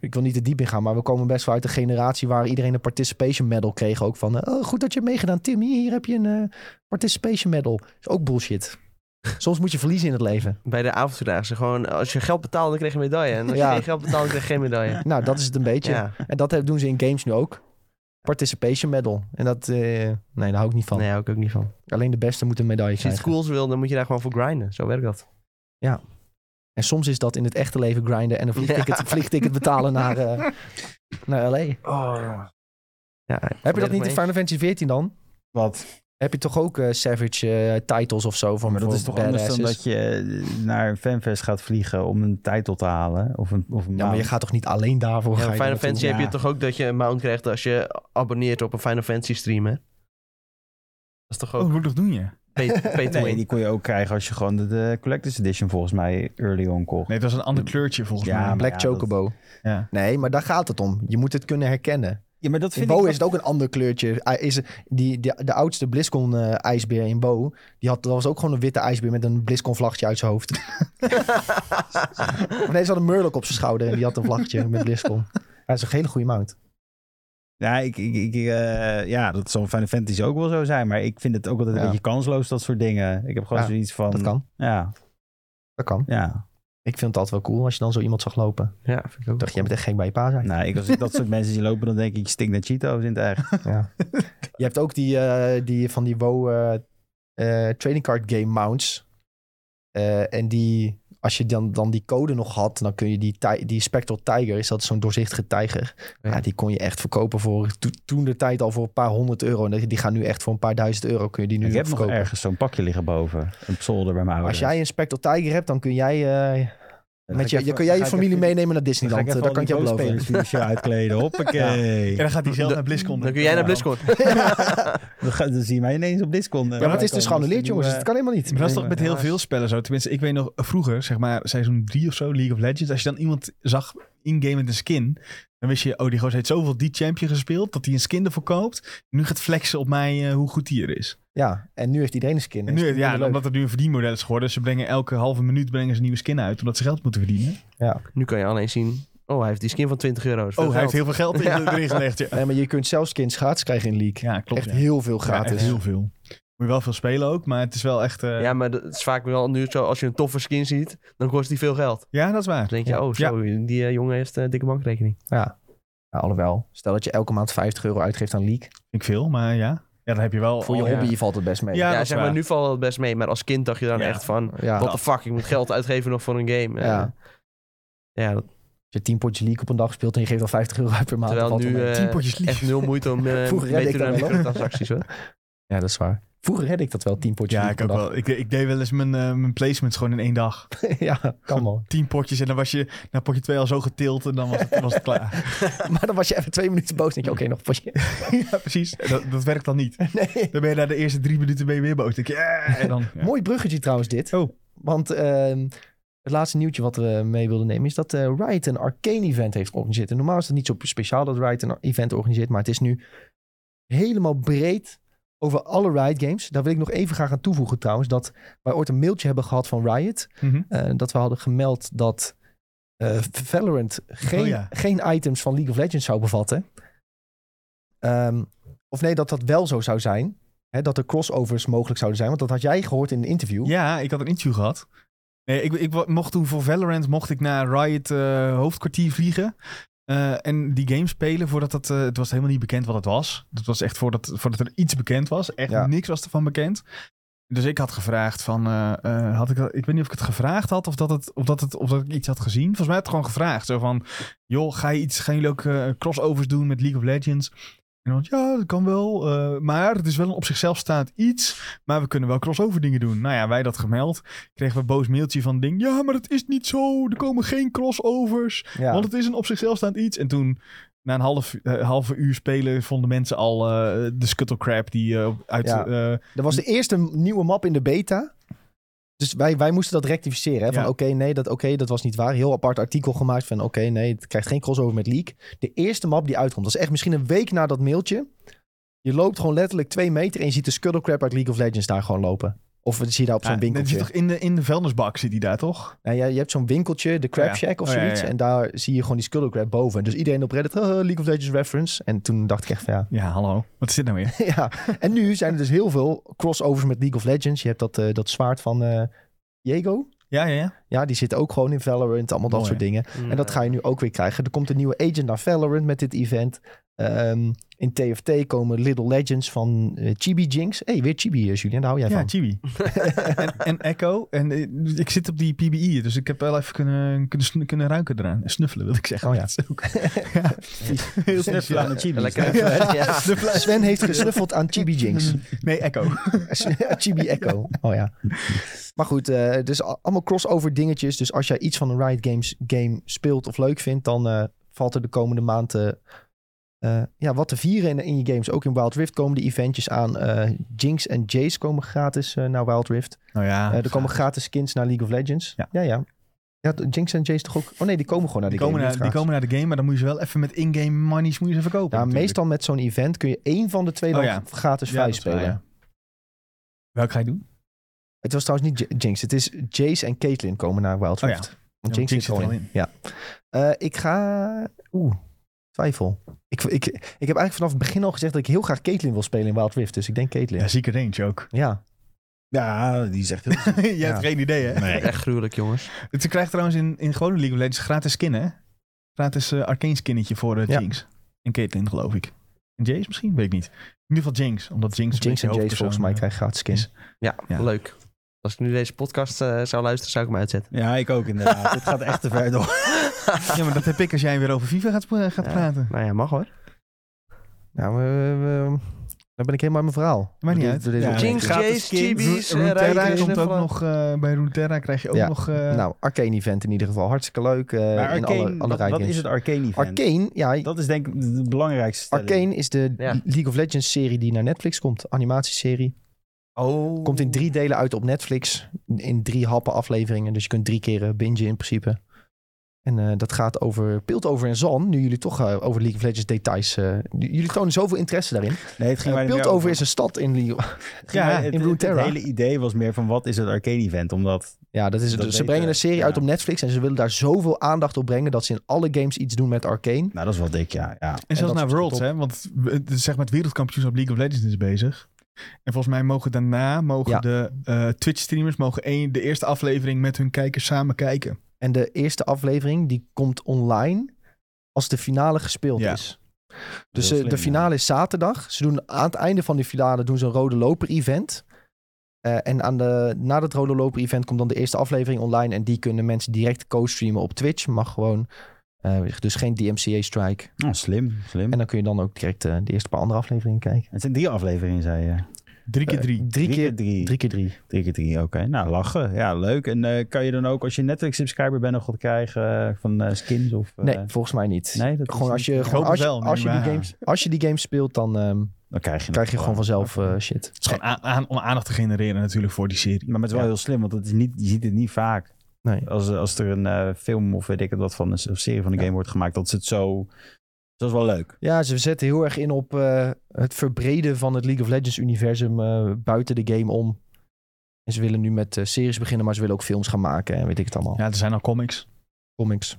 Ik wil niet te diep in gaan, maar we komen best wel uit een generatie waar iedereen een participation medal kreeg. Ook van, eh, oh, goed dat je hebt meegedaan, Tim. Hier, hier heb je een eh, participation medal. Is ook bullshit. Soms moet je verliezen in het leven.
Bij de avontuurdaagse gewoon, als je geld betaalde, dan kreeg je een medaille. En als
Ja.
je geen geld betaalde, kreeg je geen
*laughs*
medaille.
Nou, dat is het een beetje.
Ja,
En dat doen ze in games nu ook. Participation medal. En dat, eh, nee, daar hou ik niet van.
nee, hou ik ook niet van.
Alleen de beste moeten een medaille
Als je iets
krijgen.
cools wil, dan moet je daar gewoon voor grinden. Zo werkt dat.
En soms is dat in het echte leven grinden en een vliegticket,
Ja.
vliegticket betalen naar,
*laughs*
eh, naar L.A.
Oh. Ja,
Heb je dat niet in Final Fantasy 14 dan?
Wat?
Heb je toch ook eh, Savage eh, titles of zo? Van
Maar dat is toch
bijvoorbeeld
anders dan
badasses?
dat je eh, naar een fanfest gaat vliegen om een titel te halen? Of een, of een
Ja, maar je
mount.
gaat toch niet alleen daarvoor
Ja,
gaan?
maar Final Fantasy heb je
Ja.
toch ook dat je een mount krijgt als je abonneert op een Final Fantasy stream, hè? Dat is
*laughs*
toch ook
Oh, dat doen je.
pay, pay to
Nee,
win?
die kon je ook krijgen als je gewoon de, de Collector's Edition volgens mij early on kocht.
Nee, het was een ander kleurtje volgens
Ja,
mij.
maar-
Black
dat-
Chocobo.
Ja.
Nee, maar daar gaat het om. Je moet het kunnen herkennen.
Ja, maar dat
In
vind ik...
Bo
wat-
is het ook een ander kleurtje. Hij is, die, die- de oudste BlizzCon-ijsbeer in Bo... Die had, dat was ook gewoon een witte ijsbeer met een BlizzCon-vlaggetje uit zijn hoofd. *laughs* Of nee, ze had een Murloc op zijn schouder... en die had een vlaggetje met BlizzCon. Hij is een hele goede mount.
Ja, ik, ik, ik, eh, ja, dat zal in Final Fantasy ook wel zo zijn. Maar ik vind het ook altijd een
Ja.
beetje kansloos, dat soort dingen. Ik heb gewoon
Ja,
zoiets van...
Dat kan,
Ja,
dat kan.
ja.
Ik vind het altijd wel cool als je dan zo iemand zag lopen. Ik
*laughs* Ja, vind ik ook.
dacht, jij bent echt gek bij je pa, zei hij.
Nou, ik, als ik dat soort *laughs* mensen zie lopen, dan denk ik, ik stink naar Cheetos in het echt.
Ja. *laughs* Je hebt ook die, eh, die van die WoW eh, eh, trading card game mounts. Eh, en die, als je dan, dan die code nog had, dan kun je die, ti- die Spectral Tiger, is dat zo'n doorzichtige tijger. Ja.
Ja.
die kon je echt verkopen voor to- toen de tijd al voor een paar honderd euro. En die- die gaan nu echt voor een paar duizend euro kun je die nu
ik heb nog
verkopen.
ergens zo'n pakje liggen boven. Een zolder bij mijn
Als
ouders.
jij een Spectral Tiger hebt, dan kun jij eh,
Dan ga
met
ik
je,
even-
je, kun jij je
dan ga ik
familie
even-
meenemen naar
dan ga
Disneyland.
even
Eh, Dat
al
kan ik
die
je beloven.
bospelers finaal
*laughs*
uitkleden. Hoppakee.
En dan gaat hij zelf
Dan-
naar BlizzCon.
Dan kun jij naar BlizzCon.
Dan, ga, dan zie je mij ineens op eh, Discord.
Ja, maar het is dus geannuleerd, jongens. Dat kan helemaal niet.
eh,
Maar dat is toch met heel
Helaas.
veel spellen zo. Tenminste, ik weet nog vroeger, zeg maar seizoen 3 of zo, League of Legends. Als je dan iemand zag in-game met een skin, dan wist je, oh, die gozer heeft zoveel die champion gespeeld, dat hij een skin ervoor koopt. Nu gaat flexen op mij eh, hoe goed die er is.
Ja, en nu heeft iedereen een skin.
En
Is
nu,
het
ja,
minder leuk.
omdat het nu een verdienmodel is geworden. Ze brengen elke halve minuut brengen ze een nieuwe skin uit, omdat ze geld moeten verdienen.
Nu kan je alleen zien, oh, hij heeft die skin van 20 euro.
Oh, hij heeft heel veel geld in,
Ja.
erin gelegd. Ja,
Nee, maar je kunt zelfs skins gratis krijgen in League.
ja klopt.
echt
ja.
heel veel
Ja, echt
gratis.
heel veel. Moet je wel veel spelen ook, maar het is wel echt... eh, ja.
Ja, maar dat is vaak wel nu zo, als je een toffe skin ziet, dan kost die veel geld.
dat is waar.
Dan denk je,
Ja.
oh, zo, die eh, jongen heeft een dikke bankrekening.
Ja. Ja, alhoewel, stel dat je elke maand 50 euro uitgeeft aan League.
Ik veel, maar ja. Ja, dan heb je wel...
Voor je
al-
hobby valt het best mee.
Oh, Ja,
Ja,
dat is
zeg
waar.
maar, nu valt het best mee, maar als kind dacht je dan
Ja.
echt van,
Ja.
what the fuck, ik moet geld uitgeven nog voor een game. Eh,
Ja.
ja dat-
Als je 10 potjes League op een dag speelt en je geeft al 50 euro uit per maand.
terwijl
dan valt
nu
het mee.
eh,
Tien potjes lief.
echt nul
*laughs*
moeite om eh
Vroeger
mee
redde ik
te doen aan
dat wel.
microtransacties hoor.
Ja, dat is waar. Vroeger redde ik dat wel, 10 potjes
eh, Ja,
League
ik
per
ook
dag.
wel. Ik, ik deed wel eens mijn, eh, mijn placements gewoon in één dag.
*laughs* ja, kan wel.
Tien potjes en dan was je na potje twee al zo getild en dan was het, was het
*laughs*
klaar.
maar dan was je even twee minuten boos en denk je, oké, nog een potje. *laughs*
ja, precies. Dat, dat werkt dan niet.
Nee.
Dan ben je na de eerste drie minuten ben je weer boos. Dan denk je, "Eh," en dan...
Mooi bruggetje trouwens dit.
Oh.
Want ehm, het laatste nieuwtje wat we mee wilden nemen is dat eh Riot een Arcane event heeft georganiseerd. En normaal is het niet zo speciaal dat Riot een event organiseert, maar het is nu helemaal breed over alle Riot games. Daar wil ik nog even graag aan toevoegen trouwens, dat wij ooit een mailtje hebben gehad van Riot.
Mhm.
eh, dat we hadden gemeld dat eh, Valorant geen,
Oh ja.
geen items van League of Legends zou bevatten. Ehm, of nee, dat dat wel zo zou zijn. Hè, dat er crossovers mogelijk zouden zijn. Want dat had jij gehoord in een interview.
Ja, ik had een interview gehad. Nee, ik, ik wa- mocht toen voor Valorant mocht ik naar Riot eh, hoofdkwartier vliegen. eh, en die game spelen voordat dat... eh, het was helemaal niet bekend wat het was. Dat was echt voordat, voordat er iets bekend was. Echt
Ja.
niks was ervan bekend. Dus ik had gevraagd van, eh, eh, had ik, dat- ik weet niet of ik het gevraagd had of dat, het, of, dat het, of dat ik iets had gezien. Volgens mij had ik gewoon gevraagd. Zo van, joh, ga je iets, gaan jullie ook eh, crossovers doen met League of Legends? En dan, ja, dat kan wel. eh, maar het is wel een op zichzelf staand iets. Maar we kunnen wel crossover dingen doen. Nou ja, wij dat gemeld. Kregen we een boos mailtje van ding. Ja, maar het is niet zo. Er komen geen crossovers.
Ja.
Want het is een op zichzelf staand iets. En toen, na een half, eh, halve uur spelen, vonden mensen al eh, de Scuttle Crab die eh, uit...
Ja.
eh,
Dat was de eerste m- nieuwe map in de beta. Dus wij, wij moesten dat rectificeren. Hè? Van
Ja.
oké, nee, dat, oké, dat was niet waar. Heel apart artikel gemaakt van oké, nee, het krijgt geen crossover met Leak. De eerste map die uitkomt, dat is echt misschien een week na dat mailtje. Je loopt gewoon letterlijk twee meter en je ziet de Scuttlecrab uit League of Legends daar gewoon lopen. Of zie je daar op zo'n
ja, dat
winkeltje.
Ah, zit toch in de, in de vuilnisbak zit die daar, toch?
Nou, ja, je hebt zo'n winkeltje, de Crab
Oh ja.
Shack of
Oh ja,
zoiets.
ja, ja.
En daar zie je gewoon die Scuttlecrab boven. Dus iedereen op Reddit, "Haha, League of Legends reference. En toen dacht ik echt van ja,
Ja, hallo. Wat is dit nou weer?
*laughs* ja, en nu zijn er dus heel veel crossovers met League of Legends. Je hebt dat, eh, dat zwaard van eh Diego.
Ja, ja, ja.
Ja, die zit ook gewoon in Valorant, allemaal dat
Mooi,
soort dingen. *laughs* En dat ga je nu ook weer krijgen. Er komt een nieuwe agent naar Valorant met dit event. Ehm, in TFT komen Little Legends van eh, Chibi Jinx. hey, weer Chibi, eh, Julian, daar hou jij
Ja,
van. *laughs*
Chibi. en, en Echo. En eh, ik zit op die PBI, dus ik heb wel even kunnen, kunnen, snu- kunnen ruiken eraan. Snuffelen, wil ik zeggen.
Oh ja.
Dat is ook- *laughs*
*laughs*
ja. Heel snuffelen
eh,
aan de Chibi.
Lekker even, ja.
Sven heeft gesnuffeld aan Chibi
*laughs*
Jinx.
Nee, Echo. *laughs*
Chibi Echo. Oh ja. Maar goed, eh, dus a- allemaal crossover dingetjes. Dus als jij iets van een Riot Games game speelt of leuk vindt, dan eh, valt er de komende maand eh, eh, ja, wat te vieren in, in je games. Ook in Wild Rift komen de eventjes aan. Eh, Jinx en Jace komen gratis eh, naar Wild Rift.
Nou ja.
Eh, er komen gratis skins naar League of Legends. Ja,
Ja.
ja. ja. t- Jinx en Jace toch ook? Oh nee, die komen gewoon naar
die,
de
komen
game.
naar, die
niet gratis.
komen naar de game, maar dan moet je ze wel even met in-game monies moet je ze verkopen.
ja,
natuurlijk.
meestal met zo'n event kun je één van de twee
Oh
dan
ja.
gratis
Ja,
vrij
dat is waar,
spelen.
ja. Welk ga je doen?
Het was trouwens niet J- Jinx. Het is Jace en Caitlyn komen naar Wild
Oh
Rift. Want
Ja,
Jinx, zit er al in. Ja. Eh, ik ga... Oeh, twijfel. Ik, ik, ik heb eigenlijk vanaf het begin al gezegd dat ik heel graag Caitlyn wil spelen in Wild Rift. Dus ik denk Caitlyn.
Ja, zieke range ook.
Ja.
Ja, die zegt heel
je
*laughs* Ja.
hebt geen idee,
*laughs*
hè?
Nee.
Echt gruwelijk, jongens.
Ze krijgt trouwens in, in gewone League of Legends gratis skin, hè? Gratis eh arcane skinnetje voor eh,
Ja.
Jinx. En Caitlyn, geloof ik. En Jace misschien? Weet ik niet. In ieder geval Jinx, omdat Jinx... een
Jinx
beetje
en Jace
hoofdpersoon,
volgens mij
eh,
krijgen gratis skins.
Ja,
Ja.
leuk. Als ik nu deze podcast eh, zou luisteren, zou ik
*laughs*
hem uitzetten.
Ja, ik ook
*laughs*
inderdaad. Dit gaat echt te ver door.
Ja, maar dat heb ik als jij weer over FIFA gaat, sp- gaat
Ja.
praten.
Nou ja, mag hoor.
Nou, eh, eh, eh, dan ben ik helemaal in mijn verhaal.
Maakt niet
Door-
uit.
door deze
Ja.
opmerking.
Jinx,
Gratis
Jace,
skins.
Chibi's, eh,
Runeterra
Rijken,
komt ook
Snuffelen.
nog... eh, bij Runeterra krijg je ook
Ja.
nog... eh,
Nou, Arcane Event in ieder geval. Hartstikke leuk. eh,
Maar
in
Arcane,
alle, alle
wat,
Riot
wat
games.
is het Arcane event?
Arcane, ja,
Dat is denk ik de de belangrijkste stelling.
Arcane is de
Ja.
League of Legends serie die naar Netflix komt. Animatieserie.
Oh.
Komt in drie delen uit op Netflix. In drie happen afleveringen. Dus je kunt drie keren bingen in principe. En eh, dat gaat over Pilt over en Zan. Nu jullie toch eh, over League of Legends details. eh, j- jullie tonen zoveel interesse daarin.
Nee, het ging
Eh,
mij er meer
Piltover is een stad in League. of-
het ging mij-
in
het- het,
Runeterra.
hele idee was meer van wat is het Arcane event? Omdat
*laughs* Ja, dat is
Dat
het. ze
weten
brengen
we,
een serie
ja.
uit op Netflix. En ze willen daar zoveel aandacht op brengen. dat ze in alle games iets doen met Arcane.
nou, dat is wel dik, ja. ja.
En zelfs
dat
naar
is toch
Worlds,
top.
hè? Want het is zeg maar het wereldkampioenschap League of Legends is bezig. En volgens mij mogen daarna mogen
Ja.
de eh, Twitch-streamers mogen één, de eerste aflevering met hun kijkers samen kijken.
En de eerste aflevering die komt online als de finale gespeeld
Ja.
is. Dus
Heel
eh, de
slim,
finale is zaterdag. Ze doen, aan het einde van die finale doen ze een rode loper event. Eh, en aan de, na dat rode loper event komt dan de eerste aflevering online. En die kunnen mensen direct co-streamen op Twitch. Mag gewoon. eh, dus geen DMCA strike.
Hm.
ja. Oh, slim, slim.
En
En
dan kun je dan ook direct eh, de eerste paar andere afleveringen kijken.
het zijn drie afleveringen, zei je.
Drie keer drie.
Eh, drie, keer
drie.
drie keer drie.
Drie keer drie, oké. Nou, lachen. Ja, leuk. En eh, kan je dan ook, als je Netflix-subscriber bent, nog wat krijgen eh, van eh, skins of... eh,
Nee, volgens mij niet.
nee, dat is
Gewoon als
niet-
je,
Ik
gewoon
hoop
als, je-
het wel,
als, je die
maar-
games, als je die games speelt, dan ehm,
Dan krijg je,
krijg je
het
gewoon vanzelf eh, shit.
Het is gewoon aan, aan- om aandacht te genereren natuurlijk voor die serie.
Maar het is wel
Ja.
heel slim, want het is niet, je ziet het niet vaak.
Nee.
Als, als er een eh, film of weet ik het wat van een s- of serie van een game wordt gemaakt, dat is het zo... Dat is wel leuk.
Ja, ze zetten heel erg in op eh, het verbreden van het League of Legends-universum eh, buiten de game om. En ze willen nu met eh, series beginnen, maar ze willen ook films gaan maken en weet ik het allemaal.
Ja, er zijn al comics.
Comics.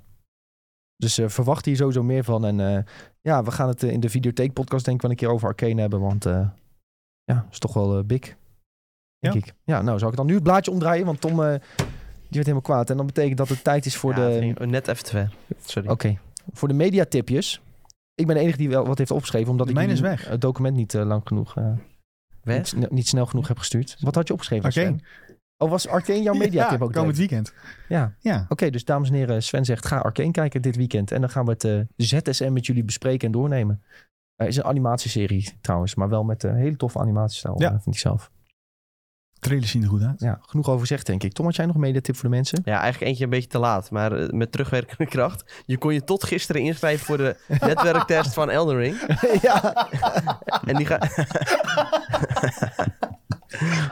Dus eh, verwacht hier sowieso meer van. En eh, ja, we gaan het eh, in de videotheekpodcast denk ik wel een keer over Arcane hebben, want eh, ja, is toch wel eh, big. Denk
Ja.
ik. Ja, nou zou ik dan nu het blaadje omdraaien, want Tom eh, die werd helemaal kwaad. En dat betekent dat het tijd is voor
Ja,
de...
vind ik Net even te ver. Sorry.
Oké. Voor de mediatipjes. Ik ben de enige die wel wat heeft opgeschreven, omdat
De
ik
mijne
jullie
is weg.
het document niet eh, lang genoeg. eh, niet,
Wes?
sne- niet snel genoeg heb gestuurd. Wat had je opgeschreven,
Arcane.
Sven? Oh, was Arcane jouw media
ja,
tip ook?
komend
direct?
weekend.
Ja.
Ja.
Oké, dus dames en heren, Sven zegt ga Arcane kijken dit weekend. En dan gaan we het eh, ZSM met jullie bespreken en doornemen. Het is een animatieserie trouwens, maar wel met een hele toffe animatiestijl,
Ja.
eh, vind ik zelf.
Trailers zien er goed uit.
Ja, genoeg over gezegd denk ik. Tom, had jij nog een mediatip voor de
*laughs*
mensen?
Ja, eigenlijk eentje een beetje te laat, maar eh, met terugwerkende *laughs* kracht. Je kon je tot gisteren inschrijven voor de netwerktest van Elden Ring.
ja,
En die gaat... *laughs*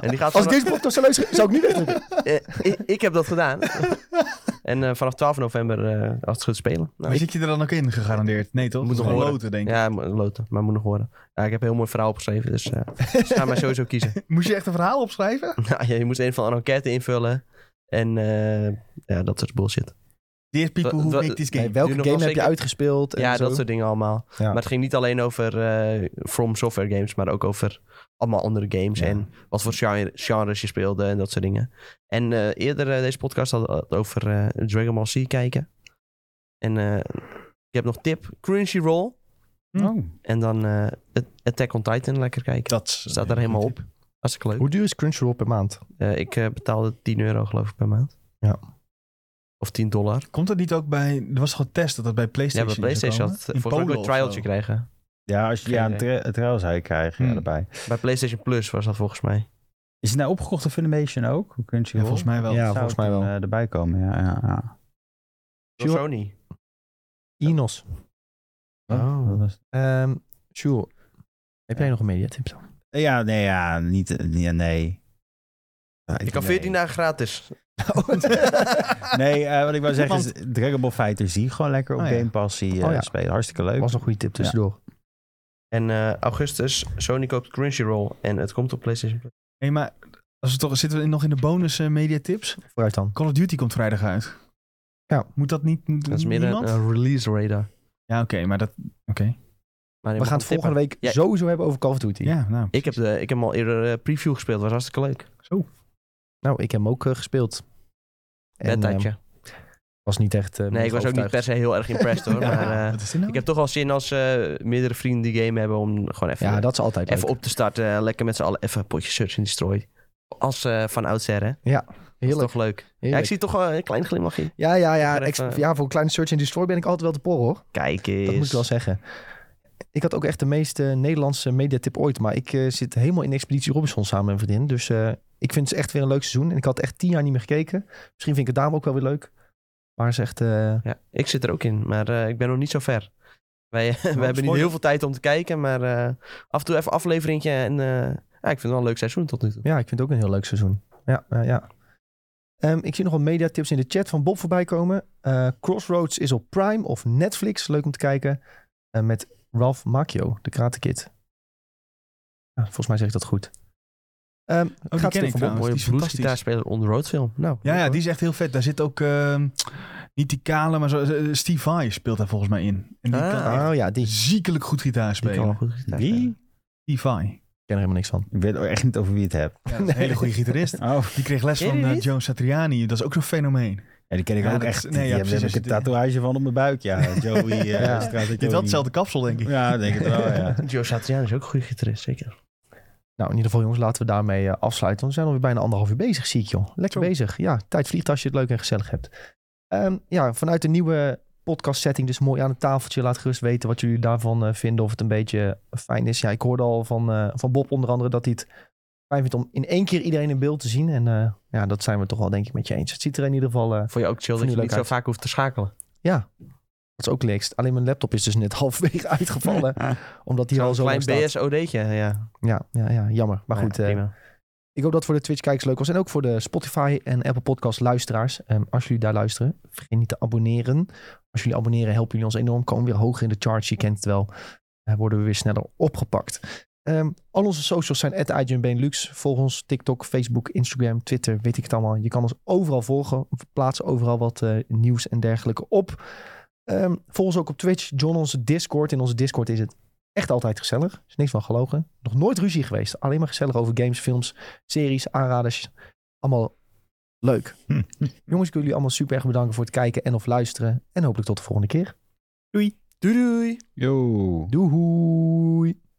en die gaat
als
vanaf-
deze podcast zou luisteren, zou ik niet wegdrukken.
eh, ik, ik heb dat gedaan. en eh, vanaf 12 november, eh, als het goed spelen. Nou,
maar zit je er dan ook in, gegarandeerd? Nee, toch?
Moet nog
Gewoon
horen.
loten, denk ik.
Ja, mo- loten, maar moet nog horen. Ja, ik heb een heel mooi verhaal opgeschreven, dus eh ze gaan mij sowieso kiezen. *laughs*
*laughs* Moest je echt een verhaal opschrijven?
Nou, ja, je moest een van een enquête invullen. En eh, ja, dat soort bullshit.
Dear people who
Wa- wa-
make this game.
Nee, welke
Doe nog
game heb
wel
je
zeker-
uitgespeeld? En
ja,
zo?
dat soort dingen allemaal.
Ja.
Maar het ging niet alleen over eh, From Software games, maar ook over allemaal andere games.
Ja.
En wat voor genre- genres je speelde en dat soort dingen. En eh, eerder eh, deze podcast had het over eh, Dragon Ball Z kijken. En eh, ik heb nog tip, Crunchyroll.
Oh.
En dan eh, het Attack on Titan lekker kijken.
Dat eh,
Staat daar helemaal op. Hartstikke leuk.
Hoe duur is Crunchyroll per maand?
Eh, ik eh, betaalde 10 euro geloof ik per maand.
Ja.
Of 10 dollar.
Komt dat niet ook bij... Er was toch een test dat dat bij
Ja,
PlayStation
bij
is
PlayStation
gekomen?
had
In
volgens mij
Polen
ook een
of
trialtje
zo.
krijgen.
Ja, als je
Geen
ja, een
idee.
tra- een trial zou je krijgen ja,
Hmm.
erbij.
Bij PlayStation Plus was dat volgens mij.
Is het nou opgekocht door Funimation ook? Hoe kunt je
Ja, volgens mij wel.
Ja,
Zou
volgens mij
het dan,
wel.
eh, erbij komen, ja. ja, ja.
Door
Sure.
Sony.
Inos.
Dat was-
Ehm Sjoel, heb jij nog een mediatip dan?
Eh, Ja, nee, ja, niet, eh, nee, nee. Ah,
Ik kan
nee.
14 dagen gratis.
*laughs*
*laughs*
Nee, eh, wat ik wil zeggen is Dragon Ball Fighter zie gewoon lekker op
Oh ja.
Game Pass zie, eh,
Oh ja.
spelen. Hartstikke leuk.
was een goede tip tussendoor.
En eh, augustus, Sony koopt Crunchyroll. En het komt op PlayStation Plus.
Hé, maar als we toch, zitten we nog in de bonus eh, mediatips?
Vooruit dan.
Call of Duty komt vrijdag uit.
Ja.
Moet dat niet... Moet
Dat is meer een
niemand?
eh, release radar.
Ja, oké, maar dat... Oké.
Maar je
We gaan
mag hem
het volgende
tippen.
week
Ja.
sowieso hebben over Call of Duty.
Ja, nou.
Ik heb, de, ik heb hem al eerder eh, preview gespeeld. was hartstikke leuk.
Nou, ik heb hem ook eh, gespeeld. En ehm,
Wedtijdje.
was niet echt. eh,
nee, ik was ook niet per
overtuigd.
se heel erg impressed *laughs*
*laughs*
hoor.
Ja,
Maar eh,
wat is dit nou?
ik heb toch wel zin als eh, meerdere vrienden die game hebben om gewoon even,
Ja, dat is altijd leuk.
even op te starten. eh, lekker met z'n allen even een potje search and destroy. Als eh, van oudsher hè. Dat is
Heerlijk.
toch leuk. Ja, ik
heerlijk.
zie toch wel een klein glimlachje.
Ja, ja, ja.
Maar
ex-
even-
ja, voor een kleine search and destroy ben ik altijd wel te por hoor.
Kijk eens.
Dat moet ik wel zeggen. Ik had ook echt de meeste Nederlandse mediatip ooit. Maar ik eh, zit helemaal in Expeditie Robinson samen met mijn vriendin. Dus eh, ik vind het echt weer een leuk seizoen. En ik had echt tien jaar niet meer gekeken. Misschien vind ik het daarom ook wel weer leuk. Maar het is echt... eh,
Ja, ik zit er ook in, maar eh, ik ben nog niet zo ver. Wij, *laughs* we hebben niet
spoiler.
heel veel tijd om te kijken, maar eh, af en toe even afleveringje. En eh, ja, ik vind het wel een leuk seizoen tot nu toe.
Ja, ik vind het ook een heel leuk seizoen. Ja, ja, ja. Ehm, ik zie nog wat mediatips in de chat van Bob voorbij komen. Eh, Crossroads is op Prime of Netflix. Leuk om te kijken. Eh, met Ralph Macchio, de Karate Kid. Ja, volgens mij zeg ik dat goed. Ehm,
Oh,
gaat
die ken
het
ik
even
Een
Bob.
trouwens.
mooie
Die is fantastisch.
bluesgitaarspeler on the road film. Nou,
Ja, ja, die is echt heel vet. Daar zit ook... ehm, niet die kale, maar zo, eh, Steve Vai speelt daar volgens mij in. En die
Ah.
kan echt
Oh ja, die. Ik
ziekelijk goed gitaar
die kan wel
spelen.
goed gitaar
Wie?
spelen.
Steve Vai.
ken er helemaal niks van.
Ik weet echt niet over wie het hebt.
Ja, dat is
Nee.
Een hele goede gitarist.
Oh,
Die kreeg les
Ken je
van
die
eh,
niet?
Joe Satriani. Dat is ook zo'n fenomeen.
ja, die ken ik
Ja,
ook
dat-
echt.
nee,
Nee,
ja,
die hebben
precies,
heb
als
ik een
je dit-
tatoeage van op mijn buik, ja. Joey, eh
Ja.
Straat
Je had hetzelfde kapsel, denk ik.
Ja, ik denk het wel, ja.
Joe Satriani is ook een goede gitarist, zeker.
Nou, in ieder geval jongens, laten we daarmee eh, afsluiten. Want we zijn alweer bijna anderhalf uur bezig, zie ik joh. Lekker
Zo.
bezig. Ja, tijd vliegt als je het leuk en gezellig hebt. Ehm, ja, vanuit de nieuwe podcast setting, dus mooi aan het tafeltje. Laat gerust weten wat jullie daarvan eh, vinden. Of het een beetje eh, fijn is. Ja, ik hoorde al van, eh, van Bob onder andere dat hij het fijn vindt om in één keer iedereen in beeld te zien. En eh, ja, dat zijn we toch wel denk ik met je eens. Het ziet er in ieder geval... eh, dat
Vond je ook chill
Vond
dat
je
je
leuk
niet zo
uit.
vaak hoeft te schakelen.
is ook leekst. Alleen mijn laptop is dus net *laughs* halverwege
*laughs*
uitgevallen. omdat die al
Zo'n
zo lang
klein
staat.
BSOD'tje, ja.
Ja, ja, ja, jammer. Maar goed,
ja,
eh,
prima.
Ik hoop dat het voor de Twitch-kijkers leuk was. En ook voor de Spotify en Apple Podcast-luisteraars. Ehm, als jullie daar luisteren, vergeet niet te abonneren. Als jullie abonneren, helpen jullie ons enorm. Komen we weer hoger in de charts. Je kent het wel. Eh, worden we weer sneller opgepakt. Ehm, al onze socials zijn at Volg ons TikTok, Facebook, Instagram, Twitter. Weet ik het allemaal. Je kan ons overal volgen. We plaatsen overal wat eh, nieuws en dergelijke op. Ehm, volg ons ook op Twitch. Join onze Discord. In onze Discord is het echt altijd gezellig. Er is niks van gelogen. Nog nooit ruzie geweest. Alleen maar gezellig over games, films series, aanraders. Allemaal leuk. *laughs* Jongens, ik wil jullie allemaal super erg bedanken voor het kijken en of luisteren. En hopelijk tot de volgende keer.
Doei.
Doei doei!
Yo.
Doei!